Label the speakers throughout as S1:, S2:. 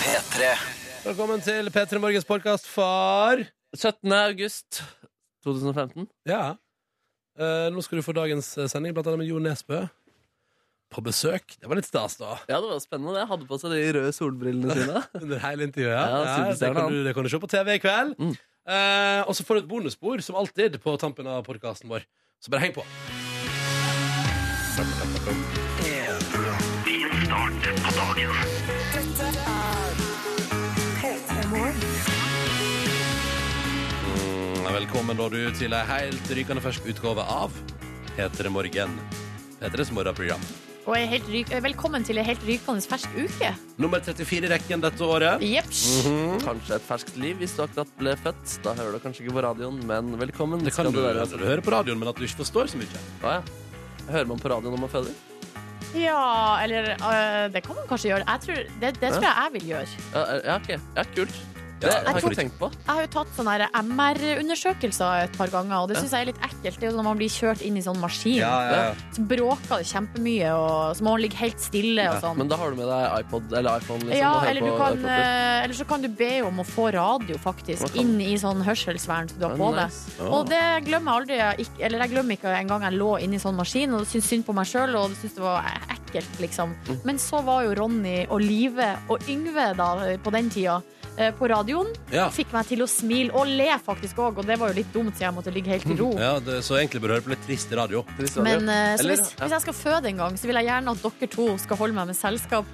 S1: P3.
S2: Velkommen til P3 Morgens podkast for
S3: 17. august 2015.
S2: Ja. Eh, nå skal du få dagens eh, sending, blant annet med Jo Nesbø. På besøk. Det var litt stas, da.
S3: Ja, det var spennende. Jeg hadde på seg de røde solbrillene sine.
S2: Under hele intervjuet. Ja,
S3: Ja,
S2: ja, det,
S3: superstjerne,
S2: kan
S3: han.
S2: du, det kan du se på TV i kveld.
S3: Mm.
S2: Eh, og så får du et bonusspor, som alltid, på tampen av podkasten vår. Så bare heng på. Mm, Velkommen da du til ei helt rykende fersk utgave av P3 Morgen. P3s morgenprogram.
S4: Og ei helt ryk, eh, velkommen til ei helt rykende fersk uke.
S2: Nummer 34 i rekken dette året.
S4: Jepsj.
S3: Mhm. Kanskje et ferskt liv hvis du akkurat ble født. Da hører du kanskje ikke på radioen, men velkommen.
S2: Det kan
S3: skal
S2: du,
S3: være.
S2: du hører på radioen, men at du ikke forstår så mye.
S3: Ja, ja. Hører man på radioen når man føder?
S4: Ja, eller eh, Det kan man kanskje gjøre. Jeg tror, det, det tror jeg jeg vil gjøre.
S3: Ja, er- ja, ok. Ja, kult. Det
S2: Ja,
S3: har jeg
S2: hvorfor
S3: ikke tenkt på.
S4: Jeg har jo tatt sånne her MR-undersøkelser et par ganger, og det syns jeg er litt ekkelt. Det er jo når man blir kjørt inn i sånn maskin.
S3: ja,
S4: Så bråker det kjempemye, og så må man ligge helt stille og sånn.
S3: Men da har du med deg iPod eller iPhone. Liksom,
S4: Ja,
S3: og hører
S4: eller, du
S3: på
S4: kan,
S3: iPod.
S4: eh, eller så kan du be om å få radio
S3: Man
S4: faktisk
S3: kan-
S4: inn i sånn hørselsvern som du har
S3: Ja,
S4: på deg.
S3: nice.
S4: Og det glemmer jeg aldri. Jeg ikk- Eller jeg glemmer ikke en gang jeg lå inni sånn maskin og syntes synd på meg sjøl og syntes det var e- ekkelt, liksom.
S2: Mm.
S4: Men så var jo Ronny og Live og Yngve da på den tida eh, på radioen.
S2: Ja.
S4: Fikk meg til å smile og le faktisk òg, og det var jo litt dumt, siden jeg måtte ligge helt i ro.
S2: Mm. Ja, det, så egentlig bør du høre på litt trist radio.
S3: Trist radio.
S4: Men eh, så
S3: Eller-
S4: hvis,
S3: ja.
S4: hvis jeg skal føde en gang, så vil jeg gjerne at dere to skal holde meg med selskap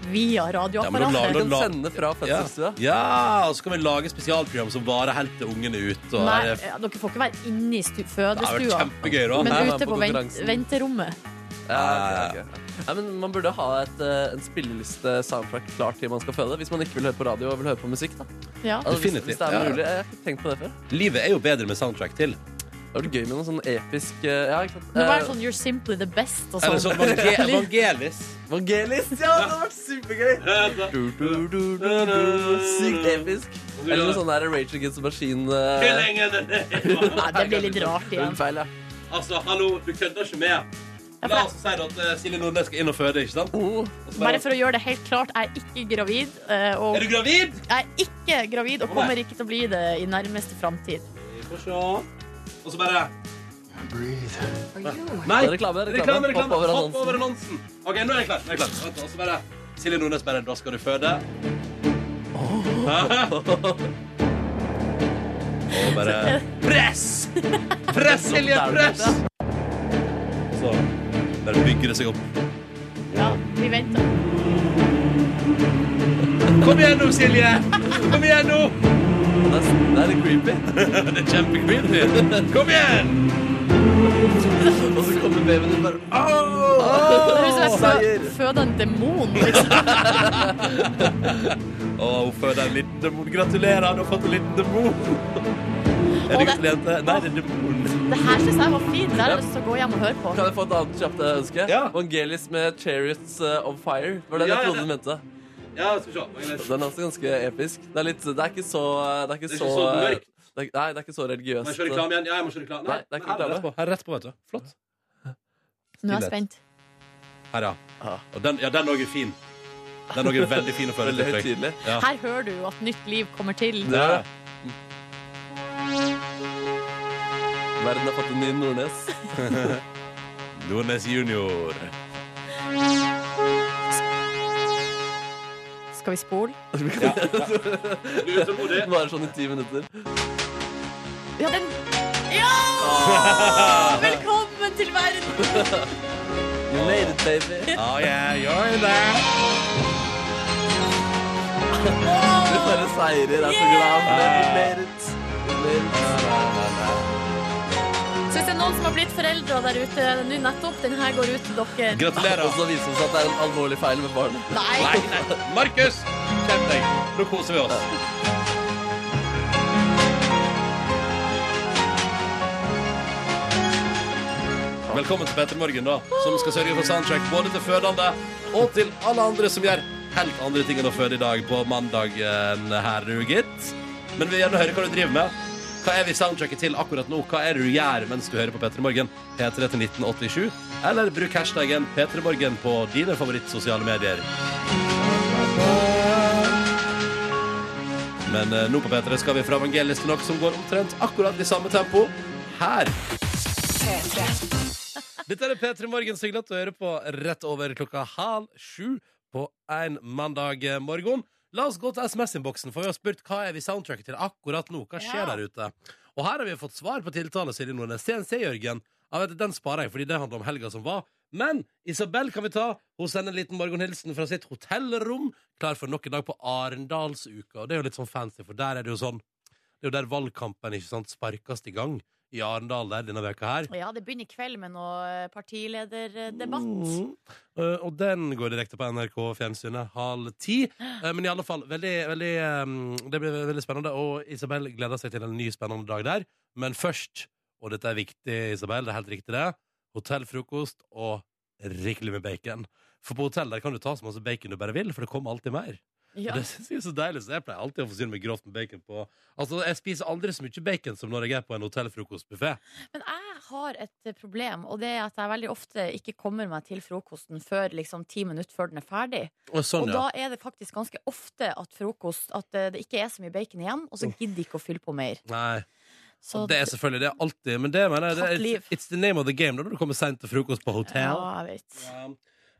S2: Ja,
S4: via
S2: men da
S4: radioapparatet.
S2: lar
S3: Du
S2: du-
S3: kan sende fra
S2: Ja.
S3: fødselsstua.
S2: ja, og så kan vi lage spesialprogram som varer helt til ungen er ute. Og
S4: Nei,
S2: er,
S4: ja, dere får ikke være inne i stu-
S2: eh, det har vært
S4: fødestua,
S2: kjempegøy. Da.
S4: men
S3: Nei, men
S4: ute
S3: på
S4: på vent
S3: konkurransen.
S4: venterommet.
S2: Ah,
S3: Ja, ok, ok. Nei, men man burde ha et, eh, en spilleliste soundtrack klar til man skal føde. Hvis man ikke vil høre på radio og vil høre på musikk. da
S4: Ja.
S3: altså, hvis,
S2: Definitivt,
S3: hvis det er
S2: ja.
S3: mulig, Jeg har ikke tenkt på det før.
S2: Livet er jo bedre med soundtrack til.
S3: Det hadde vært gøy med noe sånn episk eh, Ja, ikke sant?
S4: Det må være sånn You're simply the best og
S2: Eller
S4: sånn.
S2: sånn evangel evangelis.
S3: Evangelist! Ja, det hadde vært supergøy! Du, du, du, du, du. Sykt episk. Eller noe sånn der Rage Against the Machine eh,
S4: Nei, det blir litt rart
S3: en
S4: igjen.
S3: feil, ja.
S2: Altså, hallo, du kødder ikke med.
S4: for
S2: La oss si at eh, Silje Nordnes skal inn og føde, ikke sant?
S3: Oh,
S2: Og så
S4: Bare for å gjøre det helt klart, jeg er ikke gravid. eh, Og
S2: Er du gravid?
S4: jeg er ikke gravid og kommer ikke til å bli det i nærmeste framtid.
S2: Vi får se. Og så bare
S3: det
S2: Nei,
S3: er reklame, det er reklame.
S2: reklame, reklame.
S3: Hopp over
S2: Hopp over
S3: annonsen.
S2: annonsen. OK, nå er jeg klar. Nå er jeg klar. Vent, Og så bare Silje Nordnes bare Da skal du føde. Hæ? Og bare Press! Press, Silje! Press! Så bare bygger det seg opp.
S4: Ja, vi venter.
S2: Kom igjen nå, Silje! Kom igjen nå!
S3: Det er, det er litt creepy.
S2: Det er kjempecreepy. Kom igjen!
S3: Og så kommer babyen din bare "Ah!"
S4: Det høres ut som jeg
S3: seier.
S4: fø- føder en demon. Liksom.
S2: Å, hun føder en liten demon. Gratulerer, du har fått en liten demon. Er det
S4: det-
S2: gutt eller jente? Nei, det er demon.
S4: Det her syns jeg var fint. Det har jeg lyst til å gå hjem og høre på.
S3: Kan jeg få et annet kjapt eh, ønske?
S2: Ja.
S3: Evangelis med 'Chariots eh, of Fire'. Var det
S2: Ja,
S3: jeg
S2: ja,
S3: trodde du mente?
S2: Ja, skal vi se. Mange leser.
S3: Den er også ganske episk. Det er, litt, det er ikke så eh, Det er ikke,
S2: Det er ikke
S3: så,
S2: så mørkt.
S3: det er, Nei, det er ikke så religiøst.
S2: Må jeg kjøre reklame igjen? Ja, jeg må kjøre reklame.
S3: Nei, det er ikke
S2: her
S3: reklame.
S2: på. Her er rett på, vet du. Flott.
S4: Nå er jeg spent.
S2: Her, ja.
S3: Ja.
S2: Og den, ja, den òg er fin. Den òg er veldig fin å føle
S3: Veldig
S2: litt høy.
S3: høytidelig.
S4: Her hører du jo at nytt liv kommer til.
S2: Ja.
S3: Verden har fått en ny Nordnes.
S2: Nordnes junior.
S4: Skal vi spole?
S2: Du er utålmodig.
S3: Bare sånn i ti minutter.
S4: Ja, den Ja! Velkommen til verden!
S3: You made it, baby.
S2: Oh, yeah, you're there.
S3: Du bare seirer. Jeg er så glad for det. You made it. You made it.
S4: Så hvis det er noen som har blitt foreldre der ute nå nettopp, den her går ut til dere.
S2: Gratulerer.
S3: Og så viser det seg at det er en alvorlig feil med barnet.
S4: Nei!
S2: Nei, nei. Markus, kjenn deg. Nå koser vi oss. Velkommen til Petter Morgen, da, som skal sørge for soundtrack både til fødende og til alle andre som gjør helt andre ting enn å føde i dag på mandagen her, du, gitt. Men vi vil gjerne høre hva du driver med. Hva er vi soundtracket til akkurat nå? Hva er det du gjør mens du hører på Petter Morgen? P3 til 1987. Eller bruk hashtaggen P3morgen på dine favorittsosiale medier. Men eh, nå på P3 skal vi fra evangeliet til noe som går omtrent akkurat i samme tempo. Her. Dette er P3 Morgen siglet og hører på rett over klokka halv sju på en mandag morgen. La oss gå til SMS-innboksen, for vi har spurt hva er vi soundtracket til akkurat nå. Hva skjer
S4: Ja.
S2: der ute? Og her har vi fått svar på tiltale, Silje Nordnes. CNC, Jørgen. Jeg vet, den sparer jeg, fordi det handler om helga som var. Men Isabel kan vi ta. Hun sender en liten morgenhilsen fra sitt hotellrom, klar for nok en dag på Arendalsuka. Og det er jo litt sånn fancy, for der er det jo sånn Det er jo der valgkampen ikke sant, sparkes i gang i Arendal der denne veka her.
S4: Ja, det begynner i kveld med noe partilederdebatt.
S2: Mm. Eh, og den går direkte på NRK Fjernsynet halv ti. Eh, men i alle fall, veldig, veldig, eh, det blir veldig spennende. Og Isabel gleder seg til en ny spennende dag der. Men først, og dette er viktig, Isabel, det er helt riktig det, hotellfrokost og rikelig med bacon. For på hotell der kan du ta så masse bacon du bare vil, for det kommer alltid mer.
S4: Ja.
S2: Og Det synes jeg er så deilig, så jeg pleier alltid å forsyne meg grovt med bacon på Altså, jeg spiser aldri så mye bacon som når jeg er på en hotellfrokostbuffé.
S4: Men jeg har et eh, problem, og det er at jeg veldig ofte ikke kommer meg til frokosten før liksom ti minutter før den er ferdig.
S2: Og sånn,
S4: og
S2: ja.
S4: da er det faktisk ganske ofte at frokost At eh, det ikke er så mye bacon igjen, og så gidder jeg ikke å fylle på mer.
S2: Nei.
S4: Så
S2: det er selvfølgelig det er alltid, men det mener jeg det
S4: Tatt
S2: er,
S4: liv.
S2: it's, it's the name of the game da, når du kommer sent til frokost på
S4: ja,
S2: hotell.
S4: jeg vet.
S2: Ja.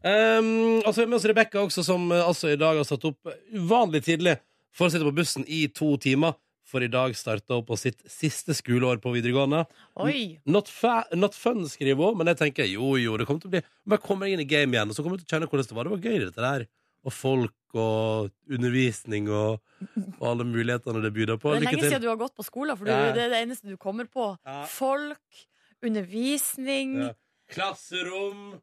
S2: Um, og så er vi med oss Rebekka også, som eh, altså i dag har satt opp uvanlig tidlig for å sitte på bussen i to timer. For i dag starta hun på sitt siste skoleår på videregående.
S4: Oi!
S2: Not, fa not fun, skriver hun, men jeg tenker jo, jo, det kommer til å bli Men jeg kommer inn i game igjen, og så kommer jeg til å kjenne hvordan det var. Det var gøy, dette der. Og folk og undervisning og, og alle mulighetene det byr deg på.
S4: Det er
S2: Lykke
S4: lenge
S2: til.
S4: siden du har gått på skolen, for du,
S2: Ja.
S4: det er det eneste du kommer på.
S2: Ja.
S4: Folk, undervisning
S2: Ja. Klasserom.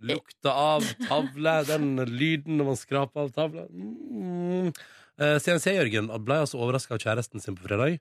S2: Lukta av tavle. Den lyden når man skraper av tavla. Mm. Eh, CNC-Jørgen ble altså overraska av kjæresten sin på fredag.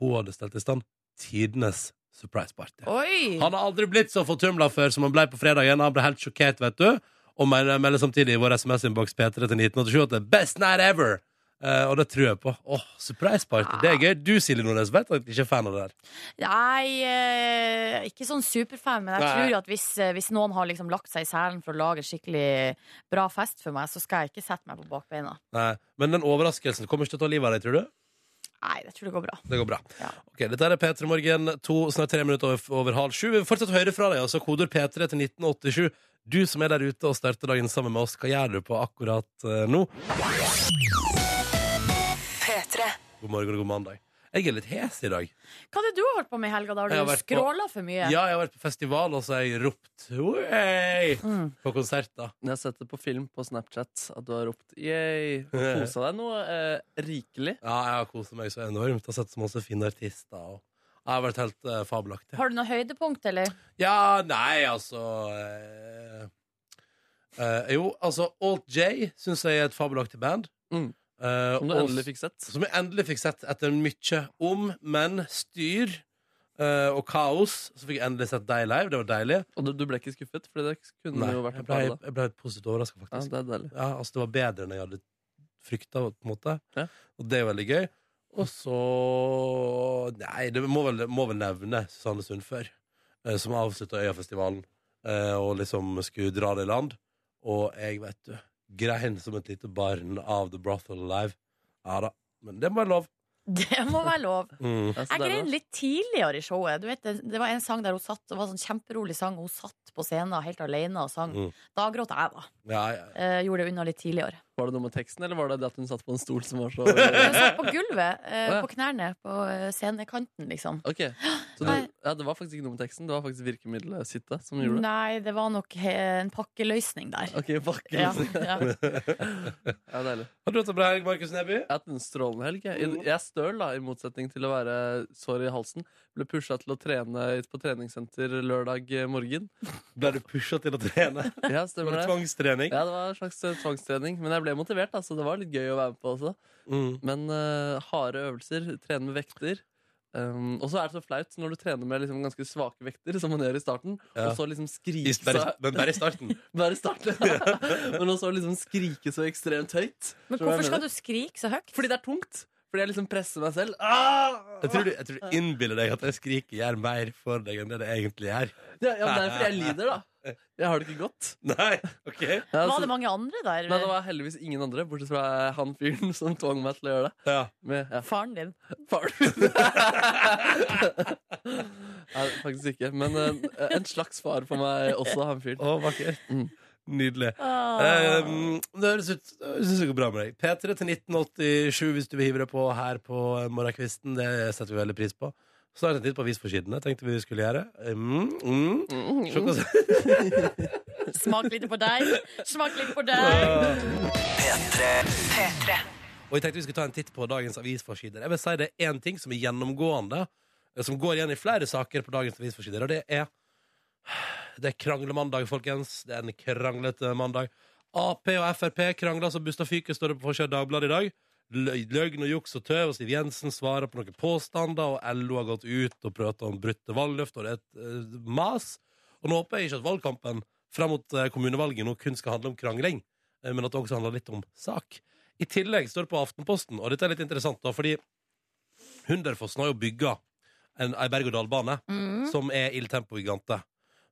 S2: Hun hadde stelt i stand tidenes surprise-party.
S4: Oi!
S2: Han har aldri blitt så fortumla før som han ble på fredagen. Han ble helt sjokkert, vet du. Og melder melder samtidig i vår SMS-innboks P3 til 1987 at det er best night ever. Eh, og det tror jeg på. Åh, surprise party. Det er gøy. Du, Silje Nordnes, vet at jeg ikke er fan av det der.
S4: Nei, eh, ikke sånn superfan, men jeg
S2: Nei.
S4: tror at hvis, eh, hvis noen har liksom lagt seg i selen for å lage skikkelig bra fest for meg, så skal jeg ikke sette meg på bakbeina.
S2: Nei. Men den overraskelsen kommer ikke til å ta livet av deg, tror du?
S4: Nei, jeg tror det går bra.
S2: Det går bra.
S4: Ja.
S2: Ok, Dette er P3 Morgen, to, snart tre minutter over, over halv sju. Vi vil fortsatt høre fra deg, altså. Koder P3 til 1987. Du som er der ute og starter dagen sammen med oss, hva gjør du på akkurat eh, nå? God morgen og god mandag. Jeg er litt hes i dag.
S4: Hva er det du har holdt på med i helga? Da
S2: Jeg har
S4: har du
S2: vært på-
S4: skråla for mye?
S2: Ja, jeg har vært på festival, og så har jeg ropt «Oi!»
S4: Mm.
S2: på konserter.
S3: Jeg har sett det på film på Snapchat at du har ropt yay. Kosa deg noe eh, rikelig.
S2: Ja, jeg har koset meg så enormt. Jeg har sett så masse fine artister. Og jeg har vært helt eh, fabelaktig.
S4: Har du noe høydepunkt, eller?
S2: Ja, nei, altså eh, eh, Jo, altså Alt J syns jeg er et fabelaktig band.
S3: Mm.
S2: Eh,
S3: Som du
S2: og-
S3: endelig fikk sett.
S2: Som jeg endelig fikk sett etter mye om, men styr eh, og kaos. Så fikk jeg endelig sett deg live. Det var deilig.
S3: Og du, du ble ikke skuffet? Fordi det kunne
S2: Nei,
S3: jo vært
S2: jeg,
S3: et par
S2: ble,
S3: da.
S2: jeg ble positivt overraska,
S3: Ja,
S2: faktisk.
S3: det er deilig.
S2: Ja, altså, det var bedre enn jeg hadde frykta, på en måte.
S3: Ja.
S2: Og det er veldig gøy. Og så Nei, det må vel, må vel nevne Susanne Sundfør, eh, som avslutta Øyafestivalen eh, og liksom skulle dra det i land. Og jeg, vet du, grein som et lite barn av The Brothel Alive. Ja da. Men det må være lov.
S4: Det må være lov.
S2: Mm.
S3: Ja, så
S4: Jeg
S3: deilig,
S4: grein litt tidligere i showet. Du vet, det, det var en sang der hun satt, det var en sånn kjemperolig sang, hun satt på scenen helt alene og sang.
S2: Mm.
S4: Da gråt jeg, da.
S2: Ja, ja.
S4: Eh, gjorde det unna litt tidligere.
S3: da. Var det noe med teksten, eller var det det at hun satt på en stol som var så
S4: Hun satt på gulvet, eh,
S3: Å, ja.
S4: på knærne, på eh, scenekanten, liksom.
S3: Ok, så du,
S4: Nei.
S3: ja, Det var faktisk ikke noe med teksten, det var faktisk virkemiddelet sitt da, som Sånn gjorde det.
S4: Nei, det var nok he, en pakkeløsning der.
S3: Ok, vakker
S4: Ja,
S3: løsning.
S4: ja.
S3: Ja, deilig.
S2: Har du hatt en bra helg, Markus Neby? Mm.
S3: Jeg har hatt en strålende helg. Jeg, jeg er støl, da, i motsetning til å være sår i halsen. Ble pusha til å trene ut på treningssenter lørdag morgen.
S2: Ble du pusha til å trene?
S3: Ja,
S2: Var
S3: stemmer
S2: det
S3: det.
S2: tvangstrening?
S3: Ja, det var en slags eh, tvangstrening. Men jeg ble motivert, da, så det var litt gøy å være med på også.
S2: Mm.
S3: Men eh, harde øvelser, trene med vekter. Um, og så er det så flaut når du trener med liksom ganske svake vekter, som man gjør i starten,
S2: Ja.
S3: og så liksom
S2: I,
S3: skrike
S2: bare,
S3: seg
S2: men bare i starten.
S3: Bare start. Men også liksom skrike så ekstremt høyt.
S4: Men hvorfor skal du skrike så høyt?
S3: Fordi det er tungt. Fordi jeg liksom presser meg selv. Ah!
S2: Jeg tror, du, jeg tror du innbiller deg at jeg skriker gjør mer for deg enn det det egentlig gjør.
S3: Ja, ja, men det er fordi jeg lider, da. Jeg har det ikke godt.
S2: Nei, ok
S3: Jeg har
S4: Var
S3: så-
S4: det mange andre der?
S3: Nei, det var heldigvis ingen andre, bortsett fra han fyren som tvang meg til å gjøre det.
S2: ja.
S3: Med ja,
S4: Faren din?
S3: faren min. Nei, faktisk ikke. Men en, en slags far for meg også, han fyren.
S2: Å, vakkert.
S3: Mm.
S2: Nydelig.
S4: Ah.
S2: Um, det høres ut Jeg synes det går bra med deg. P3 til 1987 hvis du vil hive deg på her på morgenkvisten. Det setter vi veldig pris på. Snart en titt på avisforsidene. Tenkte vi skulle gjøre. Mm, mm. Se hva som-
S4: Smak litt på deg, smak litt på deg.
S2: Og jeg tenkte vi skulle ta en titt på dagens avisforsider. Jeg vil si det er én ting som er gjennomgående, eh, som går igjen i flere saker på dagens avisforsider, og det er Det er kranglemandag, folkens. Det er en kranglete mandag. Ap og Frp krangler så busta fyker, står det på forsida av Dagbladet i dag. Løy- Løgn og juks og tøv, og Siv Jensen svarer på noen påstander, og LO har gått ut og prater om brutte valgløfter, og det er et eh, mas. Og nå håper jeg ikke at valgkampen fram mot eh, kommunevalget nå kun skal handle om krangling, eh, men at det også handler litt om sak. I tillegg står det på Aftenposten, og dette er litt interessant, da, fordi Hunderfossen har jo bygga en ei berg-og-dal-bane som er Il Tempo-gigante.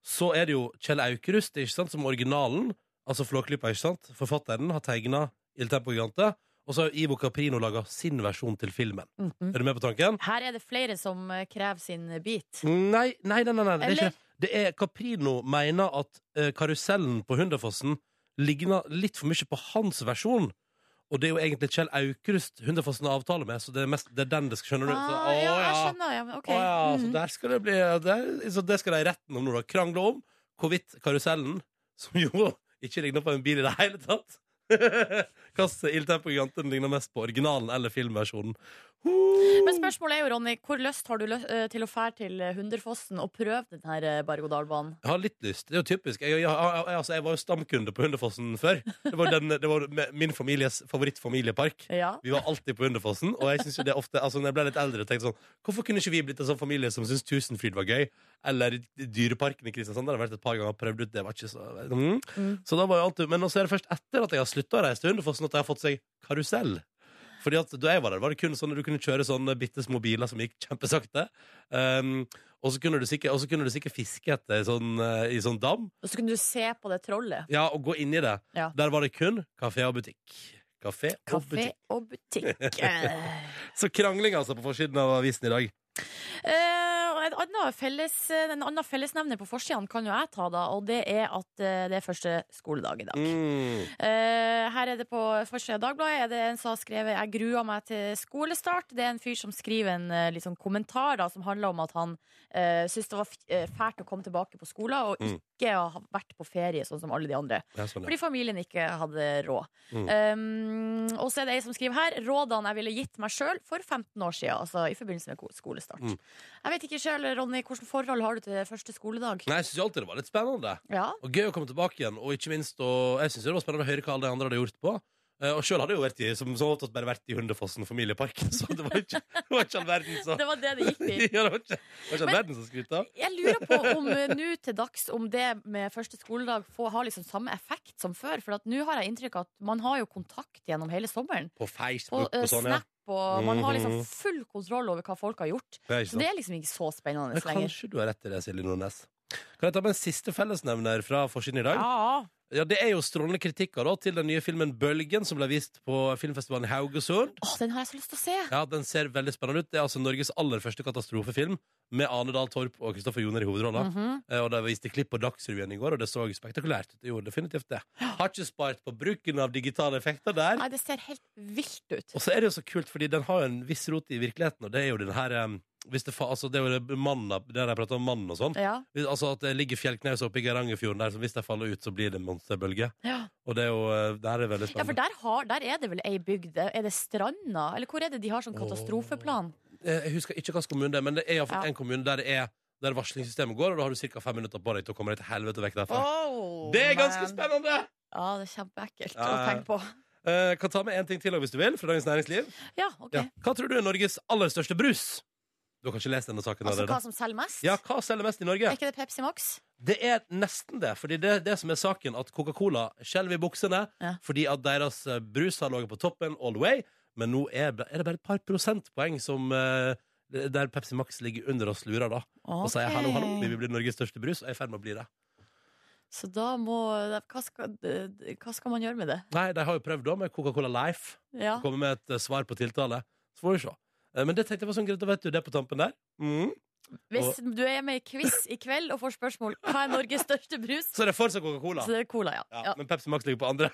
S2: Så er det jo Kjell Aukrust ikke sant, som originalen, altså Flåklypa, ikke sant, forfatteren, har tegna Il Tempo-gigante. Og så har Ivo Caprino laga sin versjon til filmen. Er
S3: Mm.
S2: du med på tanken?
S4: Mm. Her er det flere som eh, krever sin bit.
S2: Nei, nei, nei, nei, nei det er
S4: Eller?
S2: ikke det. Det er Caprino mener at eh, karusellen på Hunderfossen ligner litt for mye på hans versjon. Og det er jo egentlig Kjell Aukrust Hunderfossen har avtale med, så det er, mest, det er den det skal skjønne. du? Så,
S4: Ah,
S2: å,
S4: ja, jeg
S2: ja.
S4: skjønner. Ja, men ok.
S2: Å, ja, så
S4: Mhm.
S2: der skal det bli der, Så det skal de i retten om nå, da. Krangle om hvorvidt karusellen, som jo ikke ligner på en bil i det hele tatt Kasse Ildtempo-giganten ligner mest på originalen eller filmversjonen. Ho!
S4: Men spørsmålet er jo, Ronny, hvor lyst har du lø- eh, til å fære til eh, Hunderfossen og prøve den her eh, berg-og-dal-banen?
S2: Jeg har litt lyst. Det er jo typisk. Jeg, jeg, jeg, jeg, altså, jeg var jo stamkunde på Hunderfossen før. Det var, den, det var me- min families favorittfamiliepark.
S4: Ja.
S2: Vi var alltid på Hunderfossen, og jeg synes jo det ofte Altså når jeg ble litt eldre, tenkte jeg sånn Hvorfor kunne ikke vi blitt en sånn familie som syntes Tusenfryd var gøy? Eller Dyreparken i Kristiansand. Der har jeg vært et par ganger og prøvd ut. Det var ikke så mm.
S4: Mm.
S2: Så da var jo alltid Men også er det først etter at jeg har slutta å reise til Hunderfossen, at jeg har fått seg karusell. Fordi at da jeg var der, var det kun sånn at du kunne kjøre sånne bitte små biler som gikk kjempesakte. Um, og så kunne du sikkert, og så kunne du sikkert fiske etter sånn, eh, i sånn dam.
S4: Og så kunne du se på det trollet.
S2: Ja, og gå inn i det.
S4: Ja.
S2: Der var det kun kafé og butikk. Kafé, og
S4: Kafé
S2: butikk.
S4: og butikk. Eh,
S2: Så krangling, altså, på forsiden av avisen i dag.
S4: Eh, og en annen, felles, eh, en annen fellesnevner på forsiden kan jo jeg ta, da, og det er at eh, det er første skoledag i dag.
S2: Mm.
S4: Eh, her er det på forsida av Dagbladet er det en som har skrevet 'Jeg gruer meg til skolestart'. Det er en fyr som skriver en eh, litt sånn kommentar da, som handler om at han uh, syntes det var f eh, fælt å komme tilbake på skolen og
S2: Mm.
S4: ikke ha vært på ferie sånn som alle de andre.
S2: Ja, sånn, ja.
S4: Fordi familien ikke hadde råd.
S2: Mm.
S4: Um, og så er det ei som skriver her rådene jeg ville gitt meg sjøl for 15 år siden. Altså i forbindelse med ko- skolestart.
S2: Mm.
S4: Jeg vet ikke sjøl, Ronny, hvilket forhold har du til første skoledag?
S2: Nei, jeg syns alltid det var litt spennende.
S4: Ja,
S2: Og gøy å komme tilbake igjen. Og ikke minst, og jeg synes det var spennende å høre hva alle de andre hadde gjort på. Eh, Og sjøl hadde jeg jo vært i, som, som oftest bare vært i Hundefossen familiepark. Så det var ikke, det var ikke all verden som
S4: det var det det gikk til.
S2: ja, det var ikke, det var ikke all
S4: Men-
S2: verden som skrytte av.
S4: Jeg lurer på om eh, nå til dags om det med første skoledag får, har liksom samme effekt som før. For at nå har jeg inntrykk av at man har jo kontakt gjennom hele sommeren.
S2: På Facebook
S4: På
S2: og,
S4: eh,
S2: sånn, ja.
S4: Snap, og man har liksom
S2: Mhm.
S4: full kontroll over hva folk har gjort.
S2: Det er ikke
S4: Så
S2: sant.
S4: det er liksom ikke så spennende
S2: Men
S4: lenger.
S2: kanskje du har rett i det, Silje Nordnes. Kan jeg ta med en siste fellesnevner fra forsiden i dag?
S4: Ja,
S2: Ja, Det er jo strålende kritikker da, til den nye filmen Bølgen, som ble vist på filmfestivalen i Haugesund.
S4: Åh, den har jeg så lyst til å se!
S2: Ja, Den ser veldig spennende ut. Det er altså Norges aller første katastrofefilm, med Ane Dahl Torp og Kristoffer Joner i hovedrolla.
S4: Mhm.
S2: Eh, Og De viste klipp på Dagsrevyen i går, og det så spektakulært ut. Det gjorde definitivt det. Har ikke spart på bruken av digitale effekter der.
S4: Nei, det ser helt vilt ut.
S2: Og så er det jo så kult, fordi den har jo en viss rot i virkeligheten, og det er jo den her eh, hvis det, fa altså, det er jo det mannen, det der jeg prater om mannen og sånn.
S4: Ja.
S2: Hvis- Altså At det ligger fjellknaus oppe i Geirangerfjorden der, så hvis de faller ut, så blir det monsterbølge.
S4: Ja.
S2: Og det er jo eh, Det her er veldig
S4: ja,
S2: spennende.
S4: for der, har, der er det vel ei bygd? Er det stranda? Eller hvor er det de har sånn katastrofeplan?
S2: Eh, Jeg husker ikke hvilken kommune det er, men det er iallfall
S4: Ja.
S2: en kommune der det er der varslingssystemet går, og da har du ca. fem minutter på deg til å komme deg til helvete vekk derfra.
S4: Oh,
S2: det er ganske
S4: man.
S2: spennende!
S4: Ja, det er kjempeekkelt å
S2: Ja, ja.
S4: tenke på.
S2: Eh, kan ta med en ting til hvis du vil, fra Dagens Næringsliv.
S4: Ja, ok.
S2: Ja. Hva tror du er Norges aller største brus? Du har kanskje lest denne saken
S4: Altså hva
S2: allerede?
S4: som selger mest?
S2: Ja, hva selger mest i Norge?
S4: Er ikke det Pepsi Max?
S2: Det er nesten det, fordi det er det som er saken, at Coca-Cola skjelver i buksene
S4: Ja.
S2: fordi at deres eh, brus har ligget på toppen all the way, men nå er, ba- er det bare et par prosentpoeng som eh, der Pepsi Max ligger under og slurer, da. Og sier hallo, hallo, vi vil bli Norges største brus, og jeg er i ferd med å bli det.
S4: Så da må hva skal, eh, hva skal man gjøre med det?
S2: Nei, de har jo prøvd da med Coca-Cola Life.
S4: Ja.
S2: Komme med et eh, svar på tiltale. Så får vi se. Eh, Men det tenkte jeg var sånn greit, da vet du det på tampen der. Mm.
S4: Hvis du er med i quiz i kveld og får spørsmål hva er Norges største brus,
S2: Så er det fortsatt Coca-Cola.
S4: så det er cola, ja.
S2: Ja,
S4: Ja,
S2: Men Pepsi Max ligger på andre.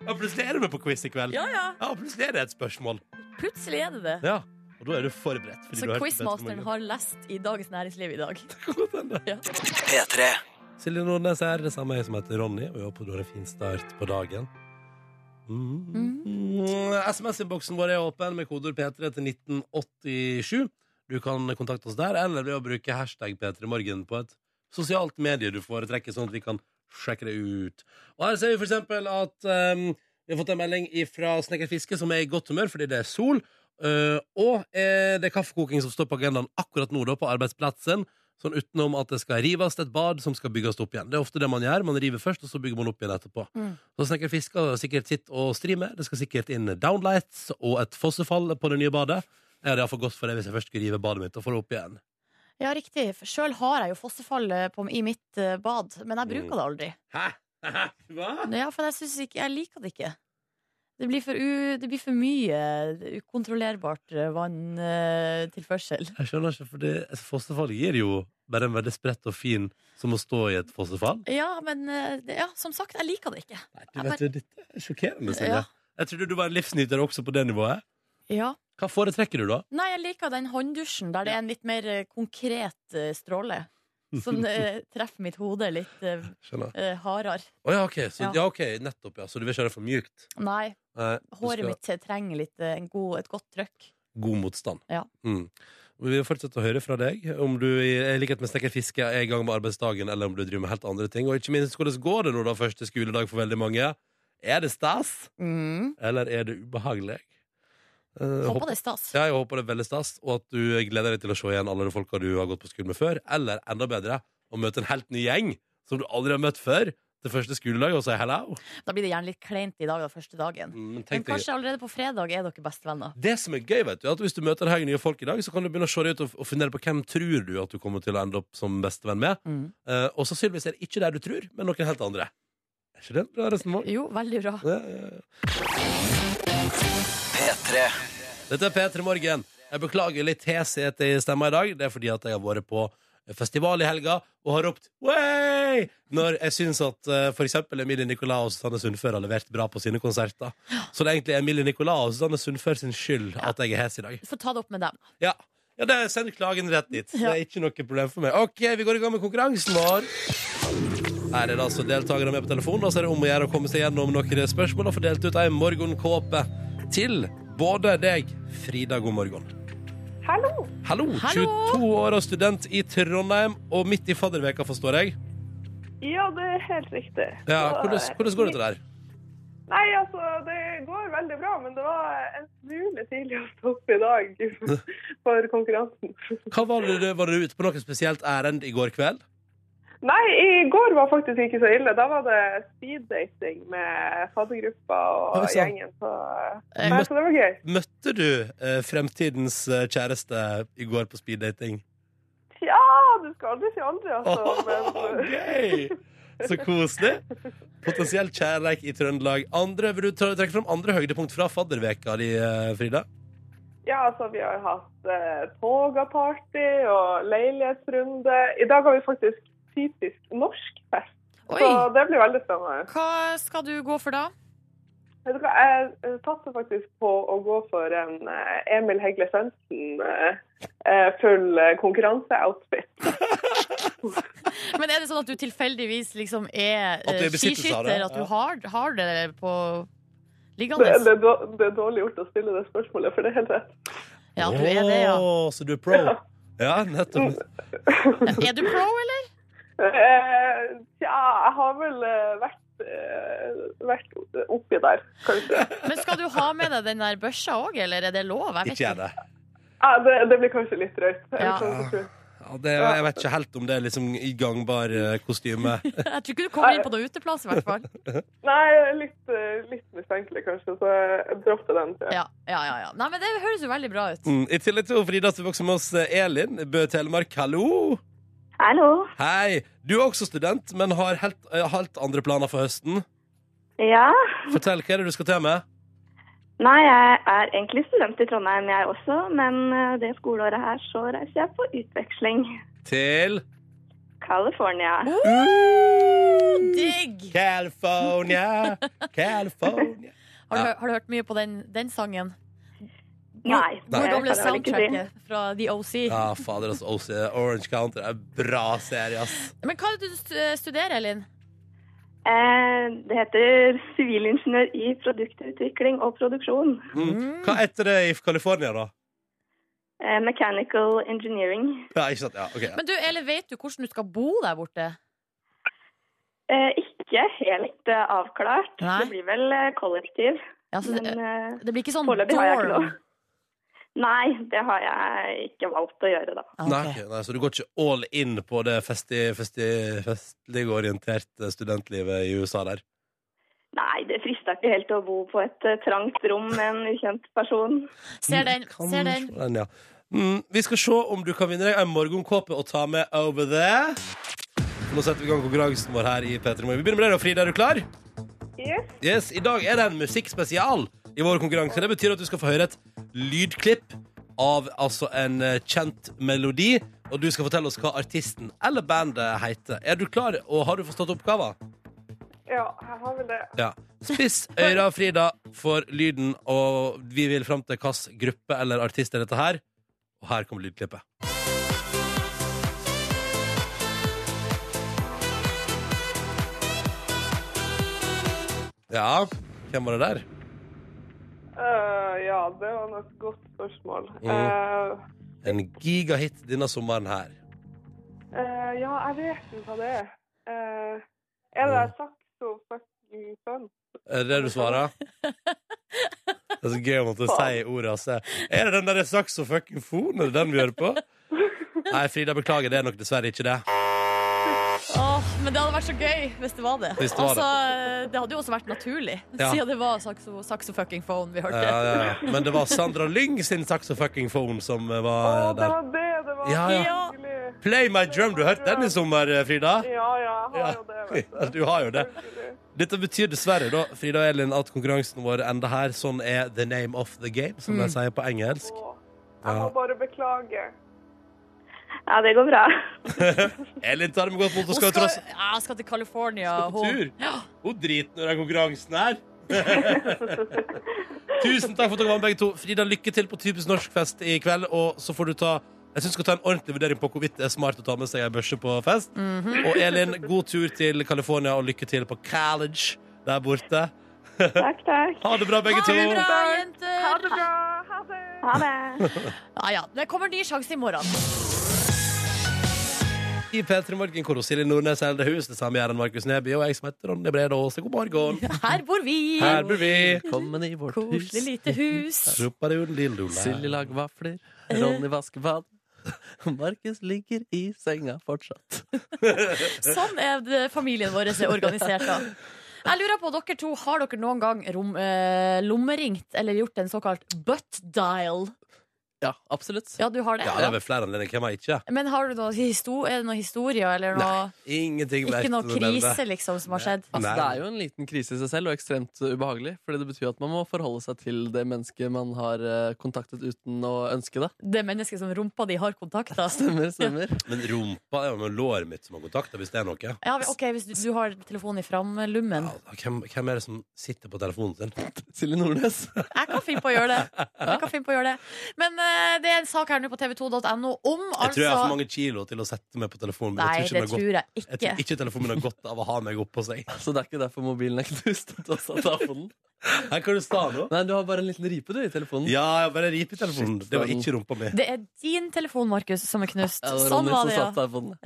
S2: ja, plutselig er du med på quiz i kveld.
S4: ja. ja.
S2: Ja, plutselig er det et spørsmål.
S4: Plutselig er det det.
S2: Ja, Og da er du forberedt. fordi
S4: Så
S2: du har hørt på Petter
S4: quizmasteren
S2: Morgen.
S4: har lest i Dagens Næringsliv i dag.
S1: P3.
S2: Silje Nordnes her, det samme jeg som heter Ronny, og jeg håper du har en fin start på dagen. Mm. SMS-innboksen vår er åpen med kodeord P3 til 1987. Du kan kontakte oss der, eller ved å bruke hashtag P3morgen på et sosialt medie du foretrekker, sånn at vi kan sjekke det ut. Og her ser vi for eksempel at um, vi har fått en melding fra Snekker Fiske, som er i godt humør fordi det er sol. Uh, og eh, det er kaffekoking som står på agendaen akkurat nå da, på arbeidsplassen. Sånn utenom at det skal rives et bad som skal bygges opp igjen. Det er ofte det man gjør. Man river først, og så bygger man opp igjen etterpå.
S4: Mm.
S2: Så Snekker Fiske har sikkert sitt å stri med. Det skal sikkert inn downlights og et fossefall på det nye badet. Jeg hadde iallfall gått for det hvis jeg først skulle rive badet mitt og få det opp igjen.
S4: Ja, riktig. Sjøl har jeg jo fossefall eh, på, i mitt eh, bad, men jeg bruker
S2: Mm.
S4: det aldri.
S2: Hæ? Hva?
S4: Ja, for jeg, synes ikke, jeg liker det ikke. Det blir for, u, det blir for mye eh, ukontrollerbart eh, vanntilførsel.
S2: Jeg skjønner ikke, for det, et fossefall gir jo bare en veldig spredt og fin som å stå i et fossefall.
S4: Ja, men eh, det- ja, som sagt, jeg liker det ikke.
S2: Nei,
S4: Jeg
S2: du vet,
S4: bare-
S2: jo, Dette er sjokkerende, Silje.
S4: Ja.
S2: Jeg trodde du var en livsnyter også på det nivået.
S4: Ja.
S2: Hva foretrekker du, da?
S4: Nei, jeg liker den hånddusjen der det er en litt mer eh, konkret eh, stråle. Som eh, treffer mitt hode litt eh,
S2: Skjønner.
S4: eh, hardere.
S2: Å ja, OK. Så, ja.
S4: Ja.
S2: ok, Nettopp, ja. Så du vil ikke ha det for mjukt?
S4: Nei,
S2: Nei, du
S4: håret
S2: skal-
S4: mitt trenger litt, eh, en god, et godt trøkk.
S2: god motstand.
S4: Ja.
S2: Mm. Vi vil fortsette å høre fra deg om du i i likhet med snekker fiske er i gang med arbeidsdagen, eller om du driver med helt andre ting. Og ikke minst, hvordan går det nå, da, første skoledag for veldig mange? Er det stas,
S4: Mm.
S2: eller er det ubehagelig? Eh,
S4: Håper det er stas.
S2: Ja, jeg håper det er veldig stas, og at du gleder deg til å se igjen alle de folka du har gått på skolen med før. Eller enda bedre, å møte en helt ny gjeng som du aldri har møtt før. Til første skoledag og si hello.
S4: Da blir det gjerne litt kleint i dag, da, første dagen.
S2: Mm, Men
S4: Men
S2: tenk deg,
S4: kanskje allerede på fredag er dere bestevenner.
S2: det som er gøy, vet du, er at hvis du møter en haug nye folk i dag, så kan du begynne å se deg ut og, og fundere på hvem tror du at du kommer til å ende opp som bestevenn med. Eh, og sannsynligvis er det ikke der du tror, men noen helt andre. Er ikke det et bra resonnement?
S4: Jo, veldig bra.
S2: Ja, ja, ja.
S1: P3.
S2: Dette er P3 Morgen. Jeg beklager litt heshet i stemma i dag. Det er fordi at jeg har vært på festival i helga og har ropt «Wey!» når jeg syns at eh, for eksempel Emilie Nicolas og Susanne Sundfør har levert bra på sine konserter. Så det er egentlig Emilie Nicolas og Susanne Sundfør sin skyld at jeg er hes i dag.
S4: Få ta det opp med dem.
S2: Ja, ja det send klagen rett dit. Det
S4: Ja.
S2: er ikke noe problem for meg. OK, vi går i gang med konkurransen vår. Her er det altså deltakere med på telefonen, og så er det om å gjøre å komme seg gjennom noen spørsmål og få delt ut ei morgenkåpe til både deg, Frida, god morgen.
S5: Hallo!
S2: Hallo,
S4: Hallo.
S2: 22 år og student i Trondheim, og midt i fadderveka, forstår jeg.
S5: Ja, det er helt riktig. Så,
S2: Ja, hvordan,
S5: eh,
S2: hvordan går det til der?
S5: Nei, altså, det går veldig bra, men det var en smule tidlig å stoppe i dag for konkurransen.
S2: Hva var det, var du ute på noe spesielt ærend i går kveld?
S5: Nei, i går var faktisk ikke så ille. Da var det speeddating med faddergruppa
S2: Oi, sånn.
S5: og
S2: sant.
S5: gjengen, så,
S4: Eh,
S5: nei, så det var gøy.
S2: Møtte du eh, fremtidens eh, kjæreste i går på speeddating?
S5: Ja, du skal aldri si aldri, altså.
S2: Åh,
S5: Men,
S2: gøy! Så koselig. Potensiell kjærleik i Trøndelag. Andre, vil du tra- trekke fram andre høydepunkt fra fadderveka di, eh, Frida?
S5: ja, altså, vi har hatt eh, togaparty og leilighetsrunde. I dag har vi faktisk typisk norsk fest,
S4: Oi!
S5: så det blir veldig spennende.
S4: Hva skal du gå for da?
S5: Vet du hva, jeg eh, satser faktisk på å gå for en eh, Emil Hegle Svendsen eh, eh, full eh, konkurranseoutfit.
S4: Men er det sånn at du tilfeldigvis liksom er,
S2: At du er i
S4: eh,
S2: besittelse av det?
S4: skiskytter? At du
S2: Ja.
S4: har, har det på
S5: Det, det,
S4: liggende?
S5: er då- det er dårlig gjort å stille det spørsmålet, for det er helt rett.
S4: Ja, du er det, ja.
S2: Åh, så du er pro? Ja,
S5: Mm.
S2: nettopp.
S4: Er du pro, eller?
S5: Eh, Tja, jeg har vel eh, vært, eh, vært oppi der, kanskje.
S4: Men skal du ha med deg den der børsa òg, eller er det lov? Jeg vet
S2: Ikke jeg det.
S5: Ja, det, det blir kanskje litt sånn drøyt. Jeg
S4: Ja.
S5: kan ikke tro.
S2: Ja, det. Jeg vet ikke helt om det er liksom i gangbar eh, kostyme.
S4: Jeg tror ikke du kommer inn på noen uteplass, i hvert fall.
S5: Nei, litt, eh, litt mistenkelig kanskje, så jeg dropper den. tror jeg.
S4: Ja, ja, ja, ja. Nei, men det høres jo veldig bra ut.
S2: Mm. I tillegg til Frida så er vi også med oss eh, Elin Bø Telemark. Hallo!
S6: Hallo.
S2: Hei! Du er også student, men har helt, eh, helt andre planer for høsten.
S6: Ja.
S2: Fortell, hva er det du skal til med?
S6: Nei, jeg er egentlig student i Trondheim, jeg også. Men eh, det skoleåret her så reiser jeg på utveksling.
S2: Til
S6: California.
S4: Digg!
S2: California, California
S4: Har du,
S2: Ja.
S4: har du hørt mye på den, den sangen?
S6: Nei.
S4: Det
S6: det
S4: gamle
S6: kan jeg vel ikke si.
S4: soundtracket fra The OC.
S2: Ja, fader, altså. OC, Orange Counter er en bra serie, ass.
S4: Men hva er det du stu- studerer, Elin?
S6: Eh, Det heter sivilingeniør i produktutvikling og produksjon.
S2: Mm. Hva heter det i California, da?
S6: Eh, Mechanical engineering.
S2: Ja, ikke sant? Ja, ok. Ja.
S4: Men du, Elin, vet du hvordan du skal bo der borte?
S6: Eh, Ikke helt eh, avklart.
S4: Nei.
S6: Det blir vel eh, kollektiv.
S4: Ja, så
S6: Men
S4: det,
S6: eh,
S4: det blir ikke sånn
S6: foreløpig har jeg ikke
S4: dorm?
S6: noe. Nei, det har jeg ikke valgt å gjøre, da.
S4: Ah, ok.
S2: Nei, ok, nei, så du går ikke all in på det festi, festi, festlig orienterte studentlivet i USA der?
S6: Nei, det frister ikke helt å bo på et eh, trangt rom med en ukjent person.
S4: Ser den.
S2: Kan
S4: Ser den.
S2: slå den, ja. mm, vi skal se om du kan vinne deg en morgenkåpe og ta med over there. Nå setter vi i gang konkurransen vår her i P3 Morgen. Vi begynner med deg, da, Frida. Er du klar?
S5: Yes.
S2: Yes, I dag er det en musikkspesial i vår konkurranse. Det betyr at du skal få høre et lydklipp av altså en eh, kjent melodi. Og du skal fortelle oss hva artisten eller bandet heter. Er du klar, og har du forstått oppgaven?
S5: Ja, jeg har vel det.
S2: Ja. Spiss øyra, Frida, for lyden, og vi vil fram til hvilken gruppe eller artist er dette her. Og her kommer lydklippet. Ja, hvem var det der?
S5: Eh, ja, det var nok et godt spørsmål.
S2: Mm.
S5: Eh,
S2: En gigahit denne sommeren her.
S5: eh, ja, jeg vet jo hva det er. Eh, er
S2: Mm.
S5: det der saxo fucking fun?
S2: Er det det du svarer? Det er så gøy å måtte si ordet. Altså. Er det den der saksofuckingfon? Er det den vi hører på? Nei, Frida, beklager, det er nok dessverre ikke det.
S4: Åh, men det hadde vært så gøy hvis det var det.
S2: Hvis det var det.
S4: Altså, det hadde jo også vært naturlig,
S2: Ja.
S4: siden det var saxo, saxofucking phone vi hørte.
S2: Ja, ja, ja. Eh, Men det var Sandra Lyng sin saxofuckingfon som eh,
S5: Å,
S2: var eh,
S5: det
S2: der.
S5: var det det var!
S2: Ja, ja.
S4: Ja.
S5: Hyggelig.
S2: Play My Drum, du hørte den i sommer, eh, Frida?
S5: Ja, ja, jeg har jo det. Vet du.
S2: Ja, Du har jo det.
S5: Selvfølgelig.
S2: Dette betyr dessverre da, Frida og Elin, at konkurransen vår ender her. Sånn er the name of the game, som
S5: Mm.
S2: de sier på engelsk.
S5: Å, Jeg må
S2: Ja.
S5: bare beklage.
S6: Ja, det går bra.
S2: Elin tar det med godt mot og
S4: Hun
S2: skal
S4: skal,
S2: tross
S4: ja, hun skal til California.
S2: på
S4: hun.
S2: tur. Hun driter når den konkurransen her. Tusen takk for at dere var med, begge to. Frida, lykke til på typisk norsk fest i kveld. Og så får du ta jeg synes du skal ta en ordentlig vurdering på hvorvidt det er smart å ta med seg ei børse på fest.
S4: Mhm.
S2: Og Elin, god tur til California, og lykke til på college der borte.
S6: Takk, takk.
S2: Ha det bra, begge
S4: Ha
S2: to.
S4: det bra, jenter!
S5: Ha det bra! Ha det!
S6: Ha det.
S4: Ja, ja. Det kommer ny sjanse i morgen.
S2: I P3 Morgen, hvor Silje Nordnes er eldrehus. Det samme gjør han Markus Neby, og jeg som heter Ronny Brede Aase. God morgen.
S4: Her bor vi.
S2: Her bor vi.
S3: Velkommen i vårt hus.
S4: Koselig lite hus.
S3: Silje
S2: Silje
S3: lager vafler. Ronny vasker bad. Markus ligger i senga fortsatt.
S4: Sånn er det familien vår er organisert. da jeg lurer på, dere to, Har dere noen gang rom, eh, lommeringt eller gjort en såkalt butt dial?
S3: Ja, absolutt.
S4: Ja, du har det.
S2: Ja, det er vel flere anledninger. Hvem har ikke?
S4: Men har du noe histo er det noen historier eller noe,
S2: Ingenting
S4: ikke
S2: verdt
S4: noe
S2: å nevne.
S4: krise liksom som har skjedd?
S3: Altså,
S2: Nei.
S3: det er jo en liten krise i seg selv, og ekstremt uh, ubehagelig. Fordi det betyr at man må forholde seg til det mennesket man har uh, kontaktet uten å ønske det.
S4: Det mennesket som rumpa di har kontakta?
S3: Stemmer, stemmer.
S2: Men rumpa er jo med låret mitt som har kontakta, hvis det er noe.
S4: Ja, men ok, hvis du, du har telefonen i framlommen.
S2: Ja, hvem, hvem er det som sitter på telefonen sin?
S3: Silje Nordnes.
S4: Jeg kan finne på å gjøre det. Jeg kan finne på å gjøre det. Men eh, det er en sak her nå på tv2.no om
S2: Jeg tror jeg har for
S4: altså
S2: mange kilo til å sette meg på telefonen.
S4: Nei,
S2: min. Jeg tror ikke,
S4: det
S2: den har
S4: tror jeg
S2: gått- jeg tror
S4: ikke.
S2: ikke telefonen min har godt av å ha meg oppå seg.
S3: Så det er ikke derfor mobilen er knust. at Du også tar på den.
S2: Her kan du sta nå.
S3: Nei, du har bare en liten ripe du i telefonen.
S2: Ja, jeg bare rip i telefonen.
S3: Shit,
S2: Det var
S3: den-
S2: ikke rumpa mi.
S4: Det er din telefon, Markus, som er knust.
S3: Ja, det var
S4: Sånn
S3: Ronny
S4: var
S3: som
S4: det,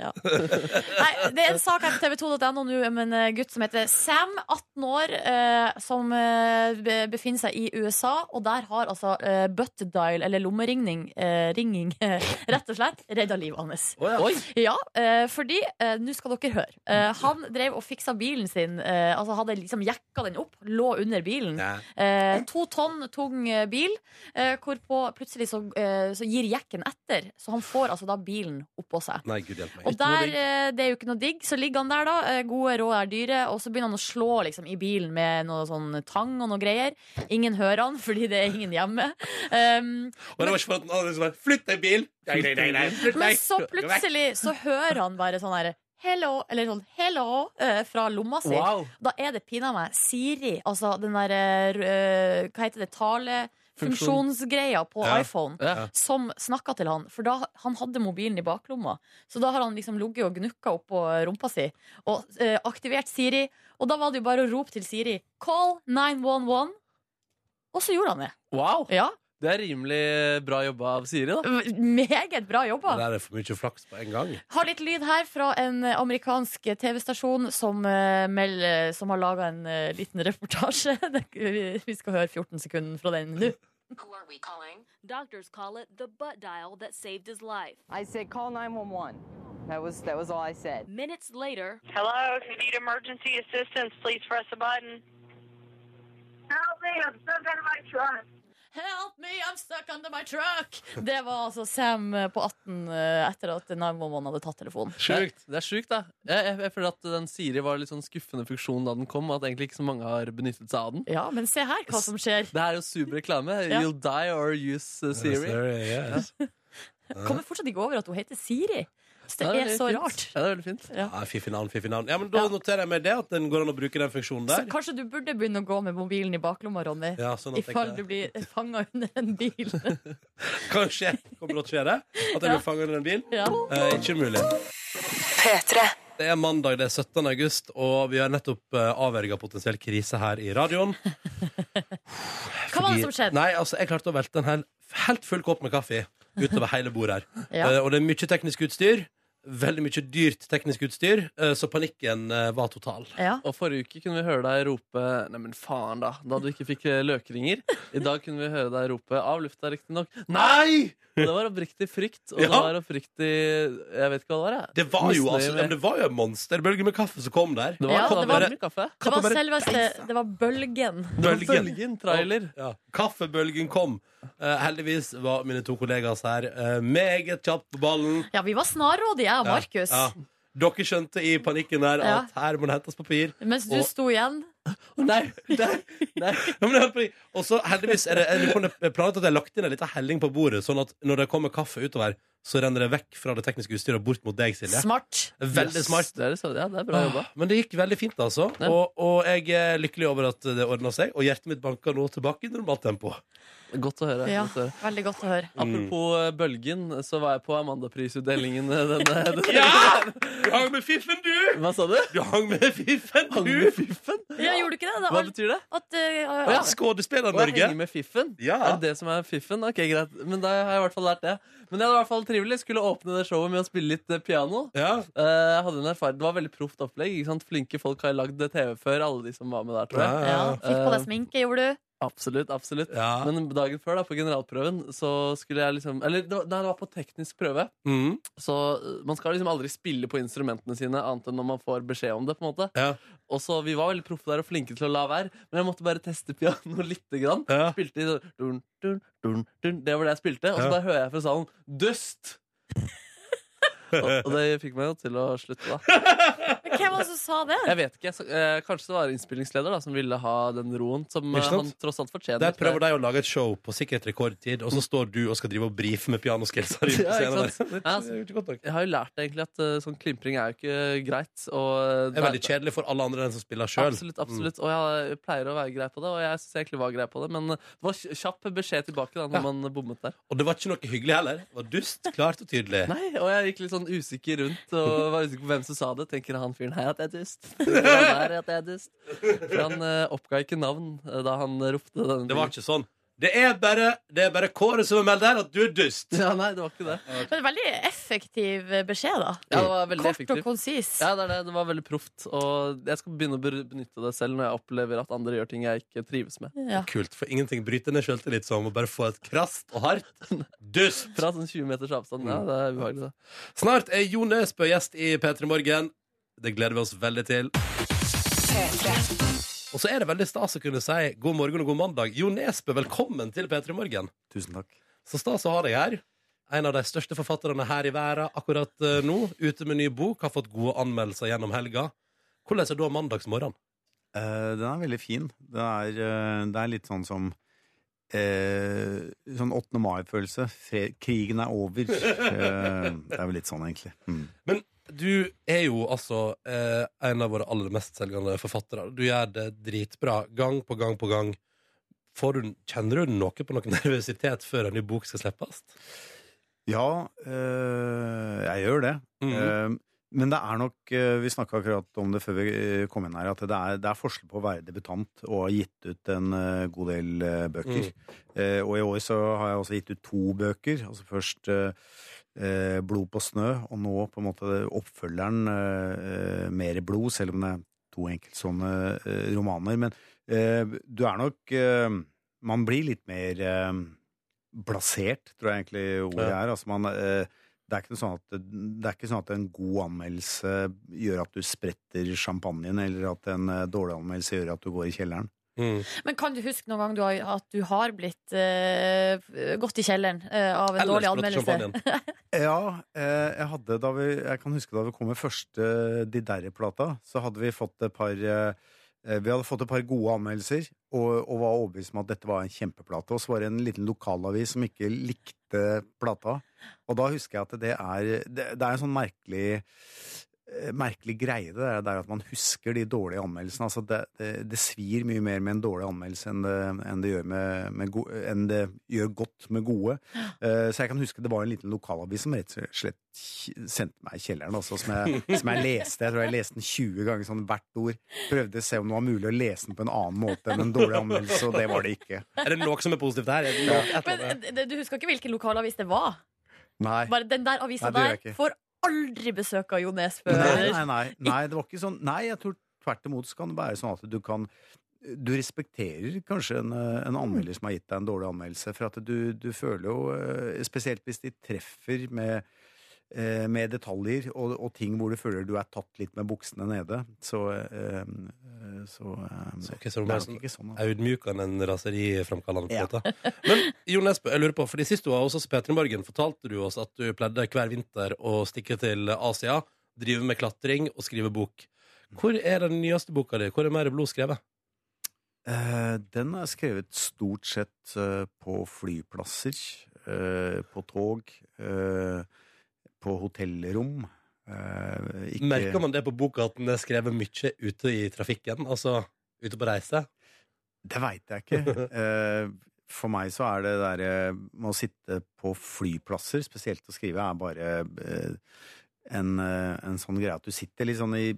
S4: ja.
S3: satt der på den.
S4: Nei, det er en sak her på tv2.no nå om en eh, gutt som heter Sam, 18 år, eh, som eh, be- befinner seg i USA. Og der har altså eh, butt dial, eller lommeringning, eh, ringing, eh, rett og slett redda livet hans.
S2: Å, ja.
S3: Oi!
S4: Ja, eh, fordi eh, Nå skal dere høre. Eh, han drev og fiksa bilen sin. Eh, altså Hadde liksom jekka den opp, lå under bilen. bilen.
S2: Ja.
S4: Eh, to tonn tung eh, bil, eh, hvorpå plutselig så, eh, så gir jekken etter. Så han får altså da bilen oppå seg.
S2: Nei, gud hjelpe meg.
S4: Og der, eh, det er jo ikke noe digg, så ligger han der, da. eh, Gode råd er dyre. Og så begynner han å slå liksom, i bilen med noe sånn tang og noe greier. Ingen hører han, fordi det er ingen hjemme. Um,
S2: Og det var ikke for at den andre som bare Flytt deg, bil! Nei, nei, nei, nei, flytt
S4: men
S2: deg!
S4: så plutselig så hører han bare sånn herre Hello, eller sånn hello eh, fra lomma si.
S3: Wow.
S4: Da er det pinadø meg Siri, altså den derre eh, Hva heter det? Talefunksjonsgreia på
S2: Ja.
S4: iPhone.
S3: Ja.
S4: Som snakka til han, for da, han hadde mobilen i baklomma. Så da har han liksom ligget og gnukka oppå rumpa si og eh, aktivert Siri. Og da var det jo bare å rope til Siri 'call 911', og så gjorde han det.
S3: Wow!
S4: Ja,
S3: Det er rimelig bra jobba av Siri, da.
S4: Meget bra jobba.
S2: Det der er for mye flaks på en gang.
S4: Har litt lyd her fra en eh, amerikansk TV-stasjon som, eh, meld- som har laga en eh, liten reportasje. Det- Vi skal høre 14 sekunder fra den nå.
S7: Who are we calling? Doctors call it the butt dial that saved his life.
S8: I said, call 911. That was that was all I said.
S7: Minutes later,
S9: Hello, if you need emergency assistance, please press the button.
S5: Help me, I'm stuck in my truck.
S4: Help me, I'm stuck under my truck! Det var altså Sam eh, på 18 eh, etter at 911 hadde tatt telefonen.
S2: Sjukt.
S3: Det er sjukt, da. Jeg, jeg, jeg føler at den Siri var litt sånn skuffende funksjon da den kom. At egentlig ikke så mange har benyttet seg av den.
S4: Ja, men se her hva som skjer.
S3: Det er jo super reklame.
S4: Ja.
S3: You'll die or use uh, Siri.
S2: Yes.
S4: Kommer fortsatt ikke over at hun heter Siri. Så
S3: Ja,
S4: det er
S3: veldig
S4: så
S3: fint.
S4: rart.
S3: Ja, det er veldig fint.
S2: Ja, fiffig navn, fiffig navn. Ja, men da noterer jeg meg det, at den går an å bruke den funksjonen
S4: Så
S2: der.
S4: kanskje du burde begynne å gå med mobilen i baklomma, Ronny.
S2: Ja, sånn at jeg
S4: Ifall du
S2: ikke-
S4: blir fanga under en bil.
S2: Kanskje kommer det til å skje det? At jeg blir fanget under en bil?
S4: Ja.
S2: Eh, ikke mulig. Det er mandag, det er 17. august, og vi har nettopp uh, avverga potensiell krise her i radioen.
S4: Hva var det som skjedde?
S2: Nei, altså, jeg klarte å velte en hel, helt full kopp med kaffe utover hele bordet her.
S4: Ja.
S2: Eh, og det er mye teknisk utstyr. Veldig mye dyrt teknisk utstyr, eh, så panikken eh, var total.
S4: Ja.
S3: Og forrige uke kunne vi høre deg rope Nei, men faen da, da du ikke fikk eh, løkringer. I dag kunne vi høre deg rope, av lufta riktignok,
S2: Nei!
S3: Og det var oppriktig frykt. Og
S2: Ja.
S3: det var oppriktig Jeg vet ikke hva det var. Jeg.
S2: Det var jo
S3: Misnøye
S2: altså,
S3: med-
S2: men det var jo en monsterbølge med kaffe som kom der.
S3: det var,
S4: Ja,
S3: kaffe,
S4: det var-
S3: eller kaffe.
S4: Det var
S2: Katta bare
S4: selveste Det var bølgen.
S2: Bølgen.
S3: Bølgen. Trailer.
S2: Ja. Kaffebølgen kom. Eh, heldigvis var mine to kollegaer her eh, meget kjapt på ballen.
S4: Ja, vi var snarrådige, jeg og Markus.
S2: Ja. Dere skjønte i panikken der
S4: Ja.
S2: at her må det hentes papir.
S4: Mens du
S2: Og-
S4: sto igjen.
S3: Nei, nei, nei.
S2: Ja, men det er fordi- Og så heldigvis er det, jeg lurer på om det er planlagt at jeg har lagt inn en liten helling på bordet, sånn at når det kommer kaffe utover, så renner det vekk fra det tekniske utstyret og bort mot deg, Silje.
S4: Smart.
S2: Veldig smart.
S3: Det er, det, så- ja, det er bra jobba.
S2: Ah, Men det gikk veldig fint, altså.
S3: Ja.
S2: Og, og jeg er lykkelig over at det ordna seg. Og hjertet mitt banker nå tilbake i normalt tempo.
S3: Godt å høre.
S4: Ja,
S3: Godt å høre.
S4: veldig godt å høre.
S3: Apropos eh, bølgen, så var jeg på Amandaprisutdelingen eh, denne, denne
S2: Ja! Du hang med fiffen, du!
S3: Hva sa du?
S2: Du hang med fiffen,
S3: Hang
S2: du!
S3: med fiffen?
S4: Ja, gjorde du ikke det? det
S3: Hva
S4: var,
S3: betyr det?
S4: at, eh,
S2: Ja,
S4: at-
S2: Skuespiller
S3: Å henge
S2: Norge.
S3: med fiffen?
S2: Ja.
S3: Er det det som er fiffen? Ok, greit. Men da har jeg i hvert fall lært det. Men det var i hvert fall trivelig. Skulle åpne det showet med å spille litt eh, piano.
S2: Ja.
S3: Eh, jeg hadde en erfaring Det var veldig proft opplegg. Ikke sant? Flinke folk har lagd TV før, alle de som var med der. tror jeg
S4: ja,
S2: Ja.
S4: Fikk på deg
S3: Eh,
S4: sminke, gjorde du?
S3: Absolutt, absolutt
S2: Ja.
S3: Men dagen før, da, på generalprøven, så skulle jeg liksom Eller det var, nei, det var på teknisk prøve.
S2: Mm.
S3: Så eh, man skal liksom aldri spille på instrumentene sine annet enn når man får beskjed om det. på en måte
S2: Ja.
S3: Og så Vi var veldig proffe der og flinke til å la være, men jeg måtte bare teste piano lite grann.
S2: Ja.
S3: Spilte i sånn dun, dun, dun, dun. Det var det jeg spilte, og så
S2: Ja.
S3: bare hører jeg fra salen 'dust'! og, og det fikk meg jo til å slutte, da.
S4: Men Hvem var det som sa det?
S3: Jeg vet ikke, så, eh, Kanskje det var innspillingsleder da som ville ha den roen som eh,
S2: Ikke sant?
S3: han tross alt fortjener.
S2: Der prøver de å lage et show på sikkert rekordtid, og så står du og skal drive og brife med pianoskillsa di på
S3: Ja, ikke
S2: scenen.
S3: sant?
S2: der.
S3: Ja,
S2: Det er jo ikke godt nok.
S3: Jeg har jo lært egentlig at eh, sånn klimpring er jo ikke greit. Og eh,
S2: Det er veldig kjedelig for alle andre enn den som spiller Mm. sjøl.
S3: Absolutt, absolutt. Og jeg pleier å være grei på det, og jeg synes egentlig var grei på det. Men det var kj- kjapp beskjed tilbake da når
S2: Ja.
S3: man bommet der.
S2: Og det var ikke noe hyggelig heller. Det var dust, klart og tydelig.
S3: Nei, Og jeg gikk litt sånn usikker rundt og var usikker på hvem som sa det. Tenker han fyren her at jeg er dust? Tenker han der at jeg er dust? For han eh, oppga ikke navn eh, da han ropte denne
S2: Det var ikke sånn. Det er bare, det er bare Kåre som er meldt der, at du er dust.
S3: Ja, nei, det var ikke det.
S4: Det var en veldig effektiv eh, beskjed, da.
S3: Ja, det var veldig
S4: Kort og
S3: effektivt.
S4: konsis.
S3: Ja, det, er det. det var veldig proft. Og jeg skal begynne å ber- benytte det selv når jeg opplever at andre gjør ting jeg ikke trives med.
S4: Ja.
S2: Kult, for ingenting bryter ned sjøltillit som å bare få et krast og hardt dust. Mm.
S3: Fra sånn 20 meters avstand. Ja, det er ubehagelig, det.
S2: Snart er Jo Nesbø gjest i P3 Morgen. Det gleder vi oss veldig til. Og så er det veldig stas å kunne si god morgen og god mandag. Jo Nesbø, velkommen til P3 Morgen.
S10: Tusen takk.
S2: Så stas å ha deg her. En av de største forfatterne her i verden akkurat eh, nå. Ute med ny bok, har fått gode anmeldelser gjennom helga. Hvordan er da mandagsmorgenen?
S10: Eh, den er veldig fin. Den er, eh, det er litt sånn som eh, Sånn 8. mai-følelse. Fre- Krigen er over. Eh, det er vel litt sånn, egentlig. Mm.
S2: Men du er jo altså eh, en av våre aller mestselgende forfattere. Du gjør det dritbra gang på gang på gang. Får du, kjenner du noe på noe nervøsitet før en ny bok skal slippes?
S10: Ja, eh, jeg gjør det. Eh, men det er nok eh, Vi snakka akkurat om det før vi eh, kom inn her, at det er, det er forskjell på å være debutant og ha gitt ut en eh, god del eh, bøker. Eh, og i år så har jeg også gitt ut to bøker. Altså først eh, eh, 'Blod på snø', og nå på en måte oppfølgeren eh, eh, 'Mer blod', selv om det er to enkeltstående eh, romaner. Men eh, du er nok eh, Man blir litt mer eh, blasert, tror jeg egentlig ordet
S2: Ja.
S10: er. Altså man, eh, det, er ikke noe sånn at, det er ikke sånn at en god anmeldelse gjør at du spretter champagnen, eller at en eh, dårlig anmeldelse gjør at du går i kjelleren.
S2: Hmm.
S4: Men kan du huske noen gang du har, at du har blitt eh, gått i kjelleren eh, av en dårlig anmeldelse?
S10: Ja, eh, jeg, hadde da vi, jeg kan huske da vi kom med første De Derre-plata, så hadde vi fått et par eh, eh, vi hadde fått et par gode anmeldelser og, og var overbevist om at dette var en kjempeplate. Og så var det en liten lokalavis som ikke likte plata. Og da husker jeg at det er Det, det er en sånn merkelig eh, merkelig greie det der, det er at man husker de dårlige anmeldelsene. Altså det, det, det svir mye mer med en dårlig anmeldelse enn det, enn det, gjør, med, med go enn det gjør godt med gode. Eh, så jeg kan huske det var en liten lokalavis som rett og slett k- sendte meg i kjelleren, altså, som, jeg, som jeg leste. Jeg tror jeg leste den 20 ganger sånn hvert ord. Prøvde å se om det var mulig å lese den på en annen måte enn en dårlig anmeldelse, og det var det ikke.
S2: Er det noe som er positivt her?
S4: Men eh, du husker ikke hvilken lokalavis det var?
S10: Nei.
S4: Bare den der avisa
S10: Nei, det gjør jeg
S4: der
S10: ikke.
S4: får aldri besøk av Jo Nesbø.
S10: Nei, nei, nei, nei, det var ikke sånn Nei, jeg tror tvert imot så kan det være sånn at du kan Du respekterer kanskje en, eh, en anmelder som har gitt deg en dårlig anmeldelse, for at du, du føler jo eh, Spesielt hvis de treffer med eh, med detaljer og, og ting hvor du føler du er tatt litt med buksene nede. Så, eh, eh, så, eh,
S2: Ok, så
S10: det
S2: mer
S10: er
S2: sånn
S10: nok ikke sånn. da.
S2: Audmjukende enn raserifremkallende. på en måte. Men Jo Nesbø, jeg lurer på, fordi sist du var hos oss i Petra Morgen, fortalte du oss at du pleide hver vinter å stikke til Asia, drive med klatring og skrive bok. Hvor er den nyeste boka di? Hvor er mer blod skrevet?
S10: Eh, den er skrevet stort sett eh, på flyplasser, eh, på tog, eh, på hotellrom. Eh, ikke-
S2: Merker man det på boka at den er skrevet mye ute i trafikken? Altså ute på reise?
S10: Det veit jeg ikke. Eh, For meg så er det der eh, med å sitte på flyplasser, spesielt å skrive, er bare eh, en, eh, en sånn greie at du sitter litt sånn i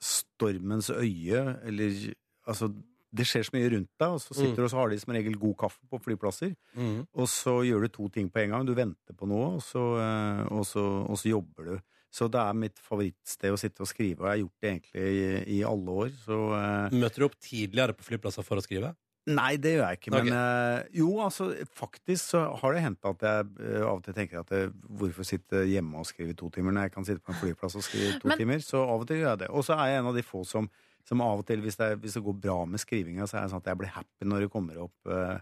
S10: stormens øye, eller altså det skjer så mye rundt deg, og så sitter du og så har de som regel god kaffe på flyplasser.
S2: Mm.
S10: Og så gjør du to ting på en gang. Du venter på noe, og så, eh, og så, og så jobber du. Så det er mitt favorittsted å sitte og skrive, og jeg har gjort det egentlig i, i alle år. Så eh,
S2: Møter du opp tidligere på flyplasser for å skrive?
S10: Nei, det gjør jeg ikke. Men
S2: Ok.
S10: eh, jo, altså, faktisk så har det hendt at jeg eh, av og til tenker at eh, hvorfor sitte hjemme og skrive to timer når jeg kan sitte på en flyplass og skrive to
S4: Men-
S10: timer? Så av og til gjør jeg det. Og så er jeg en av de få som, som av og til, hvis det, er- hvis det går bra med skrivinga, så er jeg sånn at jeg blir happy når det kommer opp eh,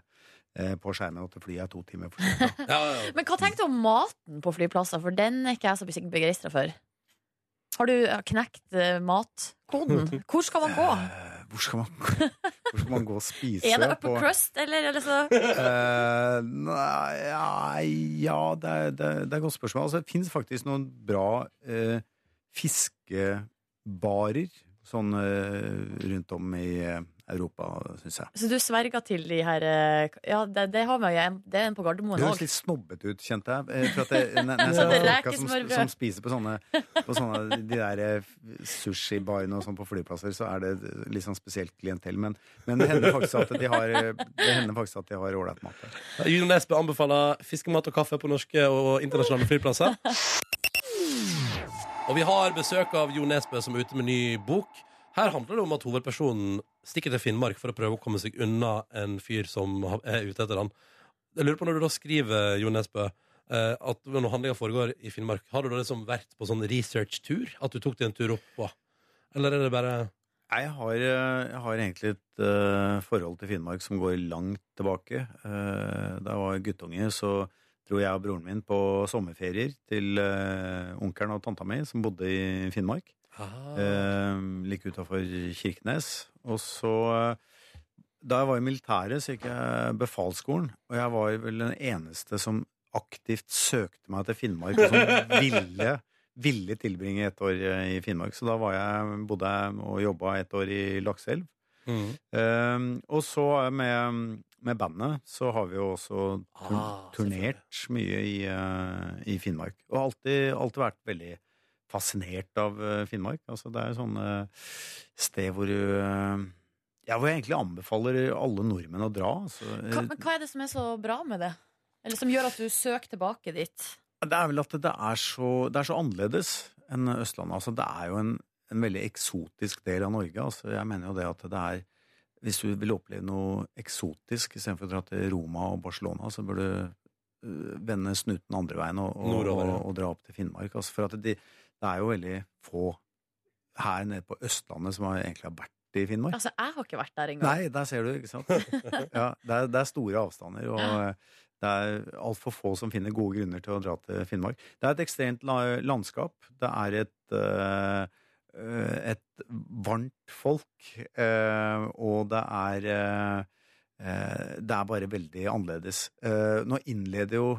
S10: eh, på skjermen at flyet er to timer for sent. da.
S2: Ja, ja, ja.
S4: Men hva tenkte du om maten på flyplasser? For den er ikke jeg så begeistra for. Har du eh, knekt eh, matkoden? Hvor skal man gå?
S10: Eh, Hvor skal man, hvor skal man gå og spise?
S4: Er det
S10: på-
S4: upper crust, eller? eller så?
S10: Eh, nei, ja, ja det, er, det, er- det er et godt spørsmål. Altså, det fins faktisk noen bra eh, fiskebarer sånn eh, rundt om i eh, Europa, syns jeg.
S4: Så du sverger til de her eh, Ja, det, det har vi jo en- Det er en på
S10: Det
S4: Gardermoen
S10: høres
S4: òg.
S10: litt snobbete ut, kjente jeg. eh, For at det, ne- ne-
S4: Så det
S10: folka som,
S4: rekesmørbrød.
S10: som spiser på sånne, på sånne de der eh, sushibarene og sånn på flyplasser, så er det litt sånn spesielt klientell. Men, men det hender faktisk at de har eh, Det hender faktisk at de har ålreit mat der.
S2: Jon Nesbø anbefaler fiskemat og kaffe på norske og internasjonale flyplasser. Og vi har besøk av Jo Nesbø som er ute med ny bok. Her handler det om at hovedpersonen stikker til Finnmark for å prøve å komme seg unna en fyr som ha- er ute etter han. Jeg lurer på når du da skriver, Jo Nesbø, eh, at når handlinga foregår i Finnmark, har du da liksom vært på sånn research-tur? At du tok deg en tur opp på? Eller er det bare
S10: Nei, Jeg har, eh, jeg har egentlig et eh, forhold til Finnmark som går langt tilbake. Eh, da jeg var guttunge, så dro jeg og broren min på sommerferier til eh, onkelen og tanta mi, som bodde i Finnmark.
S11: Ah.
S3: Ah.
S10: Eh, like utafor Kirkenes. Og så eh, Da jeg var i militæret, så gikk jeg befalsskolen. Og jeg var vel den eneste som aktivt søkte meg til Finnmark, og som ville, ville tilbringe et år eh, i Finnmark. Så da var jeg, bodde jeg og jobba et år i Lakselv. Ehm, og så er jeg med, med bandet så har vi jo også tur
S2: Ah,
S10: turnert mye i, eh, i Finnmark. Og alltid, alltid vært veldig fascinert av eh, Finnmark. Altså, det er jo sånne sted hvor du eh, Ja, hvor jeg egentlig anbefaler alle nordmenn å dra. Altså.
S4: Hva, men hva er det som er så bra med det? Eller som gjør at du søker tilbake dit?
S10: Det er vel at det er så, det er så annerledes enn Østlandet. Altså, det er jo en, en veldig eksotisk del av Norge. Altså, jeg mener jo det at det er Hvis du vil oppleve noe eksotisk istedenfor å dra til Roma og Barcelona, så bør du øh, vende snuten andre veien og, og,
S2: Nordover,
S10: og,
S2: ja.
S10: og dra opp til Finnmark. Altså, for at de, det er jo veldig få her nede på Østlandet som har, egentlig har vært i Finnmark.
S4: Altså, jeg har ikke vært der engang.
S10: Nei, der ser du, ikke sant? Ja, det, er, det er store avstander, og eh, det er altfor få som finner gode grunner til å dra til Finnmark. Det er et ekstremt la- landskap. Det er et, eh, eh, et varmt folk, eh, og det er eh, eh, Det er bare veldig annerledes. Eh, Nå innleder jo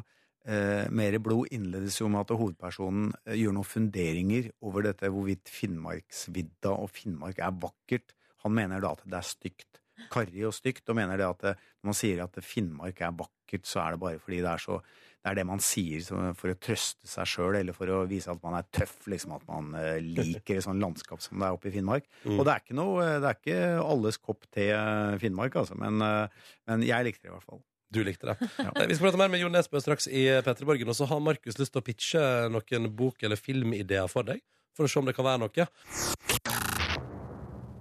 S10: Eh, Mere blod innledes jo med at hovedpersonen eh, gjør noen funderinger over dette hvorvidt Finnmarksvidda og Finnmark er vakkert. Han mener da at det er stygt. Karrig og stygt, og mener det at det, når man sier at Finnmark er vakkert, så er det bare fordi det er så Det er det man sier som- for å trøste seg sjøl, eller for å vise at man er tøff, liksom at man eh, liker et sånt landskap som det er oppe i Finnmark.
S2: Mm.
S10: Og det er ikke noe eh, Det er ikke alles kopp te eh, Finnmark, altså, men, eh, men jeg likte det i hvert fall.
S2: Du likte det.
S10: Ja.
S2: Nei, Eh, Vi skal prate mer med Jon Nesbø straks i P3 Morgen. Og så har Markus lyst til å pitche noen bok- eller filmideer for deg. For å se om det kan være noe.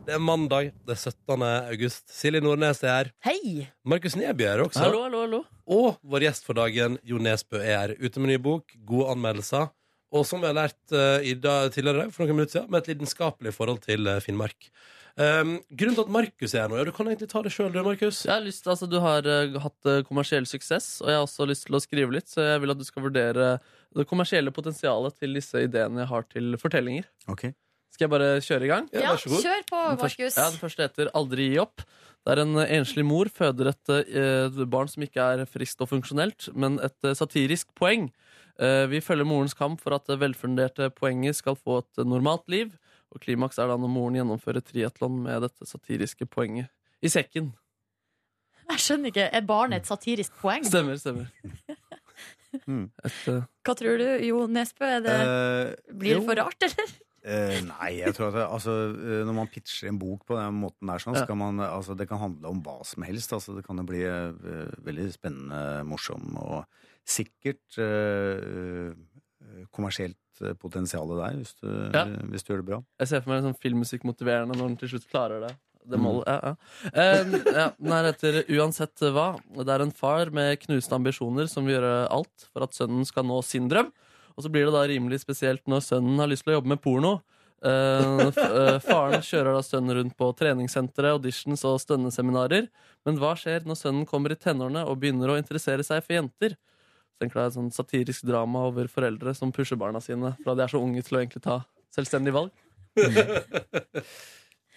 S2: Det er mandag, det er 17. august. Silje Nordnes er her.
S4: Hei!
S2: Markus Neby er her også.
S3: Hallo, hallo, hallo.
S2: Og vår gjest for dagen, Jo Nesbø, er her. Ute med ny bok, gode anmeldelser. Og som vi har lært eh, i dag, tidligere i dag, for noen minutter siden, med et lidenskapelig forhold til eh, Finnmark. Um, grunnen til at Markus er her nå, ja, du kan egentlig ta det sjøl, du, Markus.
S3: Jeg har lyst, altså, du har eh, hatt eh, kommersiell suksess, og jeg har også lyst til å skrive litt, så jeg vil at du skal vurdere det kommersielle potensialet til disse ideene jeg har til fortellinger.
S10: Ok.
S3: Skal jeg bare kjøre i gang?
S2: Ja, vær så god.
S4: kjør på,
S3: Den første,
S4: Markus.
S3: ja, den første heter Aldri gi opp. Der en eh, enslig mor føder et eh, barn som ikke er friskt og funksjonelt, men et eh, satirisk poeng. Eh, vi følger morens kamp for at det velfunderte poenget skal få et eh, normalt liv. Og klimaks er da når moren gjennomfører triatlon med dette satiriske poenget i sekken.
S4: Jeg skjønner ikke. Er barnet et satirisk poeng?
S3: Stemmer, stemmer.
S2: Hmm.
S10: Mm.
S3: Et, eh,
S4: Hva tror du, Jo Nesbø? Er det,
S10: Eh,
S4: blir
S10: jo.
S4: det for rart, eller?
S10: Eh, nei, jeg tror at det, altså, eh, når man pitcher en bok på den måten der, sånn,
S3: Ja.
S10: så kan man, eh, altså, det kan handle om hva som helst. Altså, det kan jo bli eh, veldig spennende, morsom og sikkert eh, eh, kommersielt eh, potensial der, hvis du,
S3: Ja.
S10: eh, hvis du gjør det bra.
S3: jeg ser for meg en sånn filmmusikkmotiverende når den til slutt klarer det. Det
S10: Mm.
S3: målet, ja, ja. Eh, ja, Den her heter Uansett hva. Det er en far med knuste ambisjoner som vil gjøre alt for at sønnen skal nå sin drøm. Og så blir det da rimelig spesielt når sønnen har lyst til å jobbe med porno. Eh, f eh, faren kjører da sønnen rundt på treningssentre, auditions og stønneseminarer. Men hva skjer når sønnen kommer i tenårene og begynner å interessere seg for jenter? Så tenker jeg et sånn satirisk drama over foreldre som pusher barna sine fra de er så unge til å egentlig ta selvstendig valg.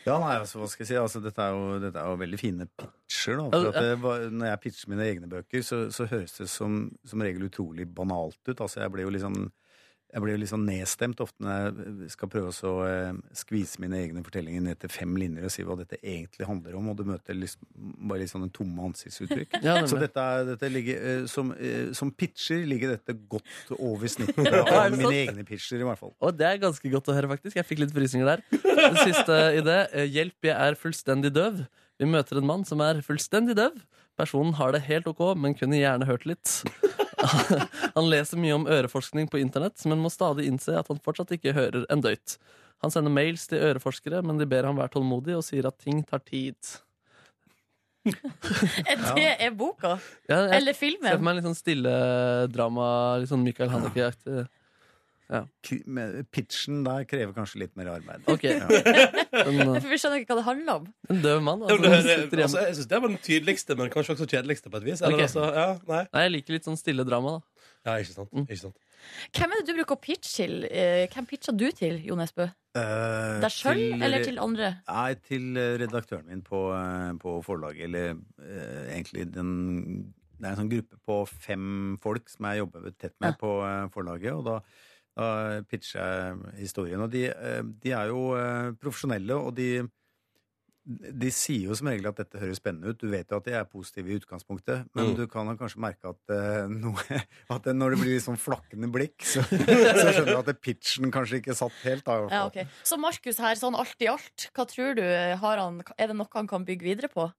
S10: Ja, nei, altså, hva skal jeg si? Altså, dette, er jo, dette er jo veldig fine pitcher. Da, for
S3: Ja,
S10: at det, var- når jeg pitcher mine egne bøker, så, så høres det som, som regel utrolig banalt ut. Altså, jeg blir jo litt sånn jeg blir jo litt sånn nedstemt ofte når jeg skal prøve å så, eh, skvise mine egne fortellinger ned til fem linjer og si hva dette egentlig handler om, og du møter liksom, bare litt sånn tomme ansiktsuttrykk.
S3: Ja, nemlig.
S10: så dette, er- dette ligger, eh, som, eh, som pitcher ligger dette godt over snittet av
S3: det
S10: mine
S3: sant?
S10: egne pitcher, i hvert fall.
S3: Og det er ganske godt å høre, faktisk. Jeg fikk litt frysninger der. Det siste i det. eh, Hjelp, jeg er fullstendig døv. Vi møter en mann som er fullstendig døv. Personen har det helt ok, men kunne gjerne hørt litt. Han leser mye om øreforskning på internett, men må stadig innse at han fortsatt ikke hører en døyt. Han sender mails til øreforskere, men de ber ham være tålmodig og sier at ting tar tid.
S4: Er det er boka?
S3: Ja, jeg
S4: Eller
S3: ser for
S4: filmen?
S3: meg en litt sånn stille drama, litt sånn Michael Haneke-aktig.
S10: k- med- pitchen der krever kanskje litt mer arbeid.
S3: Ok.
S10: eh,
S3: eh,
S4: For vi skjønner ikke hva det handler om.
S3: En døv mann.
S2: Ja,
S3: Altså,
S2: men det
S3: som
S2: her,
S3: sitter hjemme.
S2: altså, jeg syns det var den tydeligste, men kanskje også kjedeligste på et vis. Eller,
S3: Ok.
S2: altså, ja, nei.
S3: Nei, jeg liker litt sånn stille Mm. drama, da.
S2: ja, ikke sant. Ikke sant.
S4: Hvem er det du bruker å pitche til? Eh, Hvem pitcher du til, Jo Nesbø?
S10: Eh,
S4: Deg sjøl eller til andre?
S10: Nei, til eh, redaktøren min på, eh, på forlaget, eller eh, egentlig den Det er en sånn gruppe på fem folk som jeg jobber tett med på eh, forlaget, og da, da pitcher jeg historien. Og de, eh, de er jo eh, profesjonelle, og de de sier jo som regel at dette høres spennende ut. Du vet jo at de er positive i utgangspunktet, men
S2: Mm.
S10: du kan jo kanskje merke at, eh, noe, at det, når det blir litt sånn flakkende blikk, så, så skjønner du at det pitchen kanskje ikke satt helt. Da, i hvert
S4: Ja,
S10: fall.
S4: ok. Så Markus her, sånn alt i alt, hva tror du? eh, Har han, er det noe han kan bygge videre på?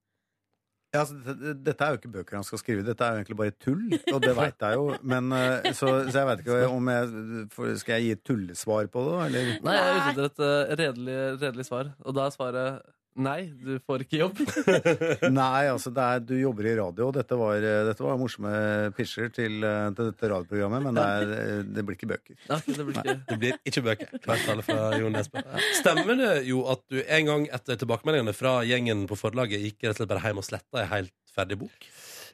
S10: Ja, altså, dette, dette er jo ikke bøker han skal skrive, dette er jo egentlig bare tull. Og det veit jeg jo, men eh, så, så jeg veit ikke om jeg for- Skal jeg gi et tullesvar på det, da? Eller?
S3: Nei, jeg er ute etter et eh, redelig, redelig svar. Og da er svaret nei, du får ikke jobb.
S10: Nei, altså det er, du jobber i radio, og dette var, eh, dette var morsomme pitcher til, eh, til dette radioprogrammet, men det, er, eh, det blir ikke bøker.
S3: Nei, det blir ikke
S2: Det blir ikke bøker. Klart tale fra Jon Nesbø. Stemmer det jo at du en gang etter tilbakemeldingene fra gjengen på forlaget gikk rett og slett bare hjem og sletta ei helt ferdig bok?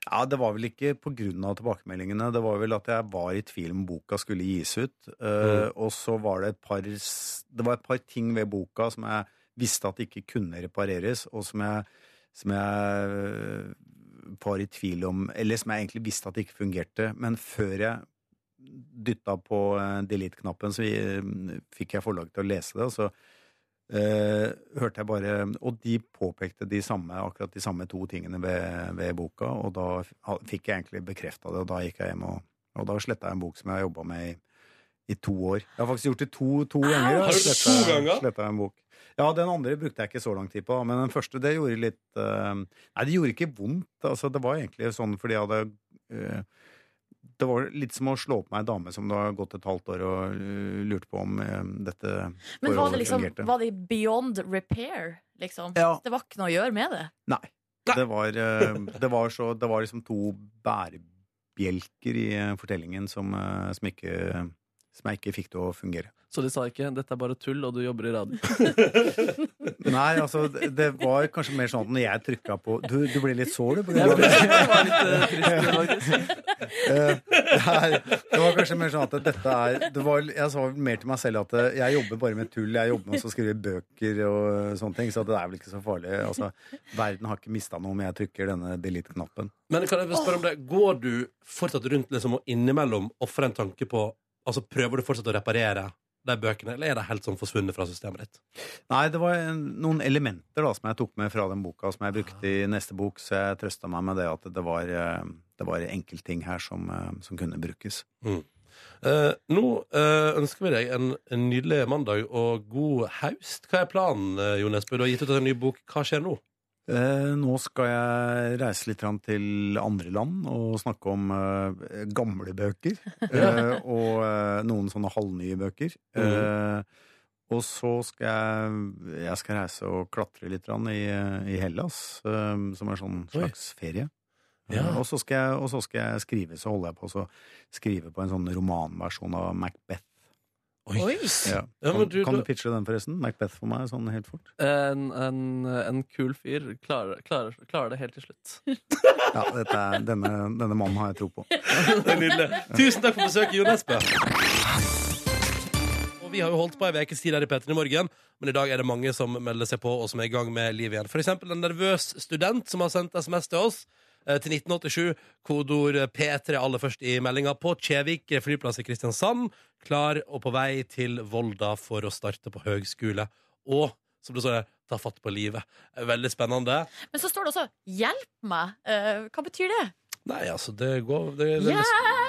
S10: Ja, Det var vel ikke pga. tilbakemeldingene. Det var vel at jeg var i tvil om boka skulle gis ut. Eh, Og så var det et par s- Det var et par ting ved boka som jeg visste at ikke kunne repareres, og som jeg, som jeg eh, var i tvil om Eller som jeg egentlig visste at ikke fungerte. Men før jeg dytta på eh, delete-knappen, så eh, fikk jeg forlaget til å lese det. og så eh, hørte jeg bare Og de påpekte de samme, akkurat de samme to tingene ved, ved boka, og da f- ha- fikk jeg egentlig bekrefta det, og da gikk jeg hjem og, og da sletta jeg en bok som jeg har jobba med i, i to år. Jeg har faktisk gjort det to, to ganger. da.
S2: Har du det to
S10: Slettet-
S2: ganger?
S10: slettet jeg en bok. Ja, den andre brukte jeg ikke så lang tid på, men den første, det gjorde litt eh, Nei, det gjorde ikke vondt. Altså, det var egentlig sånn fordi jeg hadde eh, det var litt som å slå opp meg ei dame som det har gått et halvt år og eh, lurte på om eh, dette
S4: Men var
S10: forholdet
S4: det, liksom,
S10: fungerte.
S4: var det beyond repair? Liksom?
S10: Ja.
S4: Det var ikke noe å gjøre med det?
S10: Nei. Det var, eh, det var, så, det var liksom to bærebjelker i eh, fortellingen som, eh, som, ikke, som jeg ikke fikk til å fungere.
S3: Så de sa ikke 'dette er bare tull, og du jobber i radio'.
S10: Nei, altså, det det var kanskje mer sånn at når jeg trykka på Du, du blir litt sår, du. på grunn
S3: Jeg
S10: av
S3: ble
S10: det.
S3: jeg var litt eh, trist, faktisk.
S10: Eh, det, er, det var kanskje mer sånn at dette er det var, Jeg sa vel mer til meg selv at eh, jeg jobber bare med tull. Jeg jobber med å skrive bøker og eh, sånne ting, så det er vel ikke så farlig. Altså, verden har ikke mista noe om jeg trykker denne delete-knappen.
S2: Men kan jeg spørre om det Går du fortsatt rundt liksom, og innimellom ofrer en tanke på Altså Prøver du fortsatt å reparere de bøkene, eller er de helt sånn forsvunnet fra systemet ditt?
S10: Nei, det var en, noen elementer da, som jeg tok med fra den boka, som jeg brukte i neste bok, så jeg trøsta meg med det at det var, eh, det var enkeltting her som, eh, som kunne brukes.
S2: Eh, nå eh, ønsker vi deg en, en nydelig mandag og god haust. Hva er planen, uh, Jon Esbø? Du har gitt ut en ny bok. Hva skjer nå?
S10: Eh, nå skal jeg reise litt grann til andre land og snakke om eh, gamle bøker. eh, og eh, noen sånne halvnye bøker.
S2: Mhm.
S10: Eh, og så skal jeg, jeg skal reise og klatre litt grann i, i Hellas, eh, som er sånn
S2: Oi.
S10: slags ferie.
S2: Ja.
S10: Eh, og, så skal jeg, og så skal jeg skrive, så holder jeg på å skrive på en sånn romanversjon av Macbeth.
S4: Oi.
S10: Ja.
S2: Ja,
S10: Kan,
S2: men du-
S10: kan
S2: du-
S10: du pitche den, forresten? Macbeth for meg, sånn helt fort.
S3: En, en, en kul fyr klarer, klarer, klarer det helt til slutt.
S10: Ja, dette er, denne, denne mannen har jeg tro på.
S2: Det er nydelig. Tusen takk for besøket, Jon Espe. Og Vi har jo holdt på ei ukes tid her i P3 i morgen, men i dag er det mange som melder seg på og som er i gang med livet igjen. For eksempel en nervøs student som har sendt SMS til oss eh, til 1987, kodord P3 aller først i meldinga, på Kjevik flyplass i Kristiansand, klar og på vei til Volda for å starte på høgskole. Og, som det står her, ta fatt på livet. Eh, Veldig spennende.
S4: Men så står det også 'hjelp meg'. Eh, hva betyr det?
S2: Nei, altså, det går det, det,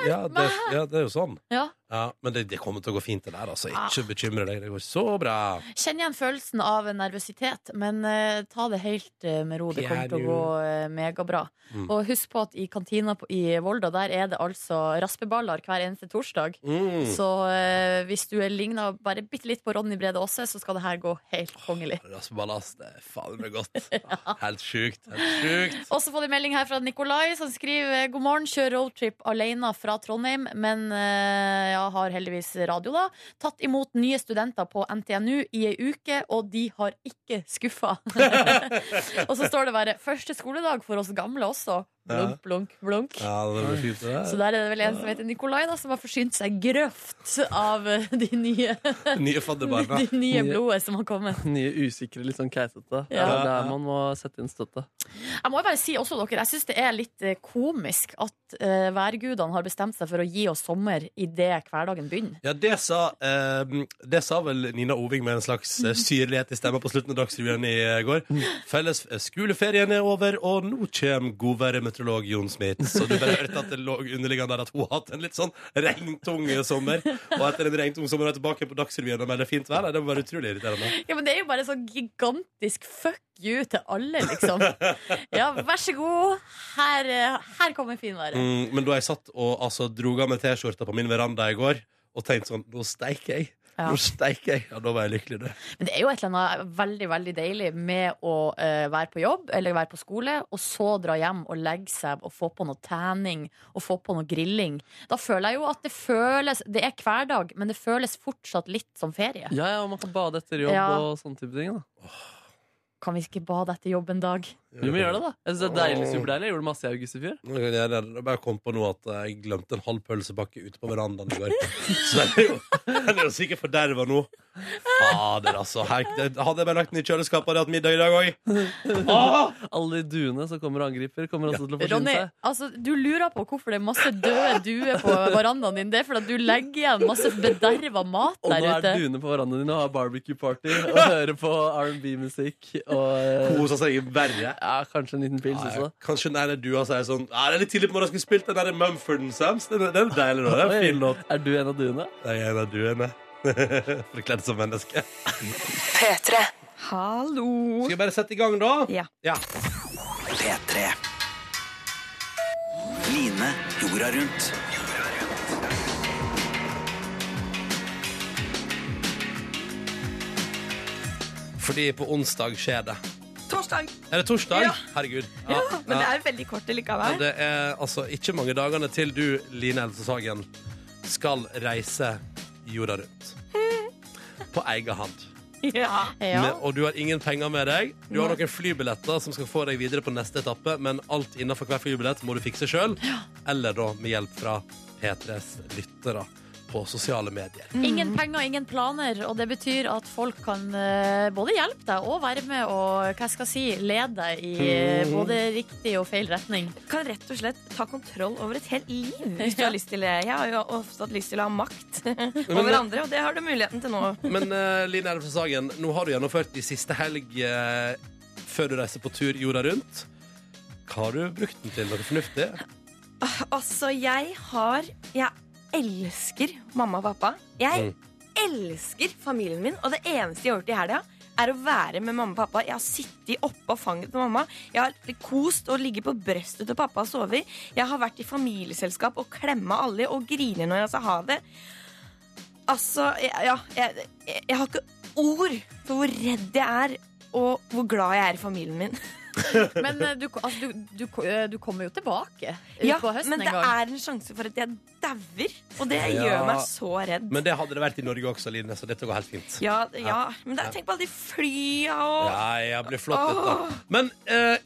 S2: ja, det, ja, det er jo sånn.
S4: Ja.
S2: Ja, Men det, det kommer til å gå fint, det der. altså Ikke bekymre deg. Det går så bra.
S4: Kjenner igjen følelsen av nervøsitet, men eh, ta det helt eh, med ro. Det kommer til å gå eh, megabra.
S2: Mm.
S4: Og husk på at i kantina på, i Volda, der er det altså raspeballer hver eneste torsdag.
S2: Mm.
S4: Så eh, hvis du ligner bare bitte litt på Ronny Brede Aase, så skal det her gå helt kongelig.
S2: Raspeballass, det er fader meg godt. Helt sjukt. Helt sjukt.
S4: Og så får vi melding her fra Nikolai, som skriver God morgen, kjør roadtrip alene fra Trondheim, men eh, ja, siden har heldigvis radio da tatt imot nye studenter på NTNU i ei uke, og de har ikke skuffa. og så står det bare 'første skoledag for oss gamle' også.
S2: Ja.
S4: Blunk, blunk, blunk.
S2: Ja, det blir fint, det der.
S4: Så der er det vel en som heter Nikolai, da, som har forsynt seg grøft av eh, de nye,
S2: Nye fadderbarna.
S4: de nye blodet som har kommet.
S3: Nye usikre, litt sånn keitete.
S4: Ja.
S3: Det er der man må sette inn støtte.
S4: Jeg må jo bare si også dere, jeg syns det er litt eh, komisk at eh, værgudene har bestemt seg for å gi oss sommer idet hverdagen begynner.
S2: Ja, det sa, eh, det sa vel Nina Oving med en slags eh, syrlighet i stemmen på slutten av Dagsrevyen i eh, går. Felles eh, skoleferien er over, og nå kommer godværemeteorolog Jon Smith. Så du bare hørte at det lå underliggende der at hun har hatt en litt sånn regntung eh, sommer. Og etter en regntung sommer er hun tilbake på Dagsrevyen og melder fint vær. Nei, Det var utrolig irriterende.
S4: Ja, men Det er jo bare sånn gigantisk fuck you til alle, liksom. Ja, vær så god. Her, eh, her kommer finværet.
S2: Mm, men da jeg satt og altså, drog av meg T-skjorta på min veranda i går og tenkte sånn Nå steiker jeg.
S4: Ja.
S2: Nå steiker jeg. Ja, da var jeg lykkelig, du.
S4: Men det er jo et eller annet veldig veldig deilig med å eh, være på jobb eller være på skole, og så dra hjem og legge seg og få på noe tanning og få på noe grilling. Da føler jeg jo at det føles Det er hverdag, men det føles fortsatt litt som ferie.
S3: Ja, ja, og man kan bade etter jobb
S4: Ja.
S3: og sånne type ting. da
S4: Kan vi ikke bade etter jobb en dag?
S3: Du må gjøre det, da. Jeg synes det er deilig, superdeilig. Jeg gjorde det masse i august i fjor.
S2: Nå kan Jeg gjøre det. Jeg bare kom på nå at eh, jeg glemte en halv pølsepakke ute på verandaen i går. Så den er jo, den er jo sikkert forderva nå. Fader, altså. Her, det- hadde jeg bare lagt den i kjøleskapet, hadde jeg hatt middag i dag òg. Ah!
S3: Alle de duene som kommer og angriper, kommer også til å forsyne
S4: Ronny,
S3: seg.
S4: altså, du lurer på hvorfor det er masse døde duer på verandaen din. Det er fordi at du legger igjen masse bederva mat
S3: Og nå
S4: der
S3: er
S4: ute.
S3: duene på verandaen din og har barbecue-party og hører på R&B-musikk og
S2: Kosa seg verre.
S3: ja, kanskje en liten pils
S2: Nei,
S3: også.
S2: Kanskje nei, nei, du har sagt sånn ja, Det er litt tidlig på morgenen, jeg skulle spilt den der Mumford and Sams. Den, er- den er deilig nå. Den er fin låt.
S3: Er du en av duene?
S2: Jeg er en av duene. Forkledd som menneske.
S12: Hallo.
S2: Skal vi bare sette i gang, da?
S12: Ja.
S1: P3. Line jorda rundt.
S2: Fordi på onsdag skjer det.
S12: Torsdag.
S2: Er det torsdag?
S12: Ja.
S2: Herregud.
S12: Ja, men det
S2: ja.
S12: er veldig kort
S2: Men
S12: likevel.
S2: det er altså ikke mange dagene til du, Line Elsesagen, skal reise jorda rundt. På egen hand.
S12: Ja.
S4: Ja.
S2: Men- og du har ingen penger med deg. Du har noen flybilletter som skal få deg videre på neste etappe, men alt innenfor hver flybillett må du fikse sjøl, eller da med hjelp fra P3s lyttere på sosiale medier.
S4: Ingen penger, ingen planer, og det betyr at folk kan eh, både hjelpe deg og være med og hva jeg skal jeg si, lede deg i eh,
S3: Mm.
S4: både riktig og feil retning.
S12: Kan rett og slett ta kontroll over et helt liv hvis du har lyst til det. Jeg har jo ofte hatt lyst til å ha makt over andre, og det har du muligheten til nå.
S2: Men eh, Line Elvsen Sagen, nå har du gjennomført de siste helg eh, før du reiser på tur jorda rundt. Hva har du brukt den til? Noe fornuftig?
S12: Altså, jeg har Jeg elsker mamma og pappa.
S2: Mm.
S12: Jeg elsker familien min, og det eneste jeg har gjort i helga, er å være med mamma og pappa. Jeg har sittet oppå fanget på mamma. Jeg har kost og ligget på brøstet til pappa og sovet. Jeg har vært i familieselskap og klemma alle og griner når jeg sa ha det. Altså, jeg- ja jeg, jeg, jeg har ikke ord for hvor redd jeg er, og hvor glad jeg er i familien min.
S4: Men eh, du, altså, du, du, eh, du kommer jo tilbake ut
S12: Ja,
S4: på høsten
S12: men det
S4: en gang.
S12: er en sjanse for at jeg dauer, og det
S2: Ja.
S12: gjør meg så redd.
S2: Men det hadde det vært i Norge også, Line, så dette går helt fint.
S12: Ja, ja. men det, tenk på alle de flya og
S2: Ja, jeg blir flott dette. Men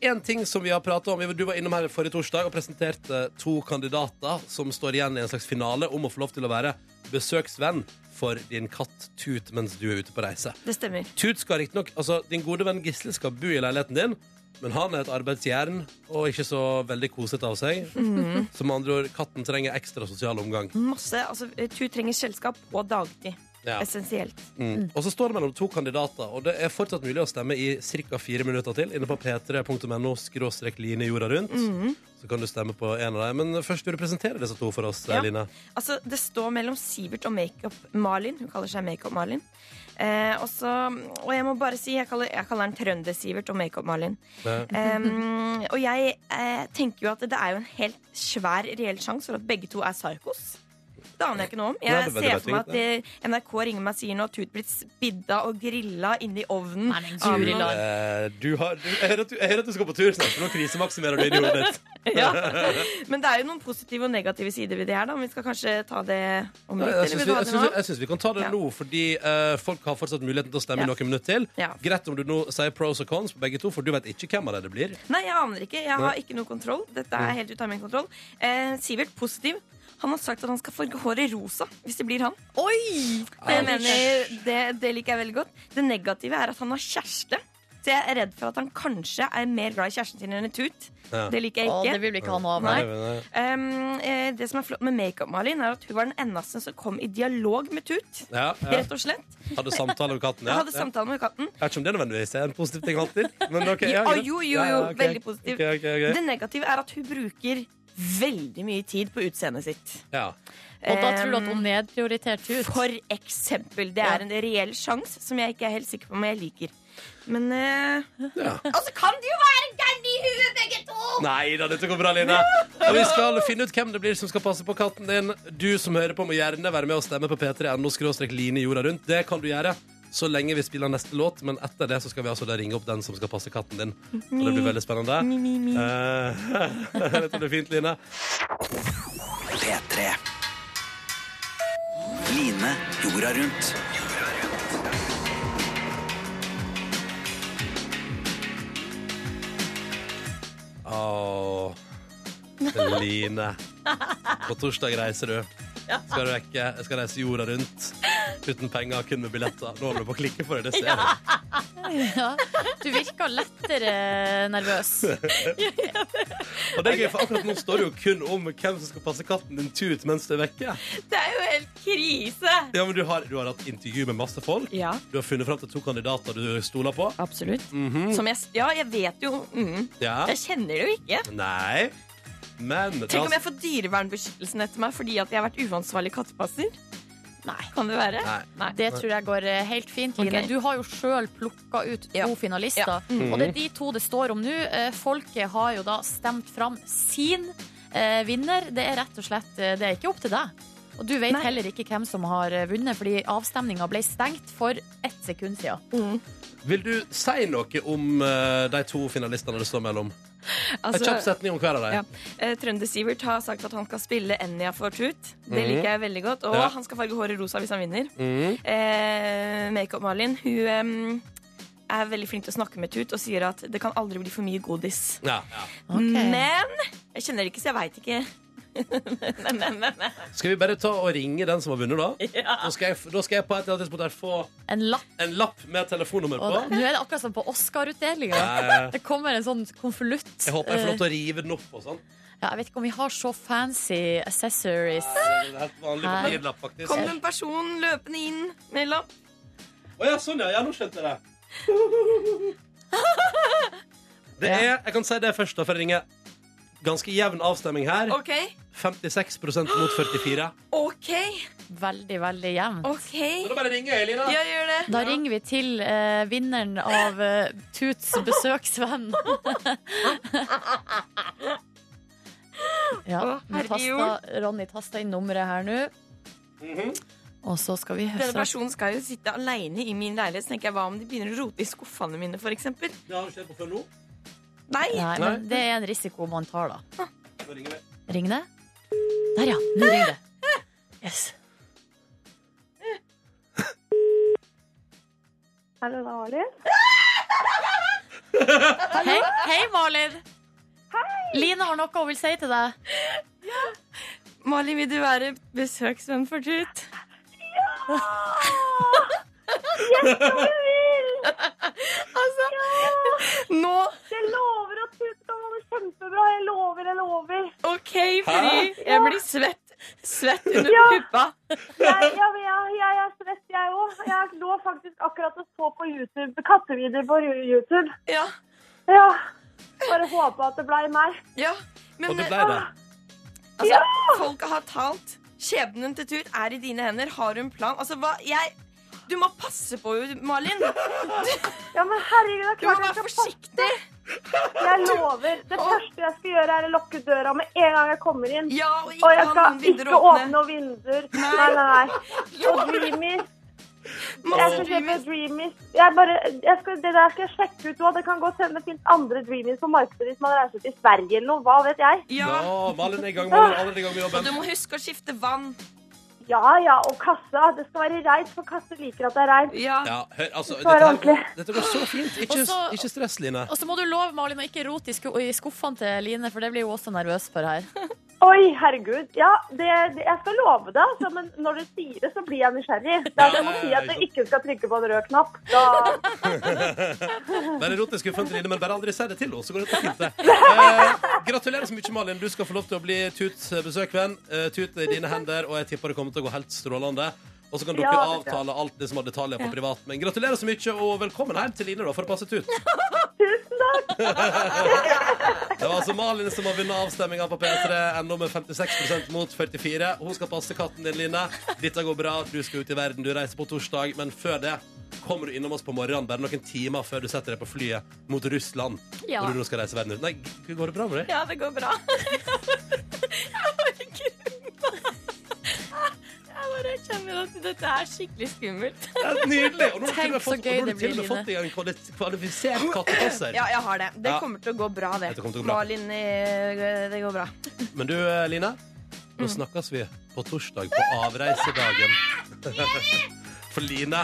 S2: én ting som vi har pratet om Du var innom her forrige torsdag og presenterte eh, to kandidater som står igjen i en slags finale om å få lov til å være besøksvenn for din katt Tut mens du er ute på reise.
S12: Det stemmer.
S2: Tut skal riktignok Altså, din gode venn Gisle skal bo i leiligheten din, men han er et arbeidsjern og ikke så veldig kosete av seg. Så med andre ord, katten trenger ekstra sosial omgang.
S12: Masse, altså, Tut trenger selskap på dagtid.
S2: Ja.
S12: Essensielt.
S2: Mm. Og så står det mellom to kandidater, og det er fortsatt mulig å stemme i ca. fire minutter til inne på p3.no skråstrek Line jorda rundt.
S12: Mm. Mhm.
S2: Så kan du stemme på en av dem. Men først vil du presentere disse to for oss,
S12: Ja.
S2: Line.
S12: Altså, det står mellom Sivert og Makeup-Malin. Hun kaller seg Makeup-Malin. Eh, og så- og jeg må bare si, jeg kaller, jeg kaller den Trønder-Sivert og Makeup-Malin.
S2: Ja.
S12: Em, og jeg eh, tenker jo at det er jo en helt svær reell sjanse for at begge to er psykos. Det aner jeg ikke noe om.
S2: Nei,
S12: Jeg
S2: det- det
S12: ser
S2: vet
S12: for meg
S2: jeg
S12: at eh, NRK ringer meg og sier nå at Tut blitt spidda og grilla inni ovnen.
S4: Nei, men
S12: av
S4: guri
S12: noen
S4: land.
S2: Eh, du har, du, jeg hører at du- jeg hører at du skal på tur snart, for nå krisemaksimerer du inn i hodet ditt.
S12: Ja. Men det er jo noen positive og negative sider ved det her, da. Men vi skal kanskje ta det om
S2: Nei,
S12: litt?
S2: Eh, Jeg
S12: Eller
S2: syns vi,
S12: vil du ha
S2: jeg
S12: det
S2: synes-
S12: nå?
S2: jeg synes vi kan ta det
S12: Ja.
S2: nå, fordi eh, folk har fortsatt muligheten til å stemme i
S12: Ja.
S2: noen minutter til.
S12: Ja.
S2: Greit om du nå sier pros og cons på begge to, for du vet ikke hvem av dem det blir.
S12: Nei, jeg aner ikke. Jeg
S2: Nei.
S12: har ikke noe kontroll. Dette er helt ut av min kontroll. Eh, Sivert, positiv. Han har sagt at han skal farge håret rosa hvis det blir han. Oi! Det,
S2: Ouch.
S12: mener, det, det liker jeg veldig godt. Det negative er at han har kjæreste. Så jeg er redd for at han kanskje er mer glad i kjæresten sin enn i Tut.
S2: Ja.
S12: Det liker jeg
S4: Å,
S12: ikke.
S4: det vil vi ikke ha noe av,
S12: Nei.
S4: nei.
S2: Nei,
S12: Um, eh, det som er flott med Makeup-Malin, er at hun var den eneste som kom i dialog med Tut.
S2: Ja, ja.
S12: Rett og slett.
S2: Hadde eh, samtale med katten.
S12: Jeg
S2: Ja.
S12: hadde samtale med katten.
S2: Jeg vet ikke om det nødvendigvis er en positiv ting alltid. Men ok, ja,
S12: Ja,
S2: greit.
S12: jo, jo, jo,
S2: Ja, ok.
S12: veldig positiv.
S2: Ok, ok, ok.
S12: Det negative er at hun bruker veldig mye tid på utseendet sitt. Ehm,
S2: Ja.
S4: Og da tror du at hun nedprioriterte ut?
S12: For eksempel. Det er en reell sjanse som jeg ikke er helt sikker på om jeg liker. Men eh, Altså, kan de jo være gærne i huet, begge to!
S2: Nei da, dette går bra, Line. Og vi skal finne ut hvem det blir som skal passe på katten din. Du som hører på, må gjerne være med og stemme på p3.no line jorda rundt. Det kan du gjøre så lenge vi spiller neste låt, men etter det så skal vi altså da ringe opp den som skal passe katten din. Og det blir veldig spennende.
S12: Mi, mi, mi.
S2: Eh, Dette blir fint, Line.
S1: P3. Line jorda rundt.
S2: Åh, Line. På torsdag reiser du. Skal du rekke? Jeg skal reise jorda rundt. Uten penger, kun med billetter. Nå holder du på å klikke for deg, det ser jeg.
S4: Ja. Du virka lettere nervøs.
S2: Og det er gøy, for akkurat nå står det jo kun om hvem som skal passe katten din tut mens du er vekke.
S12: Det er jo helt krise!
S2: Ja, men du har, du har hatt intervju med masse folk.
S12: Ja.
S2: Du har funnet fram til to kandidater du stoler på.
S12: Absolutt.
S2: Mhm.
S12: Som jeg, ja, jeg vet jo mm,
S2: Ja.
S12: Jeg kjenner det jo ikke.
S2: Nei. Men la
S12: Tenk
S2: oss-
S12: om jeg får dyrevernbeskyttelsen etter meg fordi at jeg har vært uansvarlig kattepasser? Nei. Kan det være?
S2: Nei.
S4: Det tror jeg går eh, helt fint, Line.
S12: Ok.
S4: Du har jo sjøl plukka ut to finalister.
S12: Ja. Mm.
S4: Og det er de to det står om nå. Eh, Folket har jo da stemt fram sin eh, vinner. Det er rett og slett eh, Det er ikke opp til deg. Og du vet heller ikke hvem som har eh, vunnet, fordi avstemninga ble stengt for ett sekund siden.
S12: Mm.
S2: Vil du si noe om eh, de to finalistene det står mellom?
S12: Altså-
S2: en kjapp setning om hver av dem.
S12: Ja. Eh, Trønder-Sivert har sagt at han skal spille Enja for Tut. Det
S2: Mhm.
S12: liker jeg veldig godt. Og
S2: Ja.
S12: han skal farge håret rosa hvis han vinner.
S2: Mhm.
S12: Eh, Makeup-Malin hun em, er veldig flink til å snakke med Tut og sier at det kan aldri bli for mye godis.
S2: Ja, ja.
S12: Men jeg kjenner det ikke, så jeg veit ikke. men, men, men, men.
S2: Skal vi bare ta og ringe den som har vunnet, da? Da skal jeg, da skal jeg på et eller annet tidspunkt her få
S4: En lapp.
S2: en lapp med telefonnummer
S4: Og
S2: på.
S4: det, nå er det akkurat som på Oscar-utdelinga.
S2: Ja, ja.
S4: Det kommer en sånn konvolutt. eh,
S2: Jeg håper jeg får lov til å rive den opp og sånn.
S4: ja, Jeg vet ikke om vi har så fancy accessories.
S2: Det er helt vanlig
S4: Her.
S2: papirlapp, faktisk.
S12: Kom en person løpende inn med lapp.
S2: Å ja, sånn ja. ja. Nå skjønte jeg det. Det er, jeg kan si det først, da, for jeg ringer. Ganske jevn avstemning her.
S12: OK?
S2: 56 mot 44.
S12: OK?
S4: Veldig, veldig jevnt.
S12: ok
S2: Da bare ringer jeg, Elina.
S12: Ja, gjør det.
S4: Da ringer vi til eh, vinneren av eh, Tuts besøksvenn. ja,
S12: Å,
S4: nå tasta,
S12: herregud.
S4: Ronny tasta inn nummeret her nå.
S2: Mhm.
S4: Og så skal vi
S12: Denne
S4: høre
S12: personen skal jo sitte aleine i min leilighet. Så tenker jeg, Hva om de begynner å rote i skuffene mine, f.eks.?
S2: Det har du ikke hørt på før nå.
S12: Nei.
S4: Nei,
S2: Nei.
S4: men det er en risiko man tar, da.
S2: Da ringer vi.
S4: Ring det. Der, ja. Nå ringer det. Yes.
S6: Hallo, det var det.
S4: Hei, hei Malin. Line har noe hun vil si til deg.
S12: Malin, vil du være besøksvenn for Tut? altså, nå
S9: Jeg lover at du skal ha det kjempebra. Jeg lover, jeg lover.
S12: OK, fordi jeg blir svett. Svett under puppa.
S9: Jeg, jeg, jeg, jeg er stress, jeg òg. Jeg lå faktisk akkurat og så på YouTube, kattevideoer på YouTube.
S12: Ja,
S9: Ja. Bare håpa at det blei meg.
S12: ja. Men
S2: Og det
S12: eh,
S2: ble det.
S12: altså, folket har talt. Skjebnen til Tut er i dine hender. Har hun plan? Altså, hva Jeg Du må passe på henne, Malin.
S9: Ja, men herregud, det er
S12: Du
S9: klart
S12: må være
S9: jeg skal passe.
S12: forsiktig.
S9: Jeg lover. Det første jeg skal gjøre, er å lukke døra med en gang jeg kommer inn.
S12: Ja, og ikke
S9: Og jeg
S12: ha
S9: skal
S12: noen vinduer
S9: ikke åpne
S12: åpne.
S9: noen vinduer. Nei, nei, nei. Og Jimmy, Jeg skal kjøpe Dreamies. Jeg bare, jeg skal, det der skal jeg sjekke ut nå. Det kan godt hende det finnes andre Dreamies på markedet hvis man reiser til Sverige eller noe. Hva vet jeg?
S2: Ja, Malin er i gang, Malin er allerede i gang med
S12: Og du
S2: jobben.
S12: må huske å skifte vann.
S9: Ja ja, og kassa. Det skal være reint, for kasse liker at det er reint.
S2: Ja, hør, altså,
S9: Det
S2: dette,
S9: var
S2: her,
S9: ordentlig.
S2: dette går så fint. Ikke,
S4: Og så-
S2: ikke stress, Line.
S4: Og så må du love Malin å ikke rote i, sko i skuffene til Line, for det blir hun også nervøs for her.
S9: Oi, herregud. Ja, det, det, jeg skal love det, altså, men når du sier det, så blir jeg nysgjerrig. Det er det jeg må si at jeg ikke skal trykke på en rød knapp. Da
S2: Bare rot i skuffen til Line, men bare aldri si det til henne, så går dette fint. det. Eh, gratulerer så mye, Malin. Du skal få lov til å bli Tuts besøkvenn. Eh, Tut er i dine hender, og jeg tipper det kommer til å gå helt strålende. Og så kan dere
S9: Ja, det tror jeg.
S2: avtale alt det som har detaljer på privat. Men gratulerer så mye, og velkommen hjem til Line, da, for å passe Tut. Det var altså Malin som har vunnet avstemminga på P3 NO med 56 mot 44. Hun skal passe katten din, Line. Dette går bra. Du skal ut i verden. Du reiser på torsdag. Men før det kommer du innom oss på morgenen bare noen timer før du setter deg på flyet mot Russland.
S12: Ja.
S2: Når du nå skal reise verden ut. Nei, g- går det bra med deg?
S12: Ja, det går bra. Jeg bare grunner. Jeg bare kjenner at dette er skikkelig skummelt.
S2: Det er nydelig. Og nå har du til
S12: Tenk
S2: og med
S12: så
S2: fått,
S12: gøy
S2: og nå har
S12: det
S2: du til
S12: blir,
S2: og med
S12: Line.
S2: fått deg en kvali- kvalifisert kattepasser.
S12: Ja, jeg har det. Det
S2: Ja.
S12: kommer til å gå bra, det.
S2: Dette kommer til å gå bra.
S12: Malin, eh, det går bra.
S2: Men du, eh, Line,
S12: Mm.
S2: nå snakkes vi på torsdag på avreisedagen. For Line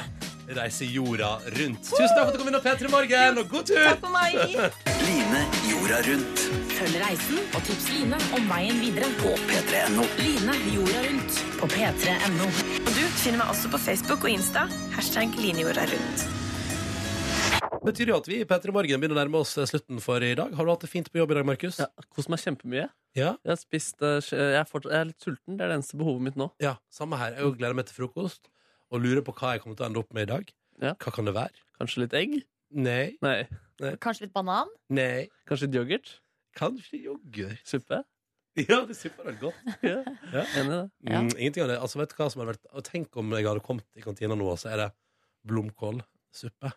S2: reiser jorda rundt. Tusen takk for at du kom innom P3 Morgen, og god tur!
S12: Takk for meg.
S1: Line jorda rundt.
S13: Følg reisen og tips Line om veien videre på p3.no. Line jorda rundt på p3.no.
S12: Og du finner meg også på Facebook og Insta. Hashtag linjorda rundt.
S2: betyr jo at vi i P3 Morgen begynner å nærme oss eh, slutten for i dag. Har du hatt det fint på jobb i dag, Markus?
S3: Ja, kost meg kjempemye.
S2: Ja.
S3: Jeg, har spist, eh, skje- jeg, er fortsatt, jeg er litt sulten. Det er det eneste behovet mitt nå.
S2: Ja, samme her. Jeg gleder meg til frokost og lurer på hva jeg kommer til å ende opp med i dag. Hva kan det være?
S3: Kanskje litt egg?
S2: Nei.
S3: Nei.
S4: Kanskje litt banan?
S2: Nei.
S3: Kanskje litt yoghurt?
S2: Kanskje yoghurt.
S3: Suppe?
S2: Ja, det supper vel godt.
S3: Ja.
S2: Ja.
S3: Enig i det.
S2: Mm, ingenting av det. Altså, vet du hva som hadde vært og Tenk om jeg hadde kommet i kantina nå, og så er det blomkålsuppe.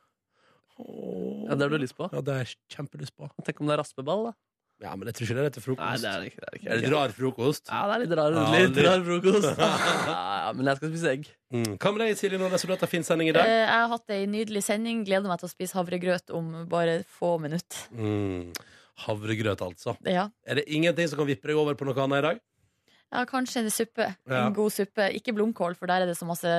S2: Åh.
S3: Ja, det har du lyst på?
S2: Ja, det har jeg kjempelyst på.
S3: Tenk om det er raspeball, da.
S2: Ja, men jeg tror ikke det er til frokost.
S3: Nei, det er det ikke, det er det ikke.
S2: Er det rar frokost?
S3: Ja, det er litt rar,
S2: Ja,
S3: litt
S2: litt.
S3: rar frokost. Ja, men jeg skal spise egg.
S2: Mm. Hva med deg, Silje Nordnes? Har du hatt en fin sending i
S4: Eh,
S2: dag?
S4: Jeg har hatt ei nydelig sending. Gleder meg til å spise havregrøt om bare få minutter.
S2: Mm. Havregrøt, altså.
S4: Ja.
S2: Er det ingenting som kan vippe deg over på noe annet i dag?
S4: Ja, kanskje en suppe.
S2: Ja.
S4: En god suppe. Ikke blomkål, for der er det så masse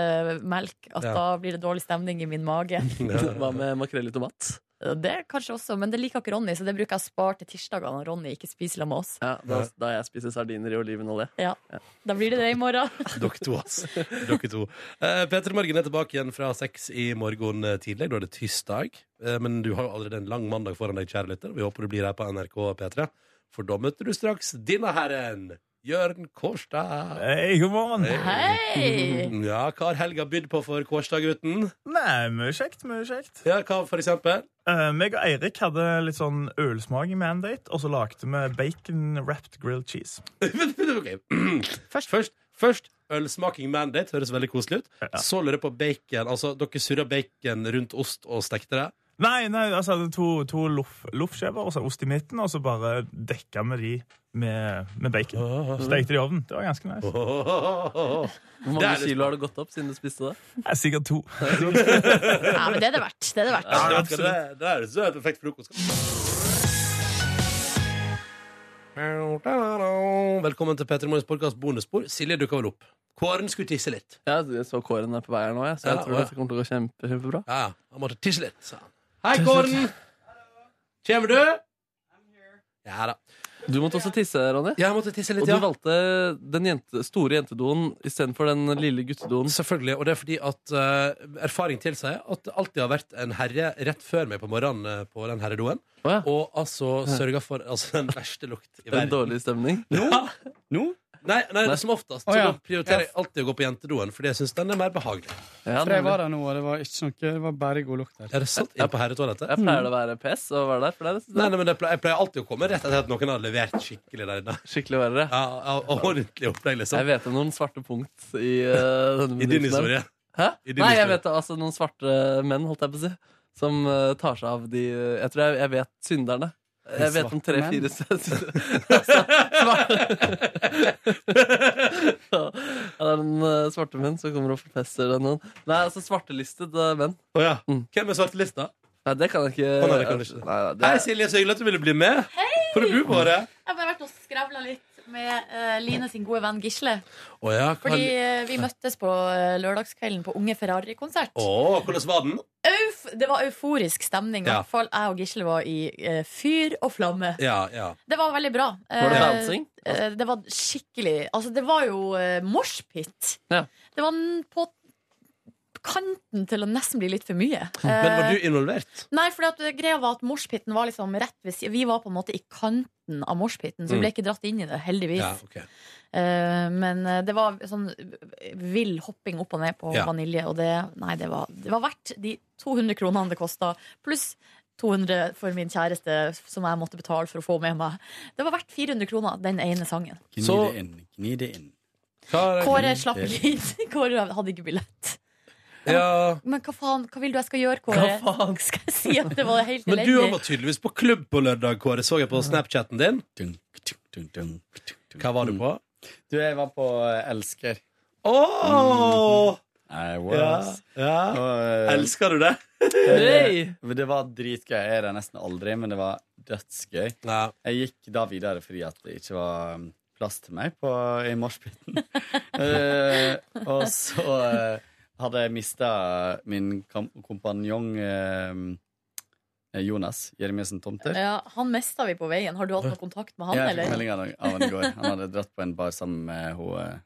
S4: melk at
S2: Ja.
S4: da blir det dårlig stemning i min mage.
S3: Hva med makrell i tomat?
S4: Det kanskje også, men det liker ikke Ronny, så det bruker jeg å spare til tirsdagene når Ronny ikke spiser sammen med oss.
S3: Ja, da, da jeg spiser sardiner i olivenolje.
S4: Ja. Da blir det det i morgen.
S2: Dere to, altså. Dere to. Eh, Peter Morgen er tilbake igjen fra seks i morgen eh, tidlig. Da er det tirsdag. Eh, men du har jo allerede en lang mandag foran deg, kjære lytter. Vi håper du blir her på NRK P3. For da møter du straks denne herren. Jørn Kårstad.
S11: Hei, god morgen.
S4: Hei.
S2: Ja, hva har helga bydd på for Kårstad, gutten?
S11: Nei, mye kjekt, mye kjekt.
S2: Ja, hva for eksempel?
S11: Eh, meg og Eirik hadde litt sånn ølsmaking med en date, og så lagde vi bacon wrapped grilled cheese.
S2: Ok. Først, først, først ølsmaking mandate høres veldig koselig ut. Så lurer jeg på bacon. Altså, dere surra bacon rundt ost og stekte det.
S11: Nei, nei, altså det er to, to loff- loffskiver og så ost i midten, og så bare dekka vi de med, med bacon. Stekte de i ovnen. Det var ganske nice.
S3: Hvor
S11: Det er
S3: mange
S11: litt-
S3: kilo har det gått opp siden du spiste det?
S11: Det er sikkert to.
S4: Ja, men det er det verdt. Det er det verdt.
S2: Ja, det, det, det er så er det perfekt frokost. Velkommen til Petter Morgens podkast bonusspor. Silje dukka vel opp. Kåren skulle tisse litt.
S3: Ja, jeg så Kåren er på vei her nå, jeg, så jeg
S2: Ja,
S3: tror
S2: ja.
S3: dette kommer til å gå kjempe, kjempebra.
S2: Ja, han måtte tisse litt, sa han. Hei, Kåren! Kjemer du? Ja da.
S3: Du måtte også tisse, Ronny.
S2: Jeg måtte tisse litt,
S3: Og
S2: ja.
S3: du valgte den jente, store jentedoen istedenfor den lille guttedoen.
S2: Selvfølgelig, og det er fordi at eh, erfaring tilsier at det alltid har vært en herre rett før meg på morgenen eh, på den herredoen. Og altså sørga for altså, den verste lukt i
S3: En
S2: verden.
S3: dårlig stemning.
S2: Nei, nei, som oftest.
S14: Å, ja.
S2: Så da prioriterer jeg alltid å gå på jentedoen, fordi jeg syns den er mer behagelig.
S14: For jeg var der nå, og det var ikke noe Det var bare god lukt der.
S2: Er det sant? Inne på herretoalettet?
S3: Jeg pleier det å være PS og være der. For det er
S2: Nei, nei, men jeg pleier, jeg pleier alltid å komme rett etter at noen har levert skikkelig der inne.
S3: Skikkelig verre.
S2: Ja, ja, ordentlig opplegg, liksom.
S3: Jeg vet om noen svarte punkt i eh, denne
S2: I din
S3: bedriften her.
S2: historie.
S3: Hæ?
S2: I din
S3: Nei, jeg
S2: historie.
S3: vet det, altså noen svarte menn, holdt jeg på å si, som eh, tar seg av de Jeg tror jeg, jeg vet synderne. Jeg vet om
S14: Svarte
S3: tre-fire
S14: menn?
S3: altså, svarte- ja, Det er en eh, svarte menn som kommer og forpester den. Nei, altså svartelistet eh, menn.
S2: Hvem er svartelista?
S3: Nei, det kan jeg ikke.
S2: Å, nei, det kan du ikke.
S3: Nei, nei, det
S2: Hei, Silje, så hyggelig at du ville bli med. Hvor er du på det?
S4: Jeg har bare vært og skrevla litt med eh, Line sin gode venn Gisle.
S2: Å ja, hva-
S4: Fordi eh, vi møttes på eh, lørdagskvelden på Unge Ferrari-konsert.
S2: Å, hvordan var den?
S4: Euf det var euforisk stemning. I
S2: Ja.
S4: hvert fall jeg og Gisle var i eh, fyr og flamme.
S2: Ja, ja.
S4: Det var veldig bra.
S2: Var det
S4: Eh,
S2: dansing?
S4: eh, Det var skikkelig Altså, det var jo eh, moshpit.
S3: Ja.
S4: Det var n- på kanten til å nesten bli litt for mye.
S2: Men var
S4: Eh,
S2: du involvert?
S4: Nei, for at greia var at moshpiten var liksom rett ved siden Vi var på en måte i kanten av moshpiten, så
S2: Mm.
S4: vi ble ikke dratt inn i det, heldigvis.
S2: Ja, ok.
S4: Eh, men eh, det var sånn vill hopping opp og ned på
S2: Ja.
S4: vanilje, og det Nei, det var, det var verdt de 200 kronene det kosta, pluss 200 for min kjæreste, som jeg måtte betale for å få med meg. Det var verdt 400 kroner, den ene sangen.
S15: Gni
S4: Så-
S15: det inn. Gni det inn.
S4: Kåre slapp ikke inn. Kåre hadde ikke billett.
S2: Ja.
S4: Men hva faen, hva vil du jeg skal gjøre, Kåre?
S2: Hva
S4: Skal jeg si at det var helt
S2: Men du var tydeligvis på klubb på lørdag, Kåre. Så jeg på Snapchatten din. Hva var du på?
S15: Du, jeg var på eh, Elsker. Mm.
S2: Åh!
S15: I was. Og, eh,
S2: Elsker du det?
S15: Det, men det var dritgøy. Jeg er der nesten aldri, men det var dødsgøy. Jeg gikk da videre fordi at det ikke var um, plass til meg på, i moshpiten. Eh, og så eh, hadde jeg mista min kam kompanjong eh, Jonas Jeremiassen Tomter.
S4: Ja, han mista vi på veien. Har du hatt noe kontakt med han,
S15: jeg fikk melding av
S4: eller?
S15: han- av han i går. Han hadde dratt på en bar sammen med eh, henne.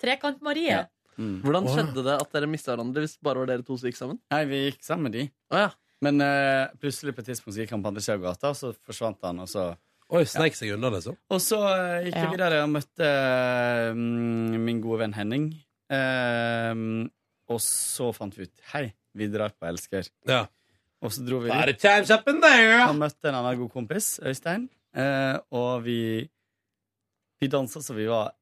S4: Trekant-Marie.
S3: Hvordan
S15: Åh.
S3: skjedde det at dere mista hverandre hvis bare var dere to som gikk sammen?
S15: Nei, vi gikk sammen med de. Men eh, plutselig på et tidspunkt så gikk han på andre siden av gata, og så forsvant han, og så
S2: Oi, snek seg unna, liksom.
S15: Og så eh, gikk
S2: Ja.
S15: jeg videre og møtte eh, mm, min gode venn Henning. Eh, og så fant vi ut Hei, vi drar på Elsker. Og så dro vi
S2: Bare
S15: dit.
S2: time's up in there.
S15: Han møtte en annen god kompis, Øystein, eh, og vi Vi dansa så vi var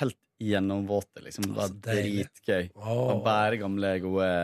S15: helt gjennomvåte, liksom. Det var
S2: deilig.
S15: dritgøy. Og bare gamle, gode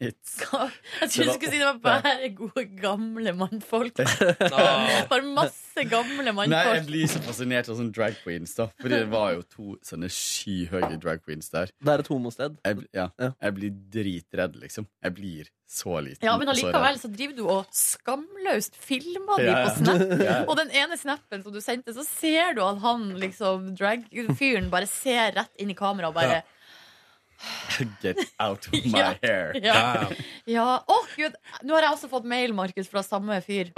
S15: hits.
S4: Jeg trodde du skulle si det var bare gode, gamle mannfolk. Bare masse gamle
S15: Nei, jeg
S4: mannfolk.
S15: blir så fascinert av sånne drag queens, da. Fordi det var jo to sånne skyhøye drag queens der.
S3: Det er et homosted?
S15: Jeg, bl- ja. Jeg blir dritredd, liksom. Jeg blir så liten.
S4: Ja, men
S15: og så
S4: allikevel
S15: redd.
S4: så driver du og skamløst filmer
S15: Ja,
S4: de
S15: ja.
S4: på Snap.
S15: Ja.
S4: Og den ene snappen som du sendte, så ser du at han liksom drag-fyren bare ser rett inn i kameraet og bare
S15: Get out of my hair.
S4: Ja. Ja, å gud Nå har jeg også fått mail, Markus, fra samme fyr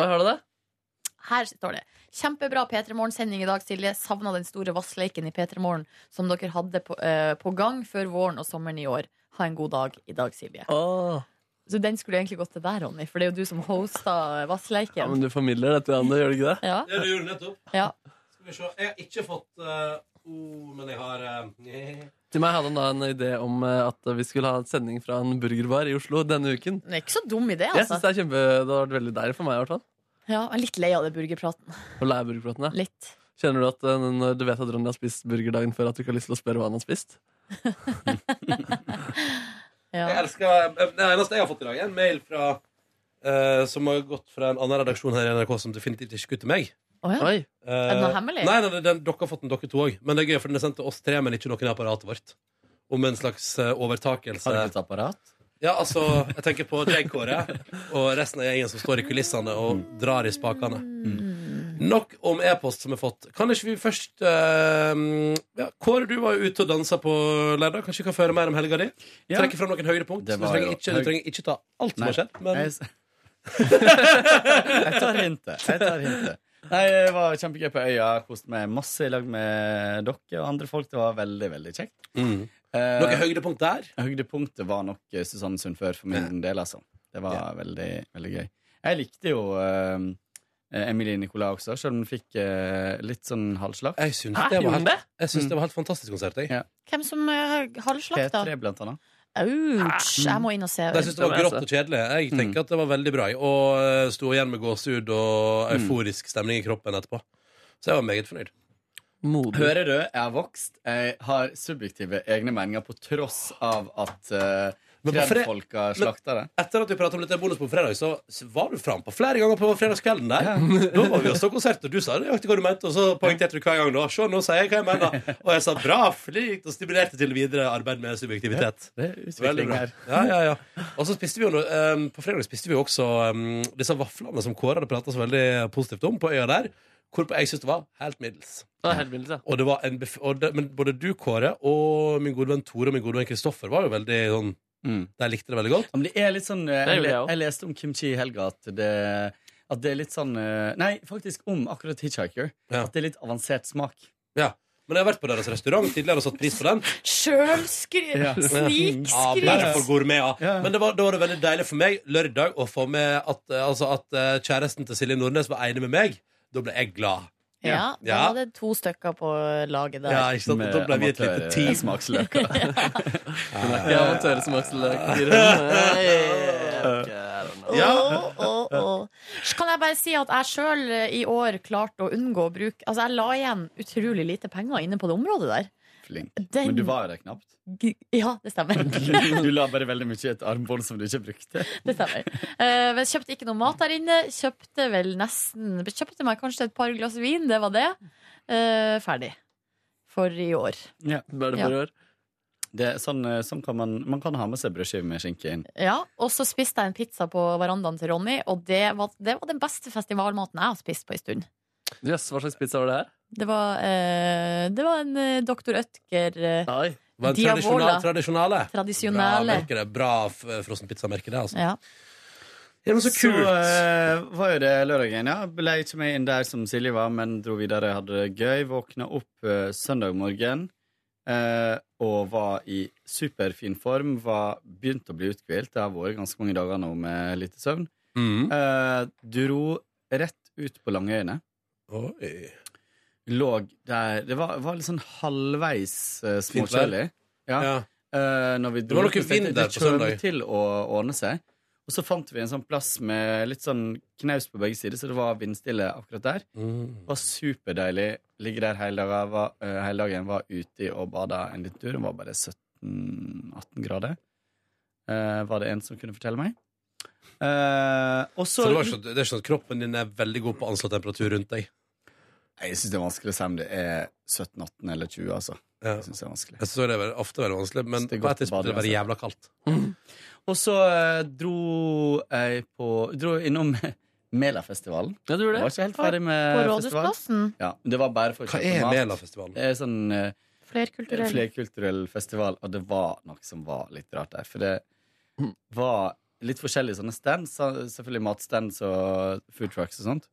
S4: Her står det Kjempebra P3 Morgen-sending i dag, Silje Savnet den store vassleiken i P3 Morgen Som dere hadde på, eh, på gang før våren og sommeren i år Ha en god dag i dag, Silje Så den skulle egentlig gått til deg, Ronny For det er jo du som hostet vassleiken
S3: Ja, men du formidler dette, Anne, gjør du ikke det?
S4: Ja.
S2: Det du gjorde nettopp.
S4: Ja.
S2: Skal vi se. Jeg har ikke fått eh, O, men jeg har eh,
S3: Til meg hadde han da en idé om eh, at vi skulle ha en sending fra en burgerbar i Oslo denne uken.
S4: Det er ikke så dum idé,
S3: Jeg
S4: altså
S3: synes det er kjempe, det har vært veldig deilig for meg i hvert fall.
S4: Ja, jeg er litt lei av det burgerpraten
S3: Å lære burgerplaten, ja.
S4: Litt.
S3: Kjenner du at eh, når du vet at Ronny har spist burger dagen før, at du ikke har lyst til å spørre hva han har spist?
S2: Jeg elsker eh, Det eneste jeg har fått i dag, er en mail fra eh, som har gått fra en annen redaksjon her i NRK som definitivt ikke skulle til meg. Eh,
S4: Å ja.
S3: Oi.
S4: Er den hemmelig?
S2: Nei, nei, nei, den, dere har fått den, dere to òg. Men det er gøy, for den er sendt til oss tre, men ikke noen i apparatet vårt. Om en slags eh, overtakelse.
S15: Har dere et apparat?
S2: Ja, altså, jeg tenker på Dreg-Kåre og resten av gjengen som står i kulissene og drar i spakene.
S3: Mm.
S2: Nok om e-post som er fått. Kan ikke vi først eh, ja, Kåre, du var jo ute og dansa på lørdag. Kanskje vi kan føre mer om helga di?
S15: Ja.
S2: Trekke fram noen høydepunkt.
S15: Det
S2: Du
S15: var
S2: trenger,
S15: jo
S2: ikke, du
S15: høy-
S2: trenger ikke ta alt som
S15: Nei.
S2: har skjedd, men
S15: Jeg s- Jeg tar hintet. Jeg tar hintet. Nei, Det var kjempegøy på øya. Koste meg masse i lag med dere og andre folk. Det var veldig, veldig kjekt.
S2: Mm.
S15: Eh,
S2: Noe høydepunkt der?
S15: Høydepunktet var nok eh, Susanne Sundfør for min del, altså. Det var veldig, veldig gøy. Jeg likte jo eh, Emilie Nicolas også, selv om hun fikk eh, litt sånn halvslag.
S2: Jeg syns det var helt- jeg syns det var helt fantastisk konsert. Jeg.
S15: Ja.
S4: Hvem som eh, halvslakta?
S15: P3, blant annet.
S4: Ouch, jeg må inn og se
S2: Jeg syns det var grått og kjedelig. Jeg
S15: Mm.
S2: tenker at det var veldig bra. Og eh, sto igjen med gåsehud
S15: Mm.
S2: og euforisk stemning i kroppen etterpå. Så jeg var meget fornøyd.
S15: Hører du? Jeg har vokst. Jeg har subjektive egne meninger på tross av at eh,
S2: Men på fre-
S15: Kredfolka slakter det.
S2: Men Etter at vi pratet om litt bonus på fredag, så så var du frampå flere ganger på fredagskvelden der. Da var vi og så konsert, og du sa nøyaktig hva du mente, og så poengterte du hver gang da. Se, nå sier jeg hva jeg mener. Og jeg sa bra, flink, og stimulerte til videre arbeid med subjektivitet.
S15: Ja, det er utvikling her.
S2: Ja, ja, ja. Og så spiste vi jo noe, ehm, på fredag spiste vi jo også ehm, disse vaflene som Kåre hadde pratet så veldig positivt om på øya der, hvorpå jeg synes det var helt middels.
S3: Det er helt middels, ja.
S2: Og det var en bef og det, men både du, Kåre, og min gode venn Tore og min gode venn Kristoffer var jo veldig sånn De likte det veldig godt.
S15: Mm. Men det er litt sånn eh,
S2: Det
S15: Jeg,
S2: gjorde jeg også.
S15: jeg leste om kimchi i helga at det, at det er litt sånn eh, Nei, faktisk om akkurat Hitchhiker. At det er litt avansert smak.
S2: Ja. Men jeg har vært på deres restaurant tidligere og satt pris på den.
S4: Sjøl skri...
S2: Ja, bare for gourmeter. Men det var, da var det veldig deilig for meg lørdag å få med at, eh, altså at eh, kjæresten til Silje Nordnes var enig med meg. Da ble jeg glad.
S4: Ja, da var det to stykker på laget der.
S2: Ja, ikke sant? Da ble vi et lite team.
S15: Smaksløker.
S3: Ikke amatører som akseløker.
S4: Åh, åh, åh. Så Kan jeg bare si at jeg sjøl eh, i år klarte å unngå å bruke Altså, jeg la igjen utrolig lite penger inne på det området der.
S15: Flink.
S4: Den-
S15: Men du var jo der knapt.
S4: G- Ja, det stemmer.
S15: Du la bare veldig mye i et armbånd som du ikke brukte.
S4: Det stemmer. Eh, men kjøpte ikke noe mat der inne. Kjøpte vel nesten Kjøpte meg kanskje et par glass vin, det var det. Eh, ferdig. For i år.
S15: Bare
S4: det for i Ja.
S15: Det er sånn, eh, sånn kan man, man kan ha med seg brødskive med skinke inn.
S4: Ja, Og så spiste jeg en pizza på verandaen til Ronny, og det var, det var den beste festivalmaten jeg har spist på en stund.
S3: Jøss, hva slags pizza var det her?
S4: Det var, eh, det var en eh, Dr. Ødger eh,
S2: Det var en
S4: Diavola.
S2: tradisjonal, tradisjonale. Bra,
S4: Tradisjonale.
S2: merke det. Bra f- frossenpizza-merke, det. Altså.
S4: Ja.
S2: Ja, men så kult.
S15: eh, var jo det lørdagen, ja. Ble ikke med inn der som Silje var, men dro videre, hadde det gøy. Våkna opp eh, søndag morgen eh, og var i superfin form. Var begynt å bli uthvilt. Det har vært ganske mange dager nå med lite søvn.
S2: Mm.
S15: Eh, dro rett ut på Langøyene.
S2: Oi.
S15: Lå der Det var, var litt sånn halvveis eh,
S2: Fint vær.
S15: småkjølig. Ja. Eh, når vi
S2: Det
S15: dro
S2: var
S15: ut,
S2: noe
S15: så tenkte jeg,
S2: vind der
S15: det
S2: på
S15: kommer
S2: søndag.
S15: til å ordne seg. Og så fant vi en sånn plass med litt sånn knaus på begge sider, så det var vindstille akkurat der.
S2: Mm.
S15: Det var superdeilig. Ligge der hele dagen, var, eh, hele dagen, var ute og bada en liten tur. Det var bare 17-18 grader, eh, var det en som kunne fortelle meg. Eh, og
S2: Så det, var ikke, sånn- det er ikke sånn at kroppen din er veldig god på å anslå temperatur rundt deg?
S15: Jeg syns det er vanskelig å si om det er 17, 18 eller 20, altså. Jeg synes det er vanskelig.
S2: Jeg synes det er veldig- ofte veldig vanskelig, men
S15: det er
S2: på
S15: godt altså.
S2: et tidspunkt er
S15: å
S2: det
S15: bade
S2: bare
S15: uansett.
S2: jævla kaldt.
S15: Og så eh, dro jeg på Dro innom Melafestivalen.
S3: Ja, du gjorde det.
S15: Jeg var ikke helt
S4: Oi,
S15: ferdig med
S4: på
S15: festival.
S4: Rådhusplassen?
S15: Ja, det var bare for å
S2: Hva
S15: kjøpe
S2: er
S15: mat.
S2: Melafestivalen?
S15: Det er sånn eh,
S4: Flerkulturell.
S15: flerkulturell festival, og det var noe som var litt rart der. For det
S3: Hmm.
S15: var litt forskjellige sånne stands. så- Selvfølgelig matstands og food trucks og sånt.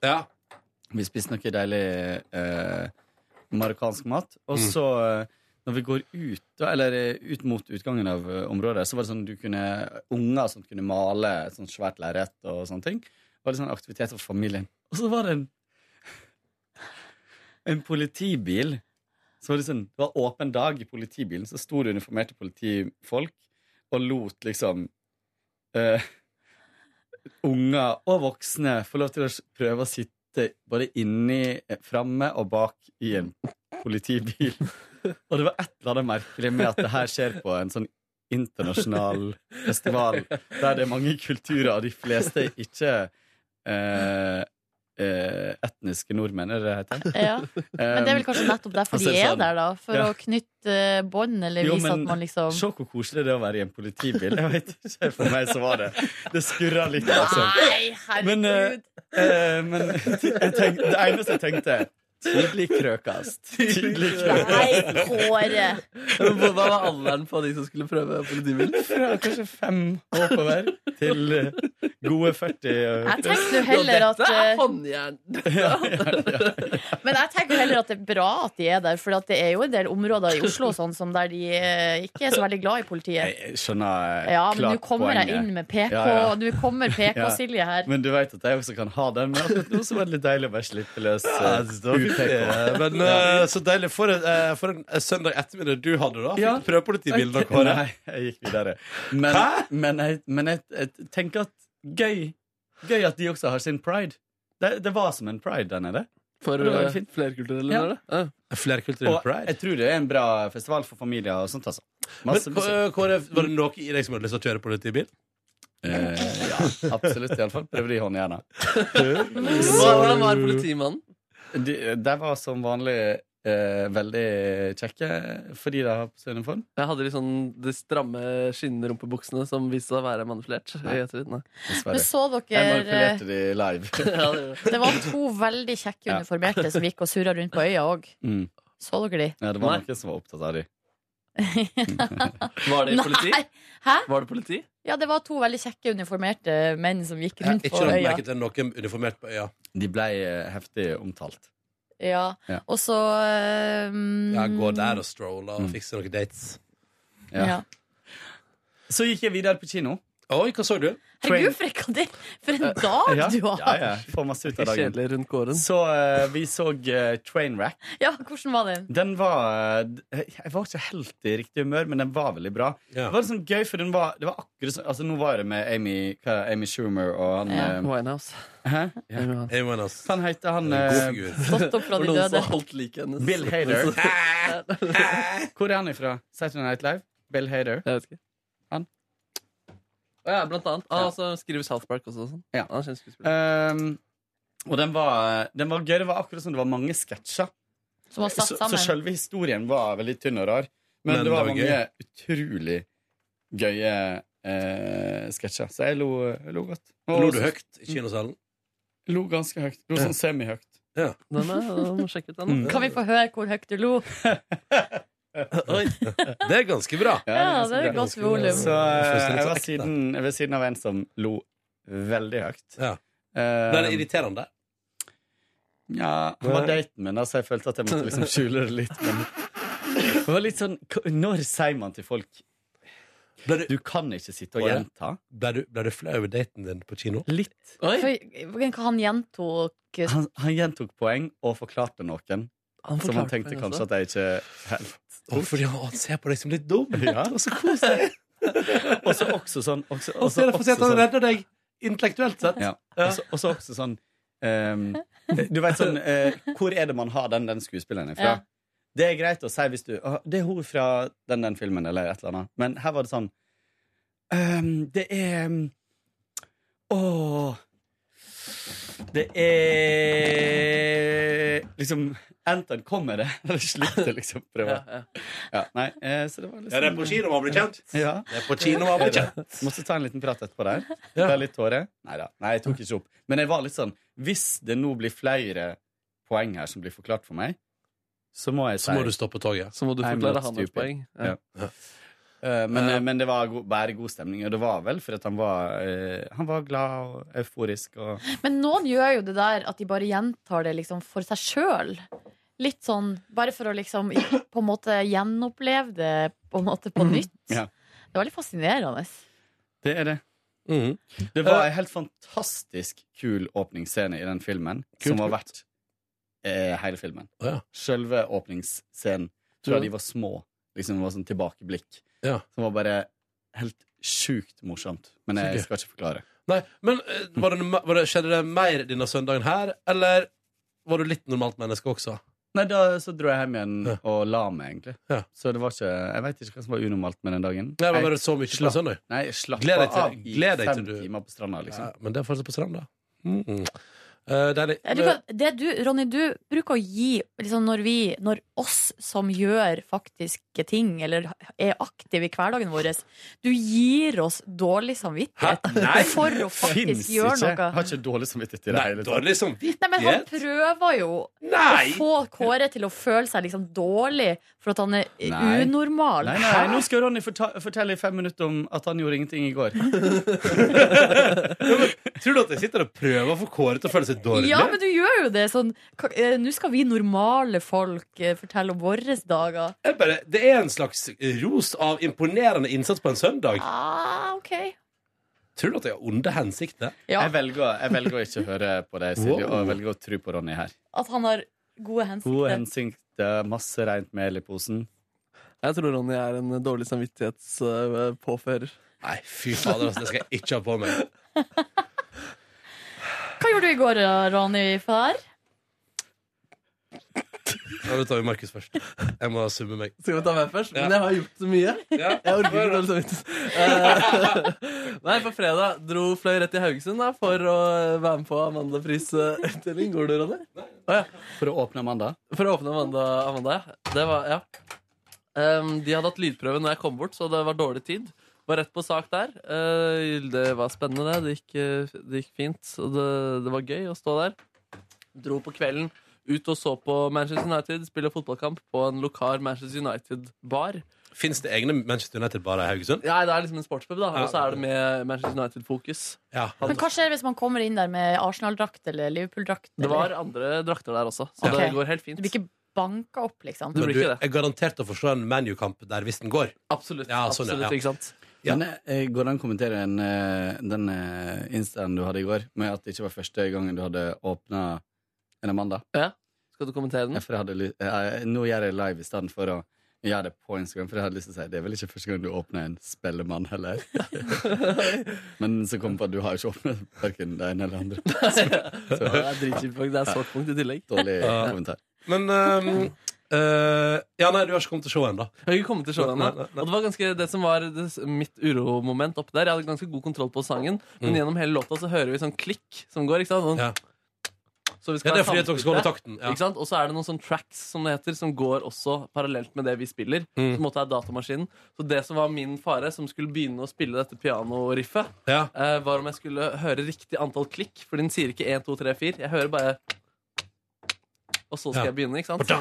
S15: Vi spiste noe deilig eh, marokkansk mat. Og
S16: Mm.
S15: så, eh, når vi går ut, da, eller eh, ut mot utgangen av eh, området, så var det sånn du kunne unger som kunne male et sånt svært lerret og sånne ting. Det var litt sånn aktivitet for familien. Og så var det en en politibil. Så var det, sånn, det var åpen dag i politibilen, så sto det uniformerte politifolk og lot liksom eh, unger og voksne få lov til å s- prøve å sitte både inni, eh, framme og bak i en politibil. Og det var et eller annet merkelig med at det her skjer på en sånn internasjonal festival der det er mange kulturer, og de fleste er ikke eh, eh, etniske nordmenn, er det det heter? Eh, sånn-
S4: Ja. Men det er vel kanskje nettopp derfor de er der, da. For
S15: altså, Ja.
S4: å knytte eh, bånd, eller
S15: Jo,
S4: vise
S15: men
S4: at man liksom
S15: Se hvor koselig det er å være i en politibil. Jeg vet ikke, For meg så var det Det skurra litt, altså.
S4: Nei, herregud!
S15: Men, eh, eh, men jeg tenkte, det eneste jeg tenkte Tidlig krøkast. Tidlig krøkast.
S4: Nei, Kåre.
S3: Hva var alderen på de som skulle prøve politibilen?
S15: Fra kanskje fem oppover til eh, gode 40. eh,
S4: Jeg tenkte jo heller
S3: Ja,
S4: at
S3: dette er
S4: eh, Men jeg tenker jo heller at det er bra at de er der, for at det er jo en del områder i Oslo og sånn som der de eh, ikke er så veldig glad i politiet.
S15: Jeg skjønner eh,
S4: Ja, men nå
S15: klart
S4: kommer jeg
S15: poenget.
S4: inn med PK,
S15: Ja, ja.
S4: du kommer
S15: Ja.
S4: PK-Silje her.
S15: Men du vet at jeg også kan ha den. Men akkurat nå så var det litt deilig å bare slippe løs. eh,
S2: Ja, det var fint,
S15: UPK.
S2: det. Men eh, så deilig. For en, eh, for en eh, søndag ettermiddag du hadde, da.
S15: Ja.
S2: Fikk prøve politibilen da,
S15: Ok,
S2: Kåre.
S15: Nei, jeg gikk videre. Men, men, jeg, men jeg, jeg tenker at gøy Gøy at de også har sin pride. Det, det var som en pride der nede.
S3: For
S15: Og det var
S3: eh,
S15: fint.
S3: flerkulturelle,
S15: Ja.
S3: eller? Ja.
S2: Flerkulturell
S15: Og jeg tror det er en bra festival for familier og sånt, altså.
S2: Men,
S15: Masse
S2: hva- Kåre, var det noe i deg som hadde lyst til å kjøre på litt i bil?
S15: Eh, ja, absolutt. Iallfall prøve det i håndjernet.
S3: Hvordan var politimannen?
S15: De, de var som vanlig eh, veldig kjekke fordi de har på seg uniform.
S3: Jeg hadde litt sånn de stramme skinnrumpebuksene som viste seg å være manipulert. i ettertid, Nei.
S15: Dessverre.
S4: Men så dere- Jeg manipulerte
S15: de live.
S3: ja,
S4: Det var to veldig kjekke
S15: Ja.
S4: uniformerte som gikk og surra rundt på øya òg.
S15: Mm.
S4: Så dere de?
S15: Ja, det var noen som var opptatt av de.
S3: Var det politi?
S4: Nei. Hæ?
S3: Var det politi?
S4: Ja, det var to veldig kjekke uniformerte menn som gikk rundt
S15: ikke
S4: på
S15: lagt
S4: øya.
S15: merke
S2: til noen uniformert på øya.
S15: De ble eh, heftig omtalt.
S4: Ja.
S15: Ja.
S4: Og så ehm,
S2: Ja, gå der og strolle
S15: Mm.
S2: og fikse noen dates.
S4: Ja. Ja.
S15: Så gikk jeg videre på kino.
S2: Oi, hva så du?
S4: Herregud, for, en- det- for en dag
S15: Ja,
S4: du har!
S15: Ja, ja. Får masse ut av dagen.
S3: Kjedelig rundt gården.
S15: Så eh, vi så eh, Trainwreck.
S4: Ja, hvordan var den?
S15: Den var eh, Jeg var ikke helt i riktig humør, men den var veldig bra. Det var liksom gøy, for den var, det var akkurat sånn altså, Nå var det med Amy, hva, Amy Schumer og han
S3: Ja.
S15: eh,
S3: Winehouse.
S15: Hæ?
S3: Amy
S15: Han heter han
S3: En god
S15: eh,
S3: figur. Stått opp fra
S15: For
S3: de
S15: noen
S3: døde.
S15: som
S3: Alt like hennes.
S15: Bill Hader.
S3: Hæ?
S15: Hvor er han ifra? Saturday Night Live? Bill Hader?
S3: Jeg vet ikke.
S15: Han?
S3: Å ja, blant annet. Ah, Og så skriver South Park også. og Sånn.
S15: Ja.
S3: Han kjenner skuespiller.
S15: Ehm, og den var, den var gøy. Det var akkurat som det var mange sketsjer.
S4: Som var satt
S15: så, så
S4: sammen.
S15: selve historien var veldig tynn og rar. Men, det var,
S2: Men det var
S15: mange
S2: gøy.
S15: utrolig gøye eh, sketsjer. Så jeg lo, jeg lo godt.
S2: Lo du høyt i kinosalen?
S15: Lo ganske høyt. Lo sånn semihøyt.
S2: Ja.
S3: Den er, den må sjekke ut den.
S15: Mm.
S4: Kan vi få høre hvor høyt du lo?
S2: Oi. Det er ganske bra.
S4: Ja, det er godt volum.
S15: Så eh,
S2: Føles litt
S15: jeg
S2: så
S15: var
S2: ekte.
S15: siden, jeg var siden av en som lo veldig høyt.
S2: Ja.
S15: Eh,
S2: Ble det irriterende?
S15: Ja, han var daten min, da, så jeg følte at jeg måtte liksom skjule det litt. Men det var litt sånn k- Når sier man til folk Du kan ikke sitte og
S2: Var det?
S15: gjenta.
S2: Ble du, ble du flau over daten din på kino?
S15: Litt.
S4: For, hva han gjentok
S15: Han, han gjentok poeng og forklarte noen.
S4: Han
S15: Som han
S4: forklarte
S15: tenkte
S4: poeng
S15: kanskje
S4: også?
S15: at jeg ikke helt
S2: Å, fordi han- han ser på deg som litt dum.
S15: Ja.
S2: Og så koser jeg.
S15: Og så også sånn også, sånn-
S2: Og så er det for sent han redder deg intellektuelt sett.
S15: Ja. Også, også, også sånn ehm, Du vet sånn eh, Hvor er det man har den, den skuespilleren ifra?
S2: Ja.
S15: Det er greit å si hvis du «Å, Det er hun fra den, den filmen, eller et eller annet. Men her var det sånn ehm, Det er
S2: mm,
S15: ehm, Å Det er Liksom Enten kommer det, eller slutter, liksom. Prøve.
S2: Ja,
S15: Ja, nei, eh, så det var liksom
S2: Ja, det er på kino man blir kjent.
S15: Ja.
S2: Det er på kino man blir kjent.
S15: Måtte ta en liten prat etterpå der. Ja. Litt tårer. Neida. Nei, jeg tok ikke opp. Men jeg var litt sånn Hvis det nå blir flere poeng her som blir forklart for meg, så må jeg si
S2: Så må du stoppe toget.
S3: Så må du
S15: I'm
S3: forklare
S15: not
S3: han et
S15: stupid.
S3: poeng. Ja.
S15: Ja. Eh, men, eh, men det var go bare god stemning, og det var vel fordi han var eh, Han var glad og euforisk og
S4: Men noen gjør jo det der at de bare gjentar det liksom for seg sjøl. Litt sånn, bare for å liksom på en måte gjenoppleve det på en måte på nytt.
S15: Ja.
S4: Det var litt fascinerende.
S15: Det er det.
S2: Mm.
S15: Det
S2: Eh.
S15: var en helt fantastisk kul åpningsscene i den filmen,
S2: Kult,
S15: som har
S2: kult.
S15: vært eh, hele filmen.
S2: Ja.
S15: Selve åpningsscenen. Tror jeg
S2: Ja.
S15: de var små. Liksom det var sånn tilbakeblikk.
S2: Ja.
S15: Som var bare helt sjukt morsomt. Men
S2: Så gøy.
S15: jeg skal ikke forklare.
S2: Nei, men eh, var det, var det, skjedde det mer denne søndagen her, eller var du litt normalt menneske også?
S15: Nei, da så dro jeg hjem igjen og la meg, egentlig. Så det var ikke Jeg veit ikke hva som var unormalt med den dagen.
S2: Nei, det var
S15: Jeg
S2: bare så mye på
S15: slapp-
S2: søndag.
S15: Nei, jeg slapp
S2: Gled deg til-
S15: av i
S2: gled deg til
S15: fem
S2: du-
S15: timer på stranda, liksom.
S2: Ja, men det er fortsatt på stranda. Mm. Eh, deilig.
S4: Ja, Du kan, det du, Ronny, du bruker å gi liksom når vi, når oss som gjør faktiske ting, eller er aktive i hverdagen vår, du gir oss dårlig samvittighet for å
S15: Finnes
S4: faktisk
S15: ikke.
S4: gjøre
S15: Jeg
S4: noe.
S15: har ikke dårlig samvittighet i det hele tatt.
S2: Dårlig samvittighet?
S4: Nei, men han prøver jo
S2: Nei!
S4: å få Kåre til å føle seg liksom dårlig for at han er
S15: Nei.
S4: unormal.
S15: Nei, nei, nå skal Ronny forta fortelle i fem minutter om at han gjorde ingenting i går.
S2: Tror du at jeg sitter og prøver å få Kåre til å føle seg dårlig?
S4: Ja, men du gjør jo det sånn ka- eh, Nå skal vi normale folk eh, fortelle om våre dager.
S2: Jeg bare, det er en slags ros av imponerende innsats på en søndag.
S4: Ah, ok.
S2: Tror du at jeg har onde hensikter?
S15: Jeg, velger, jeg velger å ikke høre på deg, Silje, og jeg velger å tro på Ronny her.
S4: At han har gode hensikter.
S15: God hensikt, masse rent mel i posen.
S3: Jeg tror Ronny er en dårlig samvittighetspåfører.
S2: Nei, fy fader, altså, det skal jeg ikke ha på meg.
S4: Hva gjorde du i går, Ronny Far?
S2: Ja, da tar vi Markus først. Jeg må summe meg.
S3: Skal vi ta meg først?
S2: Ja.
S3: Men jeg har gjort så mye.
S2: Ja.
S3: Jeg orker ikke dårlig samvittighet. Eh, Nei, på fredag dro fløy rett til Haugesund da, for å eh, være med på Amanda-prisutdeling. Går du, Ronny? Å, ja.
S15: For å åpne Amanda?
S3: For å åpne Amanda, Amanda ja. Det var, ja. Em, de hadde hatt lydprøve når jeg kom bort, så det var dårlig tid. Var rett på sak der. Eh, det var spennende, det. Det gikk, eh, det gikk fint. Og det, det var gøy å stå der. Dro på kvelden ut og så på Manchester United spille fotballkamp på en lokal Manchester United-bar.
S2: Fins det egne Manchester United-barer i Haugesund?
S3: Ja, det er liksom en sportspub, da.
S2: Ja.
S3: Og så er det med Manchester United-fokus.
S4: Men hva skjer hvis man kommer inn der med Arsenal-drakt eller Liverpool-drakt?
S3: Det var
S4: eller-
S3: andre drakter der også, så
S4: Ok.
S3: det går helt fint.
S4: Du blir ikke banka opp, liksom?
S2: Men du er garantert å få se en ManU-kamp der hvis den går.
S3: Absolutt.
S2: Ja, sånn, ja. Ja.
S15: Men eh, Går det an å kommentere en, eh, den eh, instaen du hadde i går, med at det ikke var første gangen du hadde åpna en Amanda?
S3: Ja. Skal du kommentere den?
S15: Ja, for jeg hadde, ly- eh, nå gjør jeg det live i stedet for å gjøre det på Instagram. For jeg hadde lyst til å si det er vel ikke første gang du åpner en Spellemann heller. Men så kom jeg på at du har jo ikke åpnet verken det ene eller det andre.
S3: Så det er dritkjipt, faktisk. Det er svart punkt i tillegg.
S15: Dårlig
S2: Ja.
S15: kommentar.
S2: Men ehm, eh, Ja, nei, du har ikke kommet til showet ennå.
S3: Jeg har ikke kommet til showet
S2: Nei,
S3: ennå.
S2: nei,
S3: Og det var ganske det som var det, s- mitt uromoment oppi der. Jeg hadde ganske god kontroll på sangen, men
S2: Mm.
S3: gjennom hele låta så hører vi sånn klikk som går. ikke sant? Sånn, Så vi
S2: Ja, det er
S3: ha
S2: fordi at dere skal holde
S3: samtykke,
S2: takten, ja.
S3: Ikke sant? Og så er det noen sånn tracks som det heter, som går også parallelt med det vi spiller.
S2: Mm.
S3: Som måtte er datamaskinen. Så det som var min fare, som skulle begynne å spille dette pianoriffet,
S2: Ja.
S3: eh, var om jeg skulle høre riktig antall klikk, for den sier ikke 1, 2, 3, 4. Jeg hører bare Og så skal
S2: Ja.
S3: jeg begynne, ikke sant?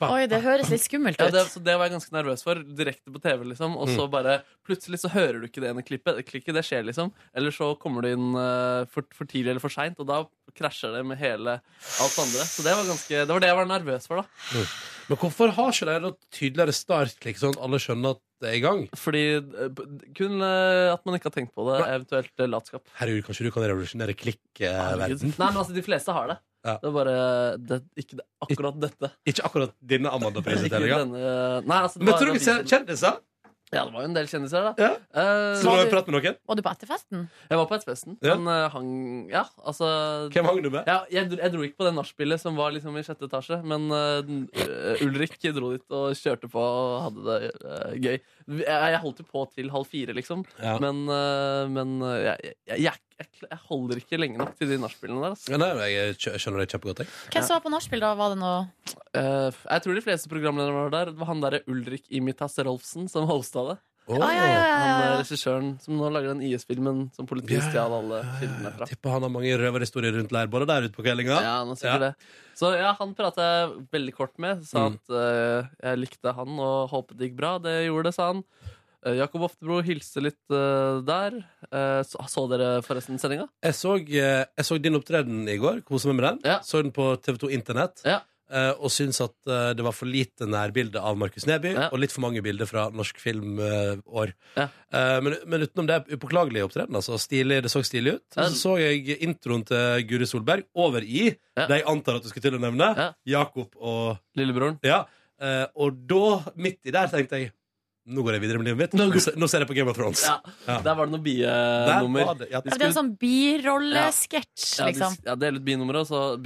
S4: Oi, det høres litt skummelt
S3: Ja,
S4: ut.
S3: det, så det var jeg ganske nervøs for. Direkte på TV, liksom. Og så
S2: Mm.
S3: bare plutselig så hører du ikke det ene klippet. Klikket, det skjer, liksom. Eller så kommer du inn eh, for, for tidlig eller for seint, og da krasjer det med hele alt andre. Så det var ganske Det var det jeg var nervøs for, da.
S2: Mm. Men hvorfor har ikke dere noe tydeligere startklikk, sånn at alle skjønner at det er i gang?
S3: Fordi eh, b- kun eh, at man ikke har tenkt på det, eventuelt eh, latskap.
S2: Herregud, kanskje du kan revolusjonere
S3: Herregud.
S2: klikk-verden?
S3: Nei, men altså, de fleste har det.
S2: Ja.
S3: Det er bare det, ikke det, akkurat dette.
S2: Ikke akkurat denne
S3: Ikke
S2: Amanda-prisutdelinga.
S3: denne, nei, altså, det
S2: Men
S3: var-
S2: tror du ikke kjendiser?
S3: Ja, det var jo en del kjendiser, da. Eh,
S2: Så du har jo pratet med noen?
S4: Var du på etterfesten?
S3: Jeg var på Etterfesten.
S2: Ja.
S3: Men eh, hang Ja, altså
S2: Hvem hang du med?
S3: Ja, jeg, dro- jeg dro ikke på det nachspielet som var liksom i sjette etasje, men eh, den- eh, Ulrik dro dit og kjørte på og hadde det eh, gøy. Vi- Jeg, jeg holdt jo på til halv fire, liksom.
S2: Ja.
S3: Men, eh, men eh, jeg, jeg, jeg, jeg, jeg holder ikke lenge nok til de nachspielene der. Altså.
S2: Ja, nei, jeg skjø- skjønner det kjempegodt, jeg.
S4: Hvem som var på nachspiel, da? Var det noe
S3: Eh, jeg tror de fleste programlederne var der. Det var han derre Ulrik Imitas Rolfsen som hosta det.
S2: Å. Ah, ja, ja, ja, ja, ja.
S3: Han eh, regissøren som nå lager den IS-filmen som politiet stjal alle filmene fra.
S2: Tipper han har mange røverhistorier rundt leirbålet der ute på kvellinga.
S3: Ja, han har sikkert det. Så ja, han prata jeg veldig kort med. Sa
S2: Mm.
S3: at eh, jeg likte han og håpet det gikk bra. Det gjorde det, sa han. Eh, Jakob Oftebro hilste litt eh, der. Eh, så, så dere forresten sendinga?
S2: Jeg så, eh, jeg så din opptreden i går. Kosa meg med den. Så den på TV2 Internett. eh, Og syns at eh, det var for lite nærbilde av Markus Neby, og litt for mange bilder fra norsk filmår. Eh, Men, men utenom det, upåklagelig opptreden. Altså, stilig, det så stilig ut. Og så så jeg introen til Guri Solberg over i det jeg antar at du skulle til å nevne. Jakob og
S3: Lillebroren.
S2: Ja. eh, Og da, midt i der, tenkte jeg nå går jeg videre med livet mitt. Nå, se- nå ser jeg på Game of Thrones.
S3: Ja. Eh, Der var det noe
S2: Der
S3: bienummer.
S2: var det, ja.
S4: Ja, Det er en sånn birollesketsj,
S3: Ja, de,
S4: liksom.
S3: ja, Delte ut binummeret, og så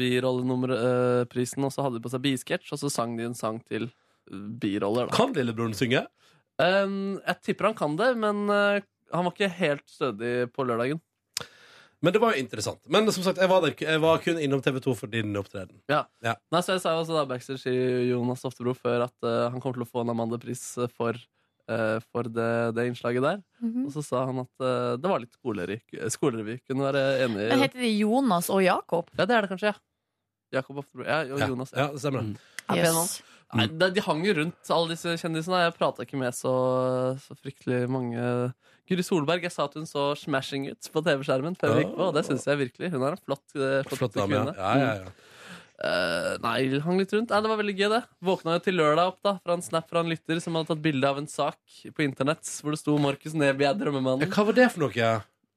S3: birolleprisen, og så hadde de på seg bisketsj, og så sang de en sang til eh, biroller. Da. Um,
S2: Kan lillebroren synge?
S3: jeg tipper han kan det, men eh, han var ikke helt stødig på lørdagen.
S2: Men det var jo interessant. Men som sagt, jeg var, der, jeg var kun innom TV2 for din opptreden.
S3: Ja.
S2: Ja.
S3: Nei, så jeg sa jo også da backstage til Jonas Oftebro før at eh, han kommer til å få en Amanda-pris uh, for, eh, for det, det innslaget der.
S4: Mhm.
S3: Og så sa han at eh, det var litt skolerevy. skolerevy. Kunne være enig i
S4: Men heter de Jonas og Jakob?
S3: Ja, det er det kanskje, ja. Jakob Oftebro. Ja, og
S2: Ja,
S3: Jonas.
S2: ja, det stemmer det.
S3: Ja, pen mann.
S4: Yes.
S3: Nei, de, de hang jo rundt, alle disse kjendisene. Jeg prata ikke med så, så fryktelig mange. Guri Solberg, jeg sa at hun så smashing ut på TV-skjermen før vi gikk på, og det syns jeg virkelig. Hun er en flott, eh, flott,
S2: Flott dame, ja.
S3: kvinne.
S2: Ja, ja, ja.
S3: Eh, nei, hang litt rundt. Nei, det var veldig gøy, det. Våkna jo til lørdag opp da fra en snap fra en lytter som hadde tatt bilde av en sak på internett hvor det sto 'Markus Neby er drømmemannen'.
S2: hva var det for noe?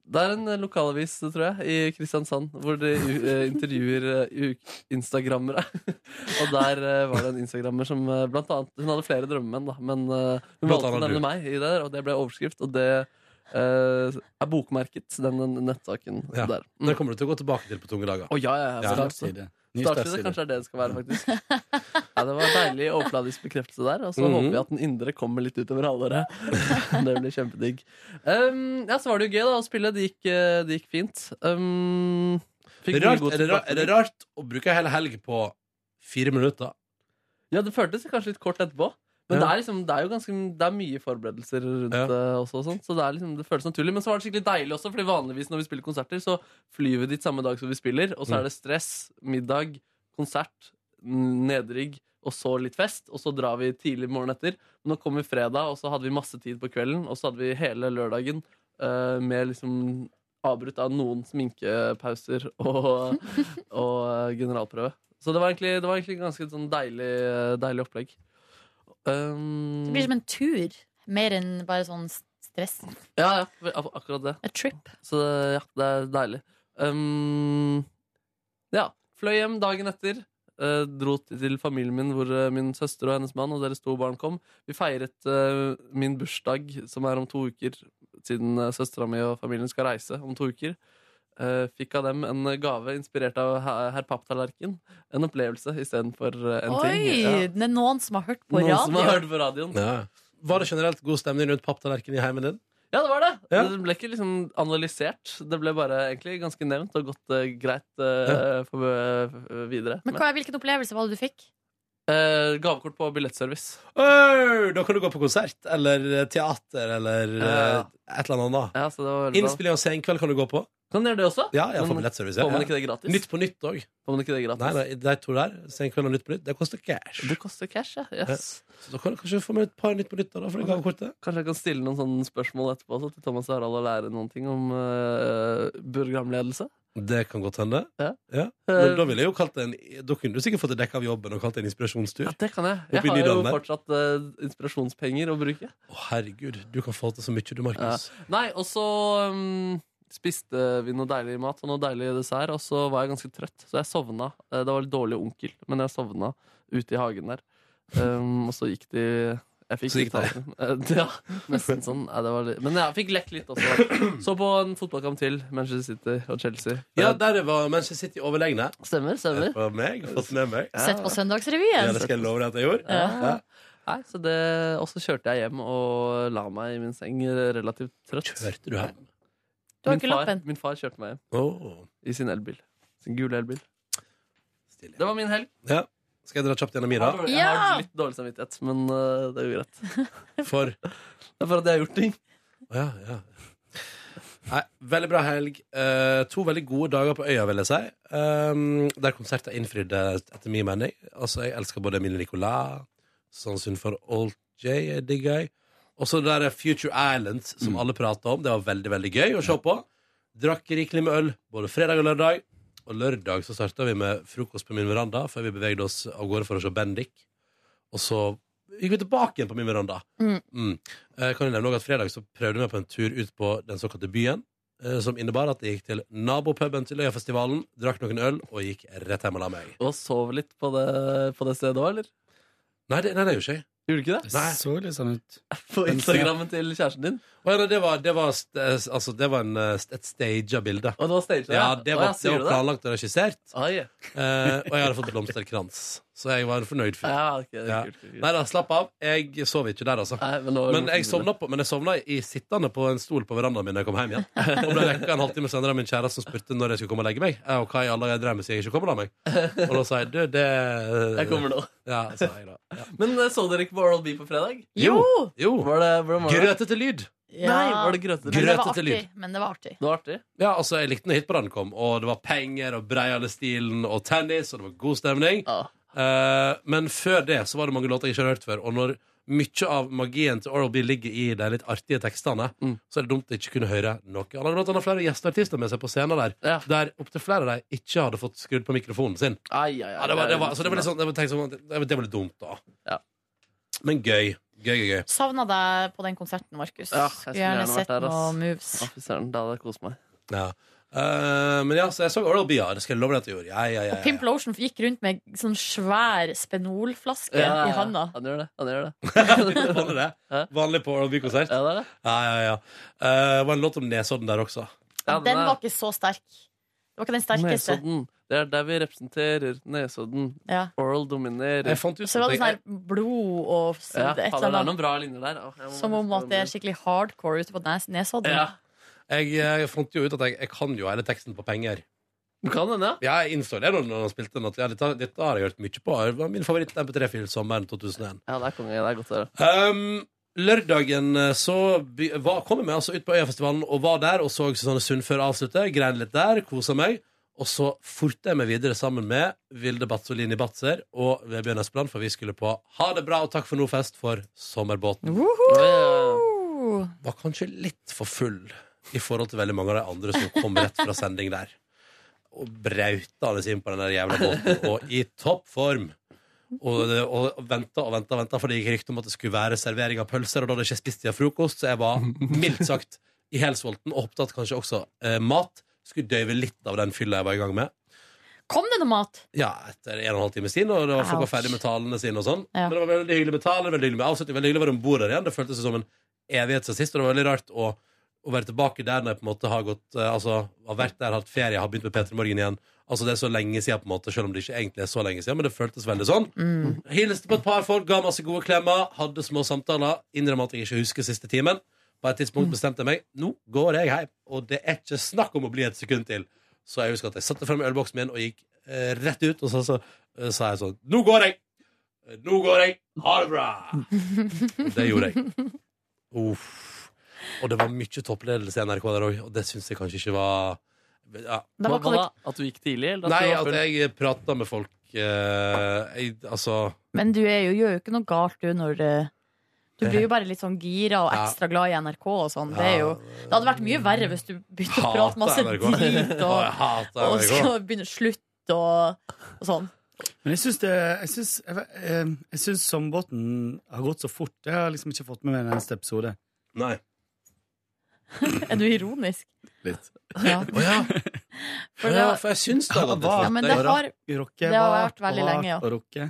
S3: Det er en eh, lokalavis, tror jeg, i Kristiansand, hvor de eh, intervjuer eh, u- instagrammere. og der eh, var det en instagrammer som eh, blant annet Hun hadde flere drømmemenn, da, men eh, hun
S2: Blant
S3: valgte å
S2: annet du.
S3: nevne meg i det, der, og det ble overskrift. Og det eh, er bokmerket, den nettsaken
S2: Ja.
S3: der.
S2: Det kommer du til å gå tilbake til på tunge dager.
S3: Å, ja, ja, ja, så klart.
S2: det.
S15: Ny
S3: Startside,
S15: startside.
S3: kanskje er det det skal være, faktisk. Ja, det var deilig overfladisk bekreftelse der. Og så
S2: Mhm.
S3: håper vi at den indre kommer litt utover halvåret. Det blir kjempedigg. Um, ja, så var det jo gøy da å spille. Det gikk, eh, det gikk fint. Um,
S2: Det
S3: fikk
S2: er,
S3: mye
S2: rart,
S3: god
S2: er, det rart, er det
S3: tilbakemelding.
S2: rart å bruke hele helg på fire minutter?
S3: Ja, det føltes kanskje litt kort etterpå. Men
S2: Ja.
S3: det, er liksom, det er jo ganske Det er mye forberedelser rundt det også, og sånt, så det, er liksom, det føles naturlig. Men så var det skikkelig deilig også, Fordi vanligvis når vi spiller konserter, så flyr vi dit samme dag som vi spiller, og så
S2: Mm.
S3: er det stress, middag, konsert, n- nedrigg, og så litt fest, og så drar vi tidlig morgen etter. Men nå kom vi fredag, og så hadde vi masse tid på kvelden, og så hadde vi hele lørdagen eh, med liksom avbrutt av noen sminkepauser og, og eh, generalprøve. Så det var egentlig, det var egentlig ganske sånn deilig, deilig opplegg. Um,
S4: Det blir som en tur, mer enn bare sånn stress.
S3: ja, ja, ak- akkurat det.
S4: Et trip.
S3: Så det- ja, det er deilig. Um, ja. Fløy hjem dagen etter. eh, dro til- til familien min, hvor eh, min søster og hennes mann og deres to barn kom. Vi feiret eh, min bursdag, som er om to uker, siden uh, søstera mi og familien skal reise om to uker. Eh, fikk av dem en gave inspirert av he- herr Papptallerken. En opplevelse istedenfor uh, en
S4: Oi!
S3: ting. Ja.
S4: Det er noen som har hørt på
S3: Noen som
S4: radio.
S3: har hørt på radioen.
S2: Var det generelt god stemning rundt papptallerkenen i heimen din?
S3: Ja, det var det.
S2: Ja.
S3: Det ble ikke liksom analysert. Det ble bare egentlig ganske nevnt og gått eh, greit eh, for, eh, videre.
S4: Men hva, hvilken opplevelse var det du fikk?
S3: Eh, gavekort på billettservice.
S2: Øy, da kan du gå på konsert eller eh, teater eller
S3: Ja.
S2: eh, et eller annet.
S3: Ja, så det var veldig bra.
S2: Innspilling av Senkveld kan du gå på.
S3: Kan dere det også?
S2: Ja, jeg får
S3: Men
S2: billettservice. ja.
S3: Får man ikke det gratis?
S2: Nytt på nytt òg.
S3: Får man ikke det gratis?
S2: Nei, nei, de to der, Senkveld og Nytt på nytt, det koster cash.
S3: Det koster cash, ja. Yes.
S2: Ja. Så da kan du kanskje få med et par Nytt på nytt da, da, for det gavekortet.
S3: Kanskje jeg kan stille noen sånne spørsmål etterpå så til Thomas og Harald og lære noen ting om eh, programledelse?
S2: Det kan godt hende.
S3: Ja.
S2: Ja. Men da ville jeg jo kalt det en Da kunne du sikkert fått det dekka av jobben og kalt det en inspirasjonstur.
S3: Det kan jeg.
S2: Oppe i
S3: Jeg har jo
S2: Nydalen der.
S3: fortsatt eh, inspirasjonspenger å bruke.
S2: Å, herregud, du kan få til så mye, du, Markus.
S3: Ja. Nei, og så um, spiste vi noe deilig mat og noe deilig dessert, og så var jeg ganske trøtt, så jeg sovna. Eh, Det var litt dårlig onkel, men jeg sovna ute i hagen der. Um, og så gikk de jeg fikk
S2: Så gikk
S3: litt av det. Eh, Ja, nesten sånn. Nei, det var litt. Men jeg fikk lekt litt også. Så på en fotballkamp til, Manchester City og Chelsea.
S2: Ja, der var Manchester City overlegne.
S3: Stemmer, stemmer.
S2: Det var meg, fått med meg.
S4: Sett på Søndagsrevyen.
S2: Ja, det skal jeg love deg at jeg gjorde.
S3: Ja.
S2: Ja.
S3: Nei, så det, Og så kjørte jeg hjem og la meg i min seng relativt trøtt.
S2: Kjørte du hjem?
S4: Du har
S3: Min
S4: ikke
S3: far-
S4: lappen.
S3: Min far kjørte meg hjem.
S2: Åh.
S3: I sin elbil. Sin gule elbil. Det var min helg.
S2: Ja. Skal jeg dra kjapt gjennom
S3: Jeg
S2: Mira?
S3: har dårlig- Jeg har litt dårlig samvittighet, men eh, det er jo greit.
S2: For
S3: Det er for at jeg har gjort ting.
S2: Ja, ja. Nei, veldig bra helg. Eh, to veldig gode dager på øya, vil jeg si. Um, der konserter innfridde, etter min mening. Altså, jeg elsker både Emilie Nicolas, Sannsyn for Old J, jeg digger jeg. Og så det der Future Islands, som alle prater om. Det var veldig, veldig gøy å se på. Drakk rikelig med øl både fredag og lørdag. Og lørdag så starta vi med frokost på min veranda, før vi bevegde oss av gårde for å se Bendik. Og så gikk vi tilbake igjen på min veranda.
S4: Mm.
S2: Mm. Eh, kan jeg nevne også at Fredag så prøvde vi på en tur ut på den såkalte byen, eh, som innebar at jeg gikk til nabopuben til Øyafestivalen, drakk noen øl og gikk rett hjem og la meg.
S3: Og sov litt på det, på det stedet òg, eller?
S2: Nei, det, nei, det gjorde ikke jeg.
S3: Gjorde du ikke det?
S2: Nei.
S14: Så litt sånn ut.
S3: På
S2: eh,
S3: Instagrammen til kjæresten din?
S2: Å, ja, nei, det var, det var, st- eh, altså, det var en, eh, st- et staged bilde.
S3: Og det var staged,
S2: ja?
S3: ja.
S2: Det
S3: Å,
S2: var,
S3: ja, sier
S2: det
S3: du
S2: var
S3: det?
S2: planlagt og regissert.
S3: Ai.
S2: Eh, og jeg hadde fått blomsterkrans, så jeg var en fornøyd fyr.
S3: Ja, ok, det er
S2: Ja.
S3: kult, kult, kult.
S2: Nei da, slapp av. Jeg sov ikke der, altså.
S3: men, nå-
S2: Men jeg sovna, på, men jeg sovna i sittende på en stol på verandaen min da jeg kom hjem igjen. Og ble vekka en halvtime senere av min kjæreste som spurte når jeg skulle komme og legge meg. Eh, Og hva i alle dager jeg drev med siden jeg ikke kommer og la meg. Og da sa jeg du, det
S3: Jeg kommer nå.
S2: Ja, altså. sa jeg da.
S3: Men eh, så dere ikke på Oral B på fredag?
S2: Jo! jo.
S3: Var det, hvordan var det?
S2: Grøtete lyd.
S4: Ja.
S3: Nei, var det grøtete
S4: Men det var
S2: Grøtete
S4: artig.
S2: lyd.
S4: Men det var artig.
S3: Det var artig.
S2: Ja, altså, jeg likte når hitparaden kom, og det var penger og breiale stilen og tennis, og det var god stemning. Eh, men før det så var det mange låter jeg ikke hadde hørt før, og når mye av magien til Oral-B ligger i de litt artige tekstene,
S3: Mm.
S2: så er det dumt å ikke kunne høre noe. Han hadde blant annet flere gjesteartister med seg på scenen der, der opptil flere av dem ikke hadde fått skrudd på mikrofonen sin.
S3: Ai, ai, ai.
S2: Ja, det var, det var, så det var litt sånn, det var, tenkt sånn, det var- det var litt dumt, da. Men gøy. Gøy, gøy, gøy.
S4: Savna deg på den konserten, Markus.
S3: Ja, jeg
S4: Skulle
S3: skulle gjerne
S4: gjerne
S3: vært
S4: sett
S3: der, ass.
S4: noe moves.
S3: Å, fy søren, da hadde jeg kost meg.
S2: Ja. Eh, men ja, så jeg så Oral-B, ja. Det skal jeg love deg at jeg gjorde. Ja, ja, ja,
S4: Og
S2: ja.
S4: Pimp Lotion gikk rundt med sånn svær spenolflaske
S2: Ja, ja,
S4: i
S2: ja.
S4: handa.
S3: Han gjør det. han gjør det
S2: Han er det. Vanlig på Oral-B-konsert.
S3: Ja, det er det.
S2: Ja, ja, ja. Eh, det var en låt om Nesodden der også.
S4: den var ikke så sterk. Det var ikke den sterkeste.
S3: Nesodden. Det er der vi representerer Nesodden.
S4: Ja.
S3: Oral dominerer.
S2: Jeg fant ut
S4: Så var det sånn her blod og s-
S3: ja, fader,
S4: et eller
S3: Det er
S4: annet.
S3: noen bra linjer der. Åh, jeg må
S4: Som om at det er skikkelig hardcore ute på nes Nesodden.
S2: Ja. Jeg, eh, fant jo ut at jeg, jeg kan jo hele teksten på penger.
S3: Du kan den, ja?
S2: Jeg innså det når når han spilte den. At ja, dette, dette har jeg hørt mye på. Det var min favoritt-MP3-fil sommeren 2001.
S3: Ja, det er konge. Det er godt å høre.
S2: Um, lørdagen eh, så by- var, kom jeg meg altså ut på Øyafestivalen og var der og så Susanne Sund før avsluttet. Grein litt der, kosa meg. Og så forta jeg meg videre sammen med Vilde Batsolini Batzer og Vebjørn Espeland, for vi skulle på Ha det bra og takk for nå-fest for Sommerbåten.
S3: Oh.
S2: Var kanskje litt for full i forhold til veldig mange av de andre som kom rett fra sending der. Og brautende inn på den der jævla båten, og i toppform. Og, det- og venta og venta, venta, for det gikk rykte om at det skulle være servering av pølser. Og da hadde jeg ikke spist siden frokost, så jeg var mildt sagt i helsulten og håpte at kanskje også eh, mat skulle døyve litt av den fylla jeg var i gang med.
S4: Kom det noe mat?
S2: Ja, etter en og en halv times tid, og det var folk var
S4: Ouch.
S2: ferdig med talene sine og sånn.
S4: Ja.
S2: Men det var veldig hyggelig med taler, veldig hyggelig med avslutning, veldig hyggelig å være om bord der igjen. Det føltes som en evighet siden sist, og det var veldig rart å, å være tilbake der når jeg på en måte har gått, eh, altså har vært der, hatt ferie, har begynt med Peter Morgen igjen. Altså det er så lenge siden på en måte, selv om det ikke egentlig er så lenge siden, men det føltes veldig sånn. Hilste på et par folk, ga masse gode klemmer, hadde små samtaler, innrømmer at jeg ikke husker siste timen. På et tidspunkt bestemte jeg meg nå går jeg hjem, og det er ikke snakk om å bli et sekund til. Så jeg husker at jeg satte frem ølboksen min og gikk eh, rett ut, og så, så eh, sa jeg sånn Nå går jeg! Nå går jeg! Ha det bra! Og det gjorde jeg. Uff. Og det var mye toppledelse i NRK der òg, og det syns jeg kanskje ikke var ja.
S3: Det var Hva- hva da? At du gikk tidlig? Eller
S2: Nei,
S3: du var
S2: at
S3: full?
S2: jeg prata med folk eh, jeg, Altså
S4: Men du er jo, gjør jo ikke noe galt, du, når eh, Du blir jo bare litt sånn gira og
S2: Ja.
S4: ekstra glad i NRK og sånn. Det, er
S2: Ja.
S4: jo, det hadde vært mye verre hvis du begynte å prate masse drit
S2: Å, jeg
S4: og,
S2: hater
S4: og
S2: NRK.
S4: så begynne å slutte og, og sånn.
S16: Men jeg syns, det, jeg, syns, jeg, jeg, jeg syns sommerbåten har gått så fort. Jeg har liksom ikke fått med meg den neste episode.
S2: Nei.
S4: Er du ironisk?
S16: Litt.
S4: Ja. For det var-
S2: jeg syns
S16: det har
S4: gått Ja, men det har- det har vært veldig lenge, ja.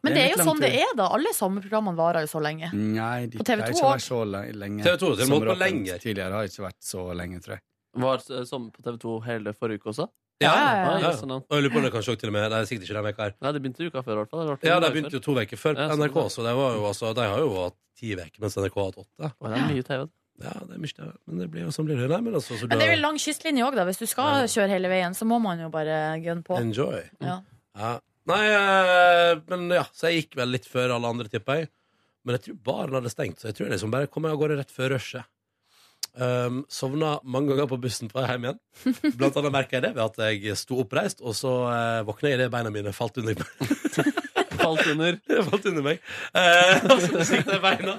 S4: Men det er jo sånn det er, da. Alle sommerprogrammene varer jo så lenge.
S16: Nei, de
S4: På
S16: pleier
S4: TV2
S16: ikke å være
S4: også.
S16: så le- lenge.
S2: TV2 til og med
S16: Sommeråpent
S2: på lenger.
S16: Tidligere har ikke vært så lenge, tror jeg.
S3: Var eh, sommer på TV 2 hele forrige uke også?
S2: Ja,
S3: Ah,
S2: ja.
S3: jøss, sånn, ja.
S2: Og jeg lurer på om det kanskje også til og med Det er sikkert ikke den veka her.
S3: Nei, det begynte uka før, i hvert fall. Det var
S2: Ja,
S3: to
S2: de
S3: dager
S2: begynte
S3: før.
S2: jo to uker før
S3: Ja,
S2: på
S3: sånn
S2: NRK, så det var jo, altså, de har jo hatt ti uker, mens NRK har hatt åtte.
S3: Å, det er mye TV.
S2: Ja, det er mye TV. Men det blir jo sånn blir det. Nei, men altså, så
S4: Men det er
S2: da-
S4: vel lang kystlinje òg, da. Hvis du skal kjøre hele veien, så må man jo bare gunne på.
S2: Enjoy.
S4: Ja.
S2: Ja. Nei, eh, men ja, så jeg gikk vel litt før alle andre, tipper jeg. Men jeg tror baren hadde stengt, så jeg tror jeg liksom bare kom jeg av gårde rett før rushet. Um, sovna mange ganger på bussen på vei hjem igjen. Blant annet merka jeg det ved at jeg sto oppreist, og så eh, våkna jeg idet beina mine falt under meg.
S3: falt under?
S2: falt under meg. Eh, og så sikta jeg beina.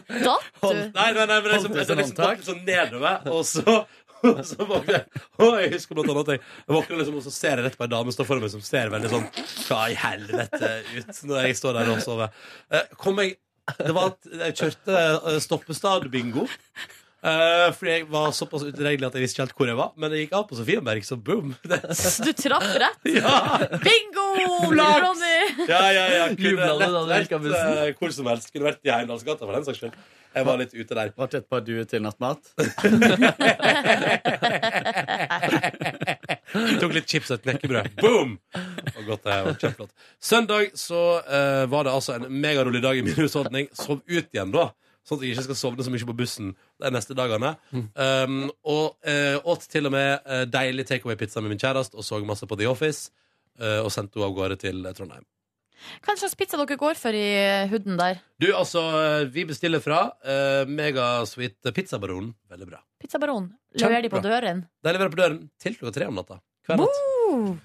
S2: Holdt- Nei, nei, nei,
S16: Holdt
S2: men jeg, liksom,
S16: du
S2: jeg,
S16: sånn
S2: liksom våknet sånn nedover, og så og så våkner jeg Og jeg husker blant annet at jeg, jeg våkner liksom, og så ser jeg rett på ei dame som står foran meg, som ser veldig sånn Hva i helvete ut når jeg står der og sover. Eh, Kom jeg Det var at jeg kjørte eh, stoppestad-bingo. Eh, fordi jeg var såpass utilregnelig at jeg visste ikke helt hvor jeg var. Men jeg gikk av på Sofienberg, så boom! Det,
S4: Så du traff rett? Bingo!
S2: Flaks!
S4: Ronny!
S2: ja, ja, ja. Kunne
S3: Jublet du da du
S2: lett
S3: gikk av
S2: vært eh, hvor som helst. Kunne vært i Heimdalsgata, for den saks skyld. Jeg var litt ute der.
S15: Ble det et par duer til nattmat?
S2: Tok litt chips og et knekkebrød. Boom! Og godt det var kjempeflott. Søndag så eh, var det altså en megarolig dag i min husholdning. Sov ut igjen, da. Sånn at jeg ikke skal sovne så mye på bussen de neste dagene. Um, og eh, åt til og med eh, deilig takeaway-pizza med min kjæreste og så masse på The Office. eh, og sendte henne av gårde til eh, Trondheim.
S4: Hva slags pizza dere går for i hooden der?
S2: Du, altså, eh, vi bestiller fra eh, Megasweet Pizzabaronen. Veldig bra.
S4: Pizzabaron. Leverer de på
S2: Kjempebra.
S4: døren?
S2: De leverer på døren til klokka tre om natta. Hver natt.
S15: Oh.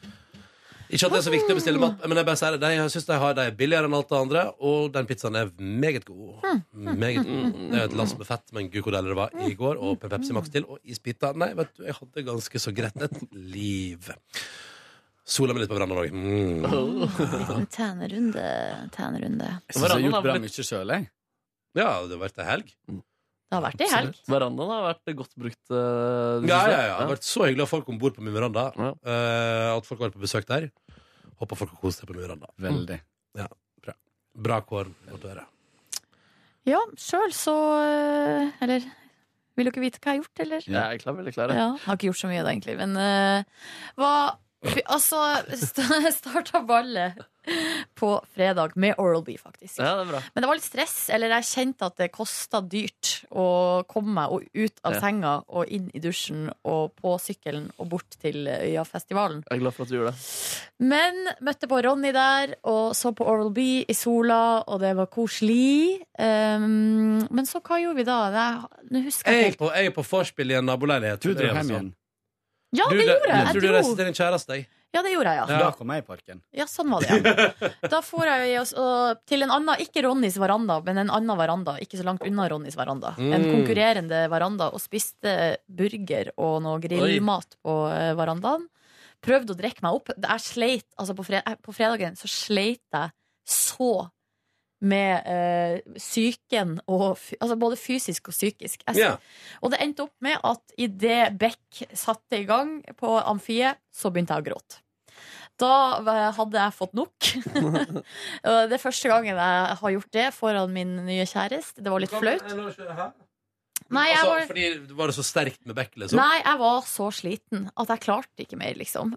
S2: Ikke at det er så viktig å bestille mat, men jeg bare sier det. De- Jeg synes de har de er billigere enn alt det andre, og den pizzaen er meget god.
S4: Hmm.
S2: Meget god. Det er et lass med fett, men gud hvor deilig det var i går, og med Pepsi Max til, og isbiter. Nei, vet du, jeg hadde ganske så greit et liv. Sola meg litt på verandaen òg. Mm.
S4: En Tænerunde, tænerunde.
S15: Jeg synes jeg har gjort bra mye sjøl, jeg.
S2: Ja, det har vært ei helg.
S4: Det har vært i helg.
S3: Mm. Verandaen har vært godt brukt. eh,
S2: Ja,
S3: synes
S2: ja,
S3: jeg.
S2: ja. Det har vært så hyggelig å ha folk om bord på min veranda. Eh, at folk har vært på besøk der. Håper folk har kost seg på min veranda. Mm.
S15: Veldig.
S2: Ja, bra. Bra kåren. Godt å høre.
S4: Ja, sjøl så eh, Eller vil dere vite hva jeg har gjort, eller?
S3: Jeg er klar, veldig klar. jeg.
S4: Ja, har ikke gjort så mye da, egentlig. Men eh, var Fy- Altså, st- starta ballet på fredag med Oral-B, faktisk.
S3: Ja, det er bra.
S4: Men det var litt stress, eller jeg kjente at det kosta dyrt å komme meg og ut av
S3: Ja.
S4: senga og inn i dusjen og på sykkelen og bort til Øyafestivalen.
S3: Jeg er glad for at du gjorde det.
S4: Men møtte på Ronny der, og så på Oral B i sola, og det var koselig. Um, men så hva gjorde vi da? Det, nå husker
S2: Jeg
S4: jeg
S2: er på, jeg er på forspill i en naboleilighet.
S15: Du dro
S2: Det er
S15: hjem
S2: sånn.
S15: igjen.
S4: Ja,
S2: Du,
S4: det
S2: det-
S4: gjorde jeg.
S2: Jeg tror du
S4: Jeg
S2: reiste
S4: dro.
S2: til din kjæreste, jeg.
S4: Ja, det gjorde jeg, ja.
S15: Altså, Da kom jeg i parken.
S4: Ja, sånn var det, ja. Da for jeg og- og til en annen, ikke Ronnys veranda, men en annen veranda, ikke så langt unna Ronnys veranda. En
S17: Mm.
S4: konkurrerende veranda, og spiste burger og noe grillmat på eh, verandaen. Prøvde å drikke meg opp. Jeg sleit, altså på, fre- eh, på fredagen så sleit jeg så med eh, psyken, og, fy- altså både fysisk og psykisk. Jeg,
S2: Ja.
S4: Og det endte opp med at idet Beck satte i gang på amfiet, så begynte jeg å gråte. Da eh, hadde jeg fått nok. Og det er første gangen jeg har gjort det foran min nye kjæreste. Det var litt flaut. Nei, jeg
S2: Altså,
S4: var,
S2: fordi Var det så sterkt med Beck,
S3: sånn.
S2: liksom?
S4: nei, jeg var så sliten at jeg klarte ikke mer, liksom.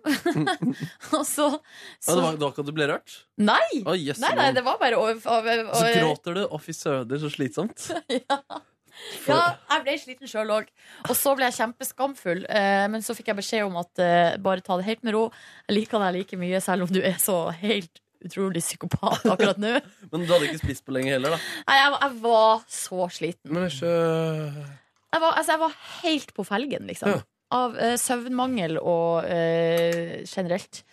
S4: Og så,
S3: Ja,
S4: så
S3: det, var, det var ikke at du ble rørt?
S4: Nei!
S3: Å, jøsse
S4: Nei, nei,
S3: navn.
S4: det var bare å, å, å,
S3: Så gråter du. Å, fy søder, så slitsomt.
S4: Ja, jeg ble sliten sjøl òg. Og så ble jeg kjempeskamfull. eh, Men så fikk jeg beskjed om at eh, bare ta det helt med ro. Jeg liker deg like mye, selv om du er så helt utrolig psykopat akkurat nå.
S3: Men du hadde ikke spist på lenge heller, da.
S4: Nei, jeg, var- jeg var så sliten.
S2: Men ikke
S4: Jeg var, altså, jeg var helt på felgen, liksom. Av eh, søvnmangel og eh, generelt.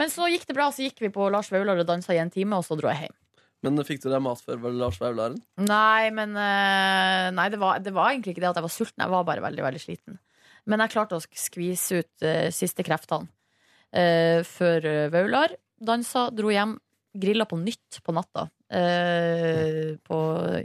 S4: Men så gikk det bra, så gikk vi på Lars Vaular og dansa i en time, og så dro jeg hjem.
S3: Men fikk du deg mat før vel, Lars Vaularen?
S4: Nei, men eh, Nei, det var, det var egentlig ikke det at jeg var sulten. Jeg var bare veldig, veldig sliten. Men jeg klarte å sk- skvise ut eh, siste kreftene eh, før eh, Vaular. Dansa, dro hjem, grilla på nytt på natta. Eh, på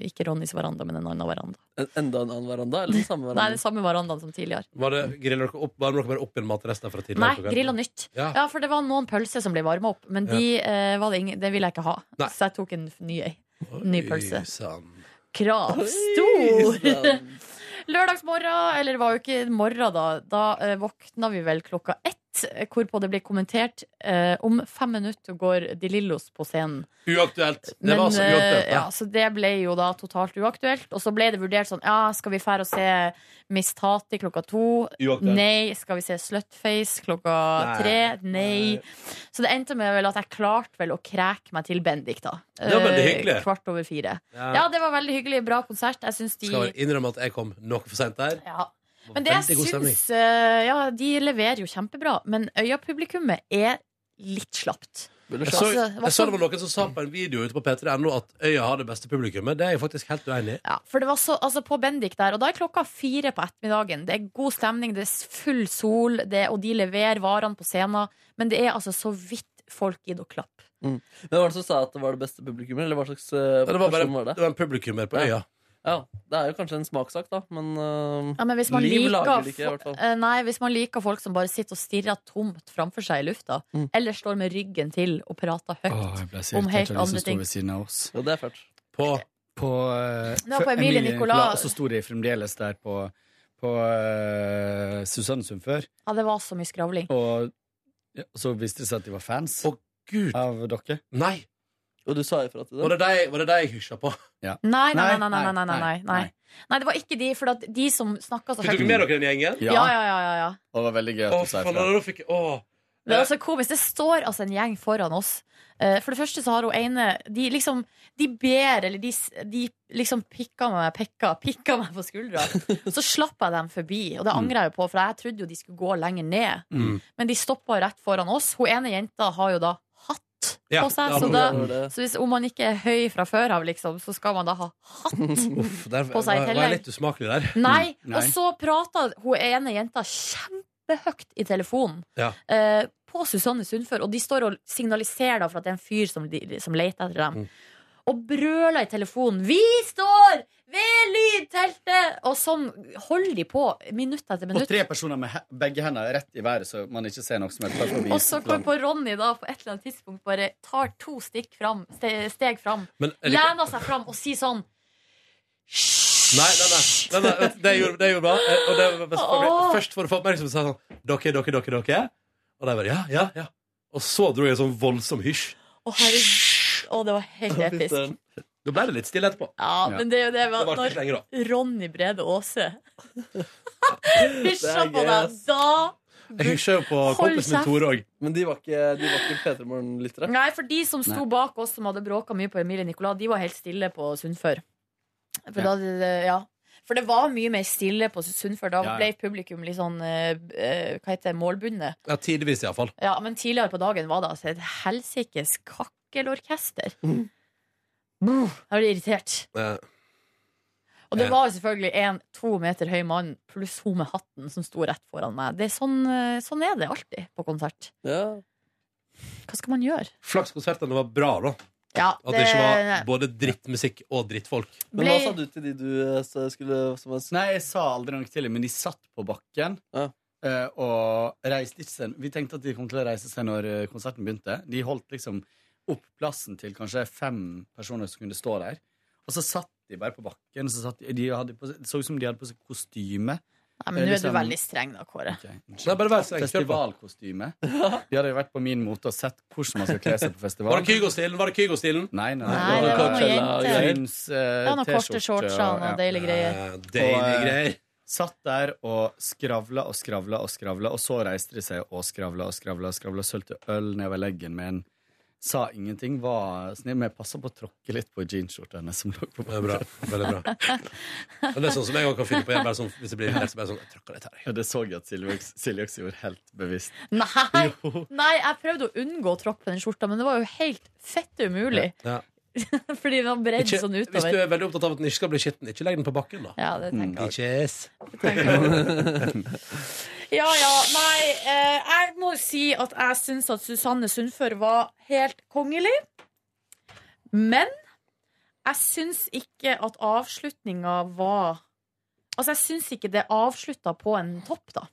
S4: ikke Ronnys veranda, men en annen veranda.
S3: En, enda en annen veranda? Eller den samme
S4: Nei,
S3: verandaen?
S4: den samme verandaen som tidligere.
S2: Var det, griller dere opp, varmer dere bare opp igjen matrester fra tidligere?
S4: Nei,
S2: på kvelden?
S4: grilla nytt. Ja.
S2: Ja.
S4: for det var noen pølser som ble varma opp, men
S2: Ja.
S4: de, eh, var det, ingen, det ville jeg ikke ha.
S2: Nei.
S4: Så jeg tok en f- ny ei. Ny pølse.
S2: Oi, sann.
S4: Kravstor!
S2: Oi,
S4: Lørdagsmorgen, eller det var jo ikke morgen da, da eh, våkna vi vel klokka ett, eh, hvorpå det ble kommentert eh, om fem minutter går De Lillos på scenen.
S2: Uaktuelt. Det
S4: Men,
S2: var så uaktuelt.
S4: eh, ja, så det ble jo da totalt uaktuelt. Og så ble det vurdert sånn Ja, skal vi fære og se Miss Tati klokka to?
S2: Uaktuelt.
S4: Nei. Skal vi se Slutface klokka
S2: Nei.
S4: tre? Nei. Så det endte med vel at jeg klarte vel å kreke meg til Bendik, da.
S2: Det var veldig
S4: Eh,
S2: hyggelig.
S4: Kvart over fire. Ja.
S2: Ja.
S4: det var veldig hyggelig. Bra konsert. Jeg syns de
S2: Skal vel innrømme at jeg kom noe for seint der.
S4: ja. Men det jeg
S2: Veldig god stemning.
S4: syns eh, Ja, de leverer jo kjempebra, men Øya-publikummet er litt slapt.
S2: Jeg så,
S4: Altså, det var
S2: jeg så det var noen som sa på en video ute på p3.no at Øya har det beste publikummet. Det er jeg faktisk helt uenig i.
S4: For det var så, altså på Bendik der, og da er klokka fire på ettermiddagen. Det er god stemning, det er full sol, det, og de leverer varene på scenen. Men det er altså så vidt folk gidder å klappe.
S3: Mm. Men Hva var det som sa at det var det beste publikummet? Eller hva slags eh,
S2: Det var bare
S3: person var det?
S2: det var en publikummer på
S3: Ja.
S2: Øya.
S3: Ja, Det er jo kanskje en smakssak, da, men, eh,
S4: Ja, men hvis man
S3: liv
S4: liker,
S3: lager det ikke, i hvert fall.
S4: Eh, Nei, hvis man liker folk som bare sitter og stirrer tomt framfor seg i lufta, eller står med ryggen til og prater høyt
S16: Åh, jeg ble så
S4: om
S16: irritert
S4: helt
S16: av de som
S4: andre
S16: sto
S4: ting.
S16: ved siden av oss.
S3: Ja, det er fælt.
S2: På,
S16: eh,
S4: Det var på
S16: før-
S4: Emilie Nicolas.
S16: Og så sto de fremdeles der på, på eh, Susannesund før.
S4: Ja, det var så mye skravling.
S16: Og ja, så viste det seg at de var fans av dere.
S2: Nei!
S3: Og du sa ifra til
S2: Var det deg, var det deg jeg hysja på?
S16: Ja.
S4: Nei, nei, nei, nei, nei, nei, nei, nei, nei. Nei, det var ikke de, for at de som snakka så
S2: Fikk dere med dere den gjengen?
S4: Ja, ja, ja. ja, ja.
S16: Og det var veldig gøy
S2: Å, faen, da fikk jeg Å.
S4: Det er altså komisk. Det står altså en gjeng foran oss. Eh, For det første så har hun ene De liksom De ber, eller de, s- de liksom pikka meg, pekka, pikka meg på skuldra. Så slapp jeg dem forbi, og det angrer jeg jo på, for jeg trodde jo de skulle gå lenger ned.
S2: Mm.
S4: Men de stoppa rett foran oss. Hun ene jenta har jo da hatt
S2: Ja,
S4: på seg,
S2: ja,
S4: så,
S2: hun
S4: da,
S2: har det.
S4: så hvis, om man ikke er høy fra før av, liksom, så skal man da ha
S2: Uff, der
S4: På
S2: var,
S4: seg i
S2: var
S4: tillegg.
S2: jeg litt usmakelig der.
S4: Nei,
S15: Mm.
S2: Mm,
S4: og så prata hun ene jenta kjempehøyt i telefonen
S2: Ja.
S4: eh, på Susanne Sundfør, og de står og signaliserer da for at det er en fyr som, de, som leter etter dem. Og brøler i telefonen 'Vi står ved lydteltet!' Og sånn holder de på minutt etter
S16: Og
S4: minutt.
S16: tre personer med he begge hendene rett i været, så man ikke ser noe som helst. Bare for å vise
S4: Og så
S16: til
S4: kommer
S16: hverandre.
S4: på Ronny da på et eller annet tidspunkt bare tar to stikk fram, ste- steg fram,
S2: Men- eller-
S4: lener seg fram og sier sånn
S2: Nei, nei, nei. nei, nei vet du, det, gjorde, det gjorde bra. Eh, Og det var best for meg.
S4: Åh.
S2: Først for å få oppmerksomhet sa jeg sånn Dere, dere, dere, dere. Og de bare ja, ja, ja. Og så dro jeg sånn voldsom hysj.
S4: Å, herregud. Å, det var helt episk.
S2: Da ble det litt stille etterpå.
S4: Ja, men det er jo det med
S2: Det
S4: at
S2: varte ikke lenger, da.
S4: når Ronny Brede Aase
S3: Det
S4: hysja
S3: er
S4: på deg,
S3: gøy,
S4: da
S2: Jeg hysja jo på
S4: Hold kompisen min kjeft. Tore
S2: òg.
S3: Men de var ikke, de var ikke P3 Morgen-lyttere?
S4: Nei, for de som sto
S3: Nei.
S4: bak oss som hadde bråka mye på Emilie Nicolas, de var helt stille på Sundfør. For, da, hadde det- ja. for det var mye mer stille på Sundfør. Da
S2: Ja, ja.
S4: ble publikum litt sånn eh, eh, Hva heter det? Målbundet.
S2: Ja, tidvis iallfall.
S4: Ja, men tidligere på dagen var det altså et helsikes kakkelorkester.
S2: Mm.
S4: Brr, Jeg ble irritert.
S2: Eh,
S4: Og det
S2: Eh.
S4: var jo selvfølgelig en to meter høy mann pluss hun med hatten som sto rett foran meg. Det er sånn, eh, sånn er det alltid på konsert. Hva skal man gjøre?
S2: Flaks konsertene var bra, da.
S4: Ja,
S2: At det ikke var både drittmusikk og drittfolk. altså,
S3: Men hva sa du til de du eh, skulle som var
S15: Nei, jeg sa aldri noe til dem, men de satt på bakken. eh, og reiste ikke seg Vi tenkte at de kom til å reise seg når eh, konserten begynte. De holdt liksom opp plassen til kanskje fem personer som kunne stå der. Og så satt de bare på bakken. Så satt de, de hadde på, det så ut som de hadde på seg kostyme.
S4: Nei,
S15: Eh,
S4: men nå er du
S15: liksom-
S2: sånn-
S4: veldig streng da, Kåre.
S15: Festivalkostyme. De hadde jo vært på min måte og sett hvordan man skal kle seg på festival.
S2: Var det Kygo-stilen? Var det Kygo-stilen?
S15: Nei, nei.
S4: Nei, det var noen jenter. Det var noen korte
S15: eh, T-skjorte
S4: shorts
S15: og-
S4: og noen deilige greier.
S15: Ja,
S2: deilige
S15: Og, eh,
S2: greier.
S15: Satt der og skravla og skravla og skravla, og så reiste de seg og skravla og skravla og skravla, sølte øl nedover leggen med en Sa ingenting, var snill, men jeg passa på å tråkke litt på jeansskjorta hennes som lå på
S2: Det er bra. Veldig bra. Men det er sånn som jeg også kan finne på. Jeg bare sånn, hvis jeg blir irritert, så bare sånn jeg tråkker litt her.
S15: Ja, det så jeg at Silje Oks- Silje også gjorde helt bevisst.
S4: Nei. Nei, jeg prøvde å unngå å tråkke på den skjorta, men det var jo helt fette umulig.
S2: Ja.
S4: Fordi den var bredd
S2: Ikke,
S4: sånn
S2: hvis du
S4: utover.
S2: er veldig opptatt av at den ikke skal bli skitten, ikke legg den på bakken, da.
S4: Ja, det tenker jeg
S2: Ikke s.
S4: Ja, ja, nei, eh, jeg må si at jeg syns at Susanne Sundfør var helt kongelig. Men jeg syns ikke at avslutninga var Altså, jeg syns ikke det avslutta på en topp, da.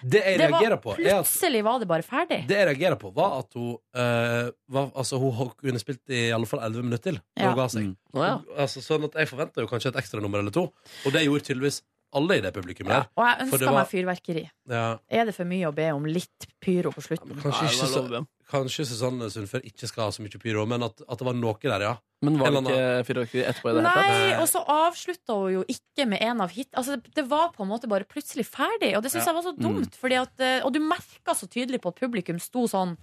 S2: Det jeg
S4: var-
S2: reagerer på, er at
S4: Plutselig var det bare ferdig.
S2: Det jeg reagerer på, var at hun eh, var, Altså, hun kunne spilt i alle fall 11 minutter til da
S4: Ja.
S2: hun ga
S3: Mm.
S2: seg. altså, sånn at jeg forventa jo kanskje et ekstranummer eller to, og det gjorde tydeligvis alle i det publikummet der.
S4: Og jeg
S2: For det
S4: ønska
S2: var-
S4: meg fyrverkeri.
S2: Ja,
S4: Er det for mye å be om litt pyro på slutten?
S2: kanskje, ikke så, kanskje Susanne Sundfør ikke skal ha så mye pyro, men at, at det var noe der, ja.
S3: Men var det
S2: En eller annen-
S3: ikke fyrverkeri etterpå i det
S4: Nei,
S3: hele
S4: og
S3: tatt?
S4: så avslutta hun jo ikke med en av hit Altså, det- det var på en måte bare plutselig ferdig, og det syns
S2: Ja.
S4: jeg var så
S2: Mm.
S4: dumt. Fordi at, eh, og du merka så tydelig på at publikum sto sånn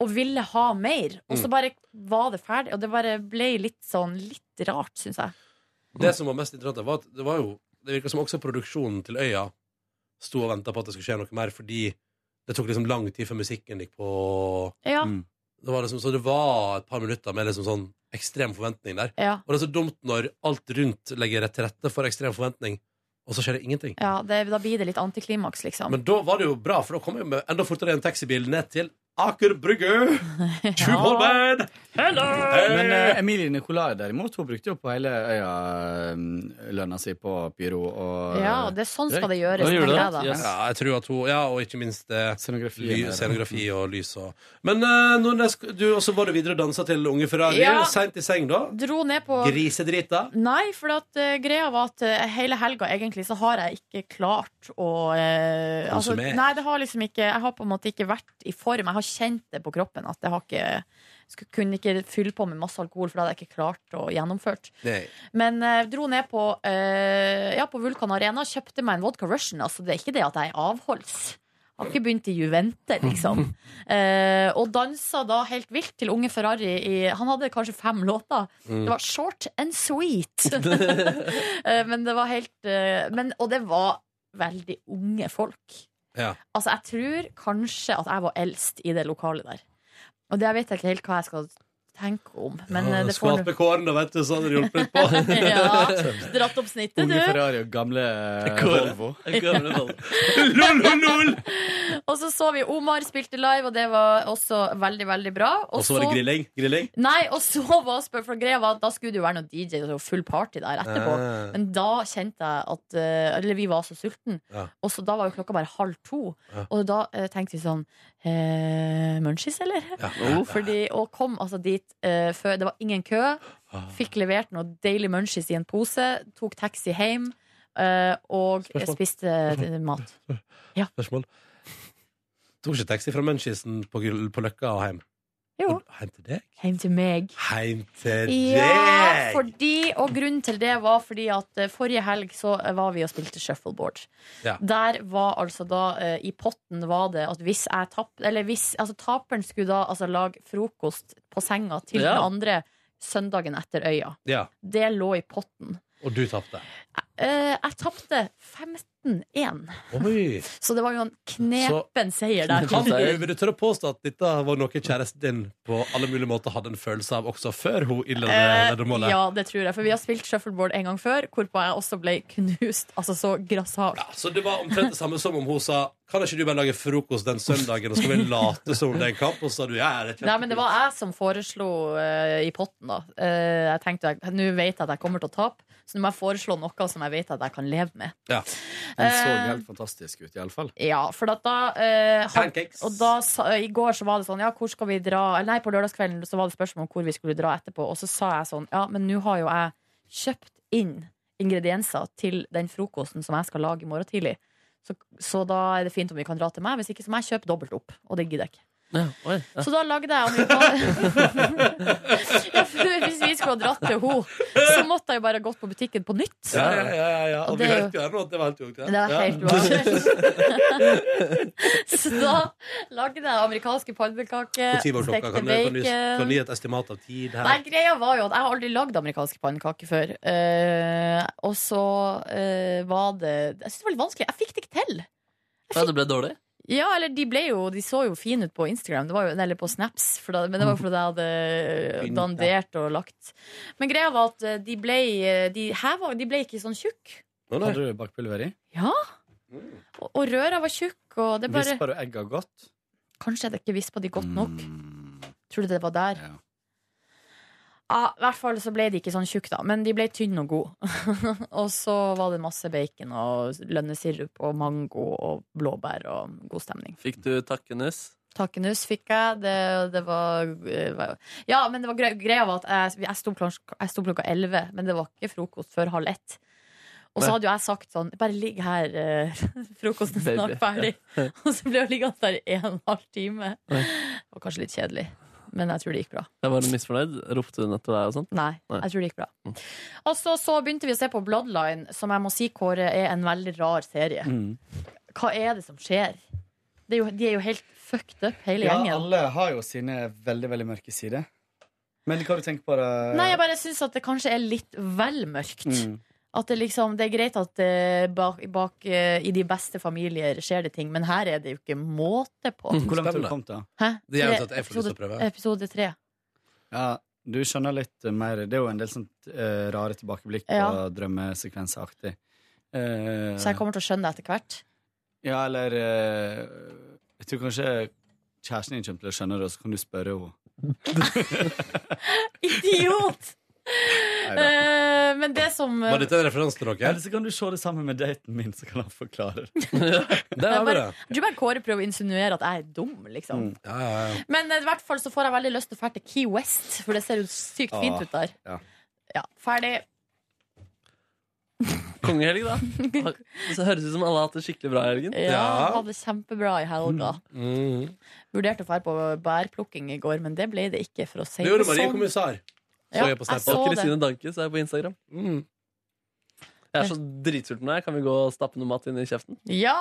S4: og ville ha mer, og så
S2: Mm.
S4: bare var det ferdig. Og det bare ble litt sånn litt rart, syns jeg.
S2: Det som var mest interessant, var at det var jo Det virka som også produksjonen til Øya sto og venta på at det skulle skje noe mer, fordi det tok liksom lang tid før musikken gikk på.
S4: Ja.
S2: Mm. Det var liksom, så det var et par minutter med liksom sånn ekstrem forventning der.
S4: Ja.
S2: Og det er så dumt når alt rundt legger til rette for ekstrem forventning, og så skjer det ingenting.
S4: Ja, det, da blir det litt antiklimaks, liksom.
S2: Men da var det jo bra, for da kom jeg jo med enda fortere en taxibil ned til Aker Brygge! True Holberg!
S15: Men eh, Emilie Nicolai derimot, hun brukte jo på hele øya eh, lønna si på pyro og eh,
S4: Ja, det er sånn skal det gjøres, Nå gjorde tenker det, jeg da. yes.
S2: Ja, jeg tror at hun, ja, og ikke minst eh,
S15: scenografi,
S2: ly, scenografi og lys og Men eh, Nordnes, du også var du videre og dansa til Unge Ferrari.
S4: Ja.
S2: Seint i seng, da.
S4: Dro ned på
S2: Grisedrita.
S4: Nei, for at, eh, greia var at eh, hele helga egentlig så har jeg ikke klart å eh, altså,
S2: Konsumere.
S4: Nei, det har liksom ikke Jeg har på en måte ikke vært i form. Jeg har kjent det på kroppen at jeg har ikke skulle, kunne ikke fylle på med masse alkohol, for det hadde jeg ikke klart å gjennomført.
S2: Nei.
S4: Men eh, dro ned på, eh, ja, på Vulkan Arena, kjøpte meg en vodka Russian. Altså, det er ikke det at jeg er avholds. Jeg har ikke begynt i Juvente, liksom.
S2: Hmm.
S4: Eh, og dansa da helt vilt til Unge Ferrari. I, han hadde kanskje fem låter.
S17: Mm.
S4: Det var short and sweet. Eh, men det var helt eh, men, Og det var veldig unge folk.
S2: Ja.
S4: Altså, jeg tror kanskje at jeg var eldst i det lokalet der. Og det vet jeg ikke helt hva jeg skal tenke om. Men eh, det får
S2: Skvatt med kåren, da, vet du, så hadde det hjulpet litt på.
S4: nå Ja, dratt opp snittet,
S15: Unge
S4: du.
S15: Ferrari og gamle eh,
S2: Kåre.
S15: Volvo.
S4: Gamle Og så så vi Omar spilte live, og det var også veldig, veldig bra.
S2: Og så var det grilling. grilling.
S4: Nei, og så var spør- for greia var at da skulle det jo være noen DJ og full party der etterpå.
S2: Ah.
S4: Men da kjente jeg at eh, Eller vi var så sulten
S2: Ja.
S4: Og så da var jo klokka bare halv to.
S2: Ja.
S4: Og da eh, tenkte vi sånn eh, Munchies, eller?
S2: Ja.
S4: Fordi, og kom altså dit eh, før Det var ingen kø. Fikk levert noe deilig munchies i en pose. Tok taxi hjem. eh, og
S2: Spørsmål.
S4: spiste eh, mat.
S2: Spørsmål. Tok ikke taxi fra Munchisen på, Gull- på Løkka og hjem.
S4: Jo.
S2: Hjem til deg?
S4: Hjem til meg.
S2: Hjem til
S4: Ja,
S2: deg!
S4: fordi, og grunnen til det var fordi at eh, forrige helg så eh, var vi og spilte shuffleboard.
S2: Ja.
S4: Der var altså da eh, I potten var det at hvis jeg tap, Eller hvis altså, taperen skulle da altså, lage frokost på senga til
S2: Ja.
S4: den andre søndagen etter øya.
S2: Ja.
S4: Det lå i potten.
S2: Og du tapte.
S4: Eh, jeg tapte 15-1.
S2: Oi!
S4: Så det var jo en knepen seier der.
S2: Kan du vil du tørre å påstå at dette var noe kjæresten din på alle mulige måter hadde en følelse av også før hun innledet
S4: Eh,
S2: ledermålet?
S4: ja, det tror jeg. For vi har spilt shuffleboard en gang før, hvorpå jeg også ble knust. Altså så grassat.
S2: Så det var omtrent det samme som om hun sa Kan ikke du bare lage frokost den søndagen, og så skal vi late som om det er en kamp? Og så sa du ja, det er
S4: Nei, men det var jeg som foreslo eh, i potten, da. Eh, jeg tenkte jeg- nå vet jeg at jeg kommer til å tape, så nå må jeg foreslå noe som jeg vet at jeg kan leve med.
S2: Ja.
S15: Den så
S4: Eh,
S15: helt fantastisk ut, iallfall.
S4: Ja, for at da, eh, har-
S15: Pancakes.
S4: og da sa- I går så var det sånn Ja, hvor skal vi dra? Eller Nei, på lørdagskvelden så var det spørsmål om hvor vi skulle dra etterpå. Og så sa jeg sånn Ja, men nå har jo jeg kjøpt inn ingredienser til den frokosten som jeg skal lage i morgen tidlig. Så, så da er det fint om vi kan dra til meg. Hvis ikke så må jeg kjøpe dobbelt opp. Og det gidder jeg ikke.
S3: Ja, oi, ja.
S4: Så da lagde jeg amerikaner- ja, for Hvis vi skulle ha dratt til henne, så måtte jeg jo bare gått på butikken på nytt.
S2: Ja, ja, ja, ja, ja.
S4: Og
S2: Og
S4: det
S2: vi
S4: er jo-
S2: hørte jo her nå at det var helt uaktuelt.
S4: Det er helt uaktuelt. Så da lagde jeg amerikanske pannekaker.
S2: Hvor tid var klokka?
S4: stekte
S2: Kan du, kan, du,
S4: bacon.
S2: kan du gi et estimat av tid her?
S4: Nei, greia var jo at jeg har aldri lagd amerikanske pannekaker før. Eh, og så eh, var det Jeg syns det var litt vanskelig. Jeg fikk det ikke til.
S3: Ja, det ble dårlig?
S4: Ja, eller de ble jo De så jo fine ut på Instagram, det var jo, eller på Snaps, for da, men det var jo fordi jeg hadde eh,
S3: Fint, ja.
S4: dandert og lagt. Men greia var at eh, de ble, de, heva, de ble ikke sånn tjukke.
S15: Hadde du bakpulver i?
S4: Ja.
S2: Mm.
S4: Og, og røra var tjukk, og det bare
S15: Vispa du egga godt?
S4: Kanskje jeg ikke vispa de godt nok. Tror du det var der? Ja. I hvert fall så ble de ikke sånn tjukke, da, men de ble tynne og gode. og så var det masse bacon og lønnesirup og mango og blåbær og god stemning.
S3: Fikk du takkenes?
S4: Takkenus fikk jeg. Det, det var eh, var- Ja, men det var gre- greia var at jeg, jeg sto klokka- jeg sto klokka elleve, men det var ikke frokost før halv ett. Og så
S3: Nei.
S4: hadde jo jeg sagt sånn Bare ligg her, eh, frokosten er
S3: Baby.
S4: snart ferdig. Og så ble jeg liggende der i en halv time. Det var kanskje litt kjedelig, men jeg tror det gikk bra.
S3: Jeg var misfornøyd. Ropte hun etter deg og sånt? Mm.
S4: Nei, jeg tror det gikk bra. Og så, så begynte vi å se på Bloodline, som jeg må si Kåre er en veldig rar serie.
S15: Mm.
S4: Hva er det som skjer? Det er jo, de er jo helt fucked up, hele
S16: Ja,
S4: gjengen.
S16: alle har jo sine veldig, veldig mørke sider. Men hva du tenker på det?
S4: Nei, jeg bare syns at det kanskje er litt vel mørkt.
S16: Mm.
S4: At det liksom, det er greit at eh, bak, bak, eh, i de beste familier skjer det ting, men her er det jo ikke måte på.
S16: Hvor langt har du kommet, da?
S4: Hæ?
S16: Mm. Det gjør jo
S4: Tre-
S16: at jeg får lyst til å
S4: episode-
S16: prøve.
S4: Episode tre.
S16: Ja, du skjønner litt mer Det er jo en del sånn eh, rare tilbakeblikk
S4: Ja.
S16: og drømmesekvensaktig. Eh,
S4: Så jeg kommer til å skjønne det etter hvert.
S16: Ja, eller eh, Jeg tror kanskje kjæresten din kommer til å skjønne det, og så kan du spørre henne.
S4: Idiot!
S16: da.
S4: Eh, men det som eh,
S2: en referanse til noe?
S16: Eller så kan du se det sammen med daten min, så kan han forklare det.
S4: Jeg bare, jeg tror bare Kåre prøver å insinuere at jeg er dum, liksom.
S16: Mm.
S4: Men eh, i hvert fall så får jeg veldig lyst til å dra til Key West, for det ser jo sykt
S16: Ah.
S4: fint ut der.
S16: Ja.
S4: Ja, ferdig.
S3: Kongehelg, da. Det høres ut som alle har hatt det skikkelig bra i helgen. Mm.
S4: Ja, hadde kjempebra i helga. Vurderte å dra på bærplukking i går, men det ble det ikke. for å si
S3: Det gjorde
S4: det
S3: Marie
S4: sånn.
S3: Kommissar.
S4: Ja, jeg så
S3: Og
S4: det.
S3: Kristine Danke så er jeg på Instagram. Jeg er så dritsulten nå. jeg. Kan vi gå og stappe noe mat inn i kjeften?
S4: Ja!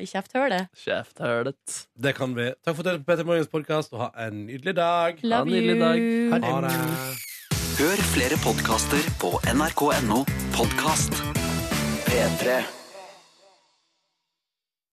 S4: I kjefthølet.
S3: Kjefthølet.
S2: Det kan vi. Takk for at du hørte på Petter Morgens podkast, og ha en nydelig dag.
S4: Love Ha en nydelig you. dag.
S2: Ha det.
S1: Hør flere podkaster på nrk.no podkast. P3.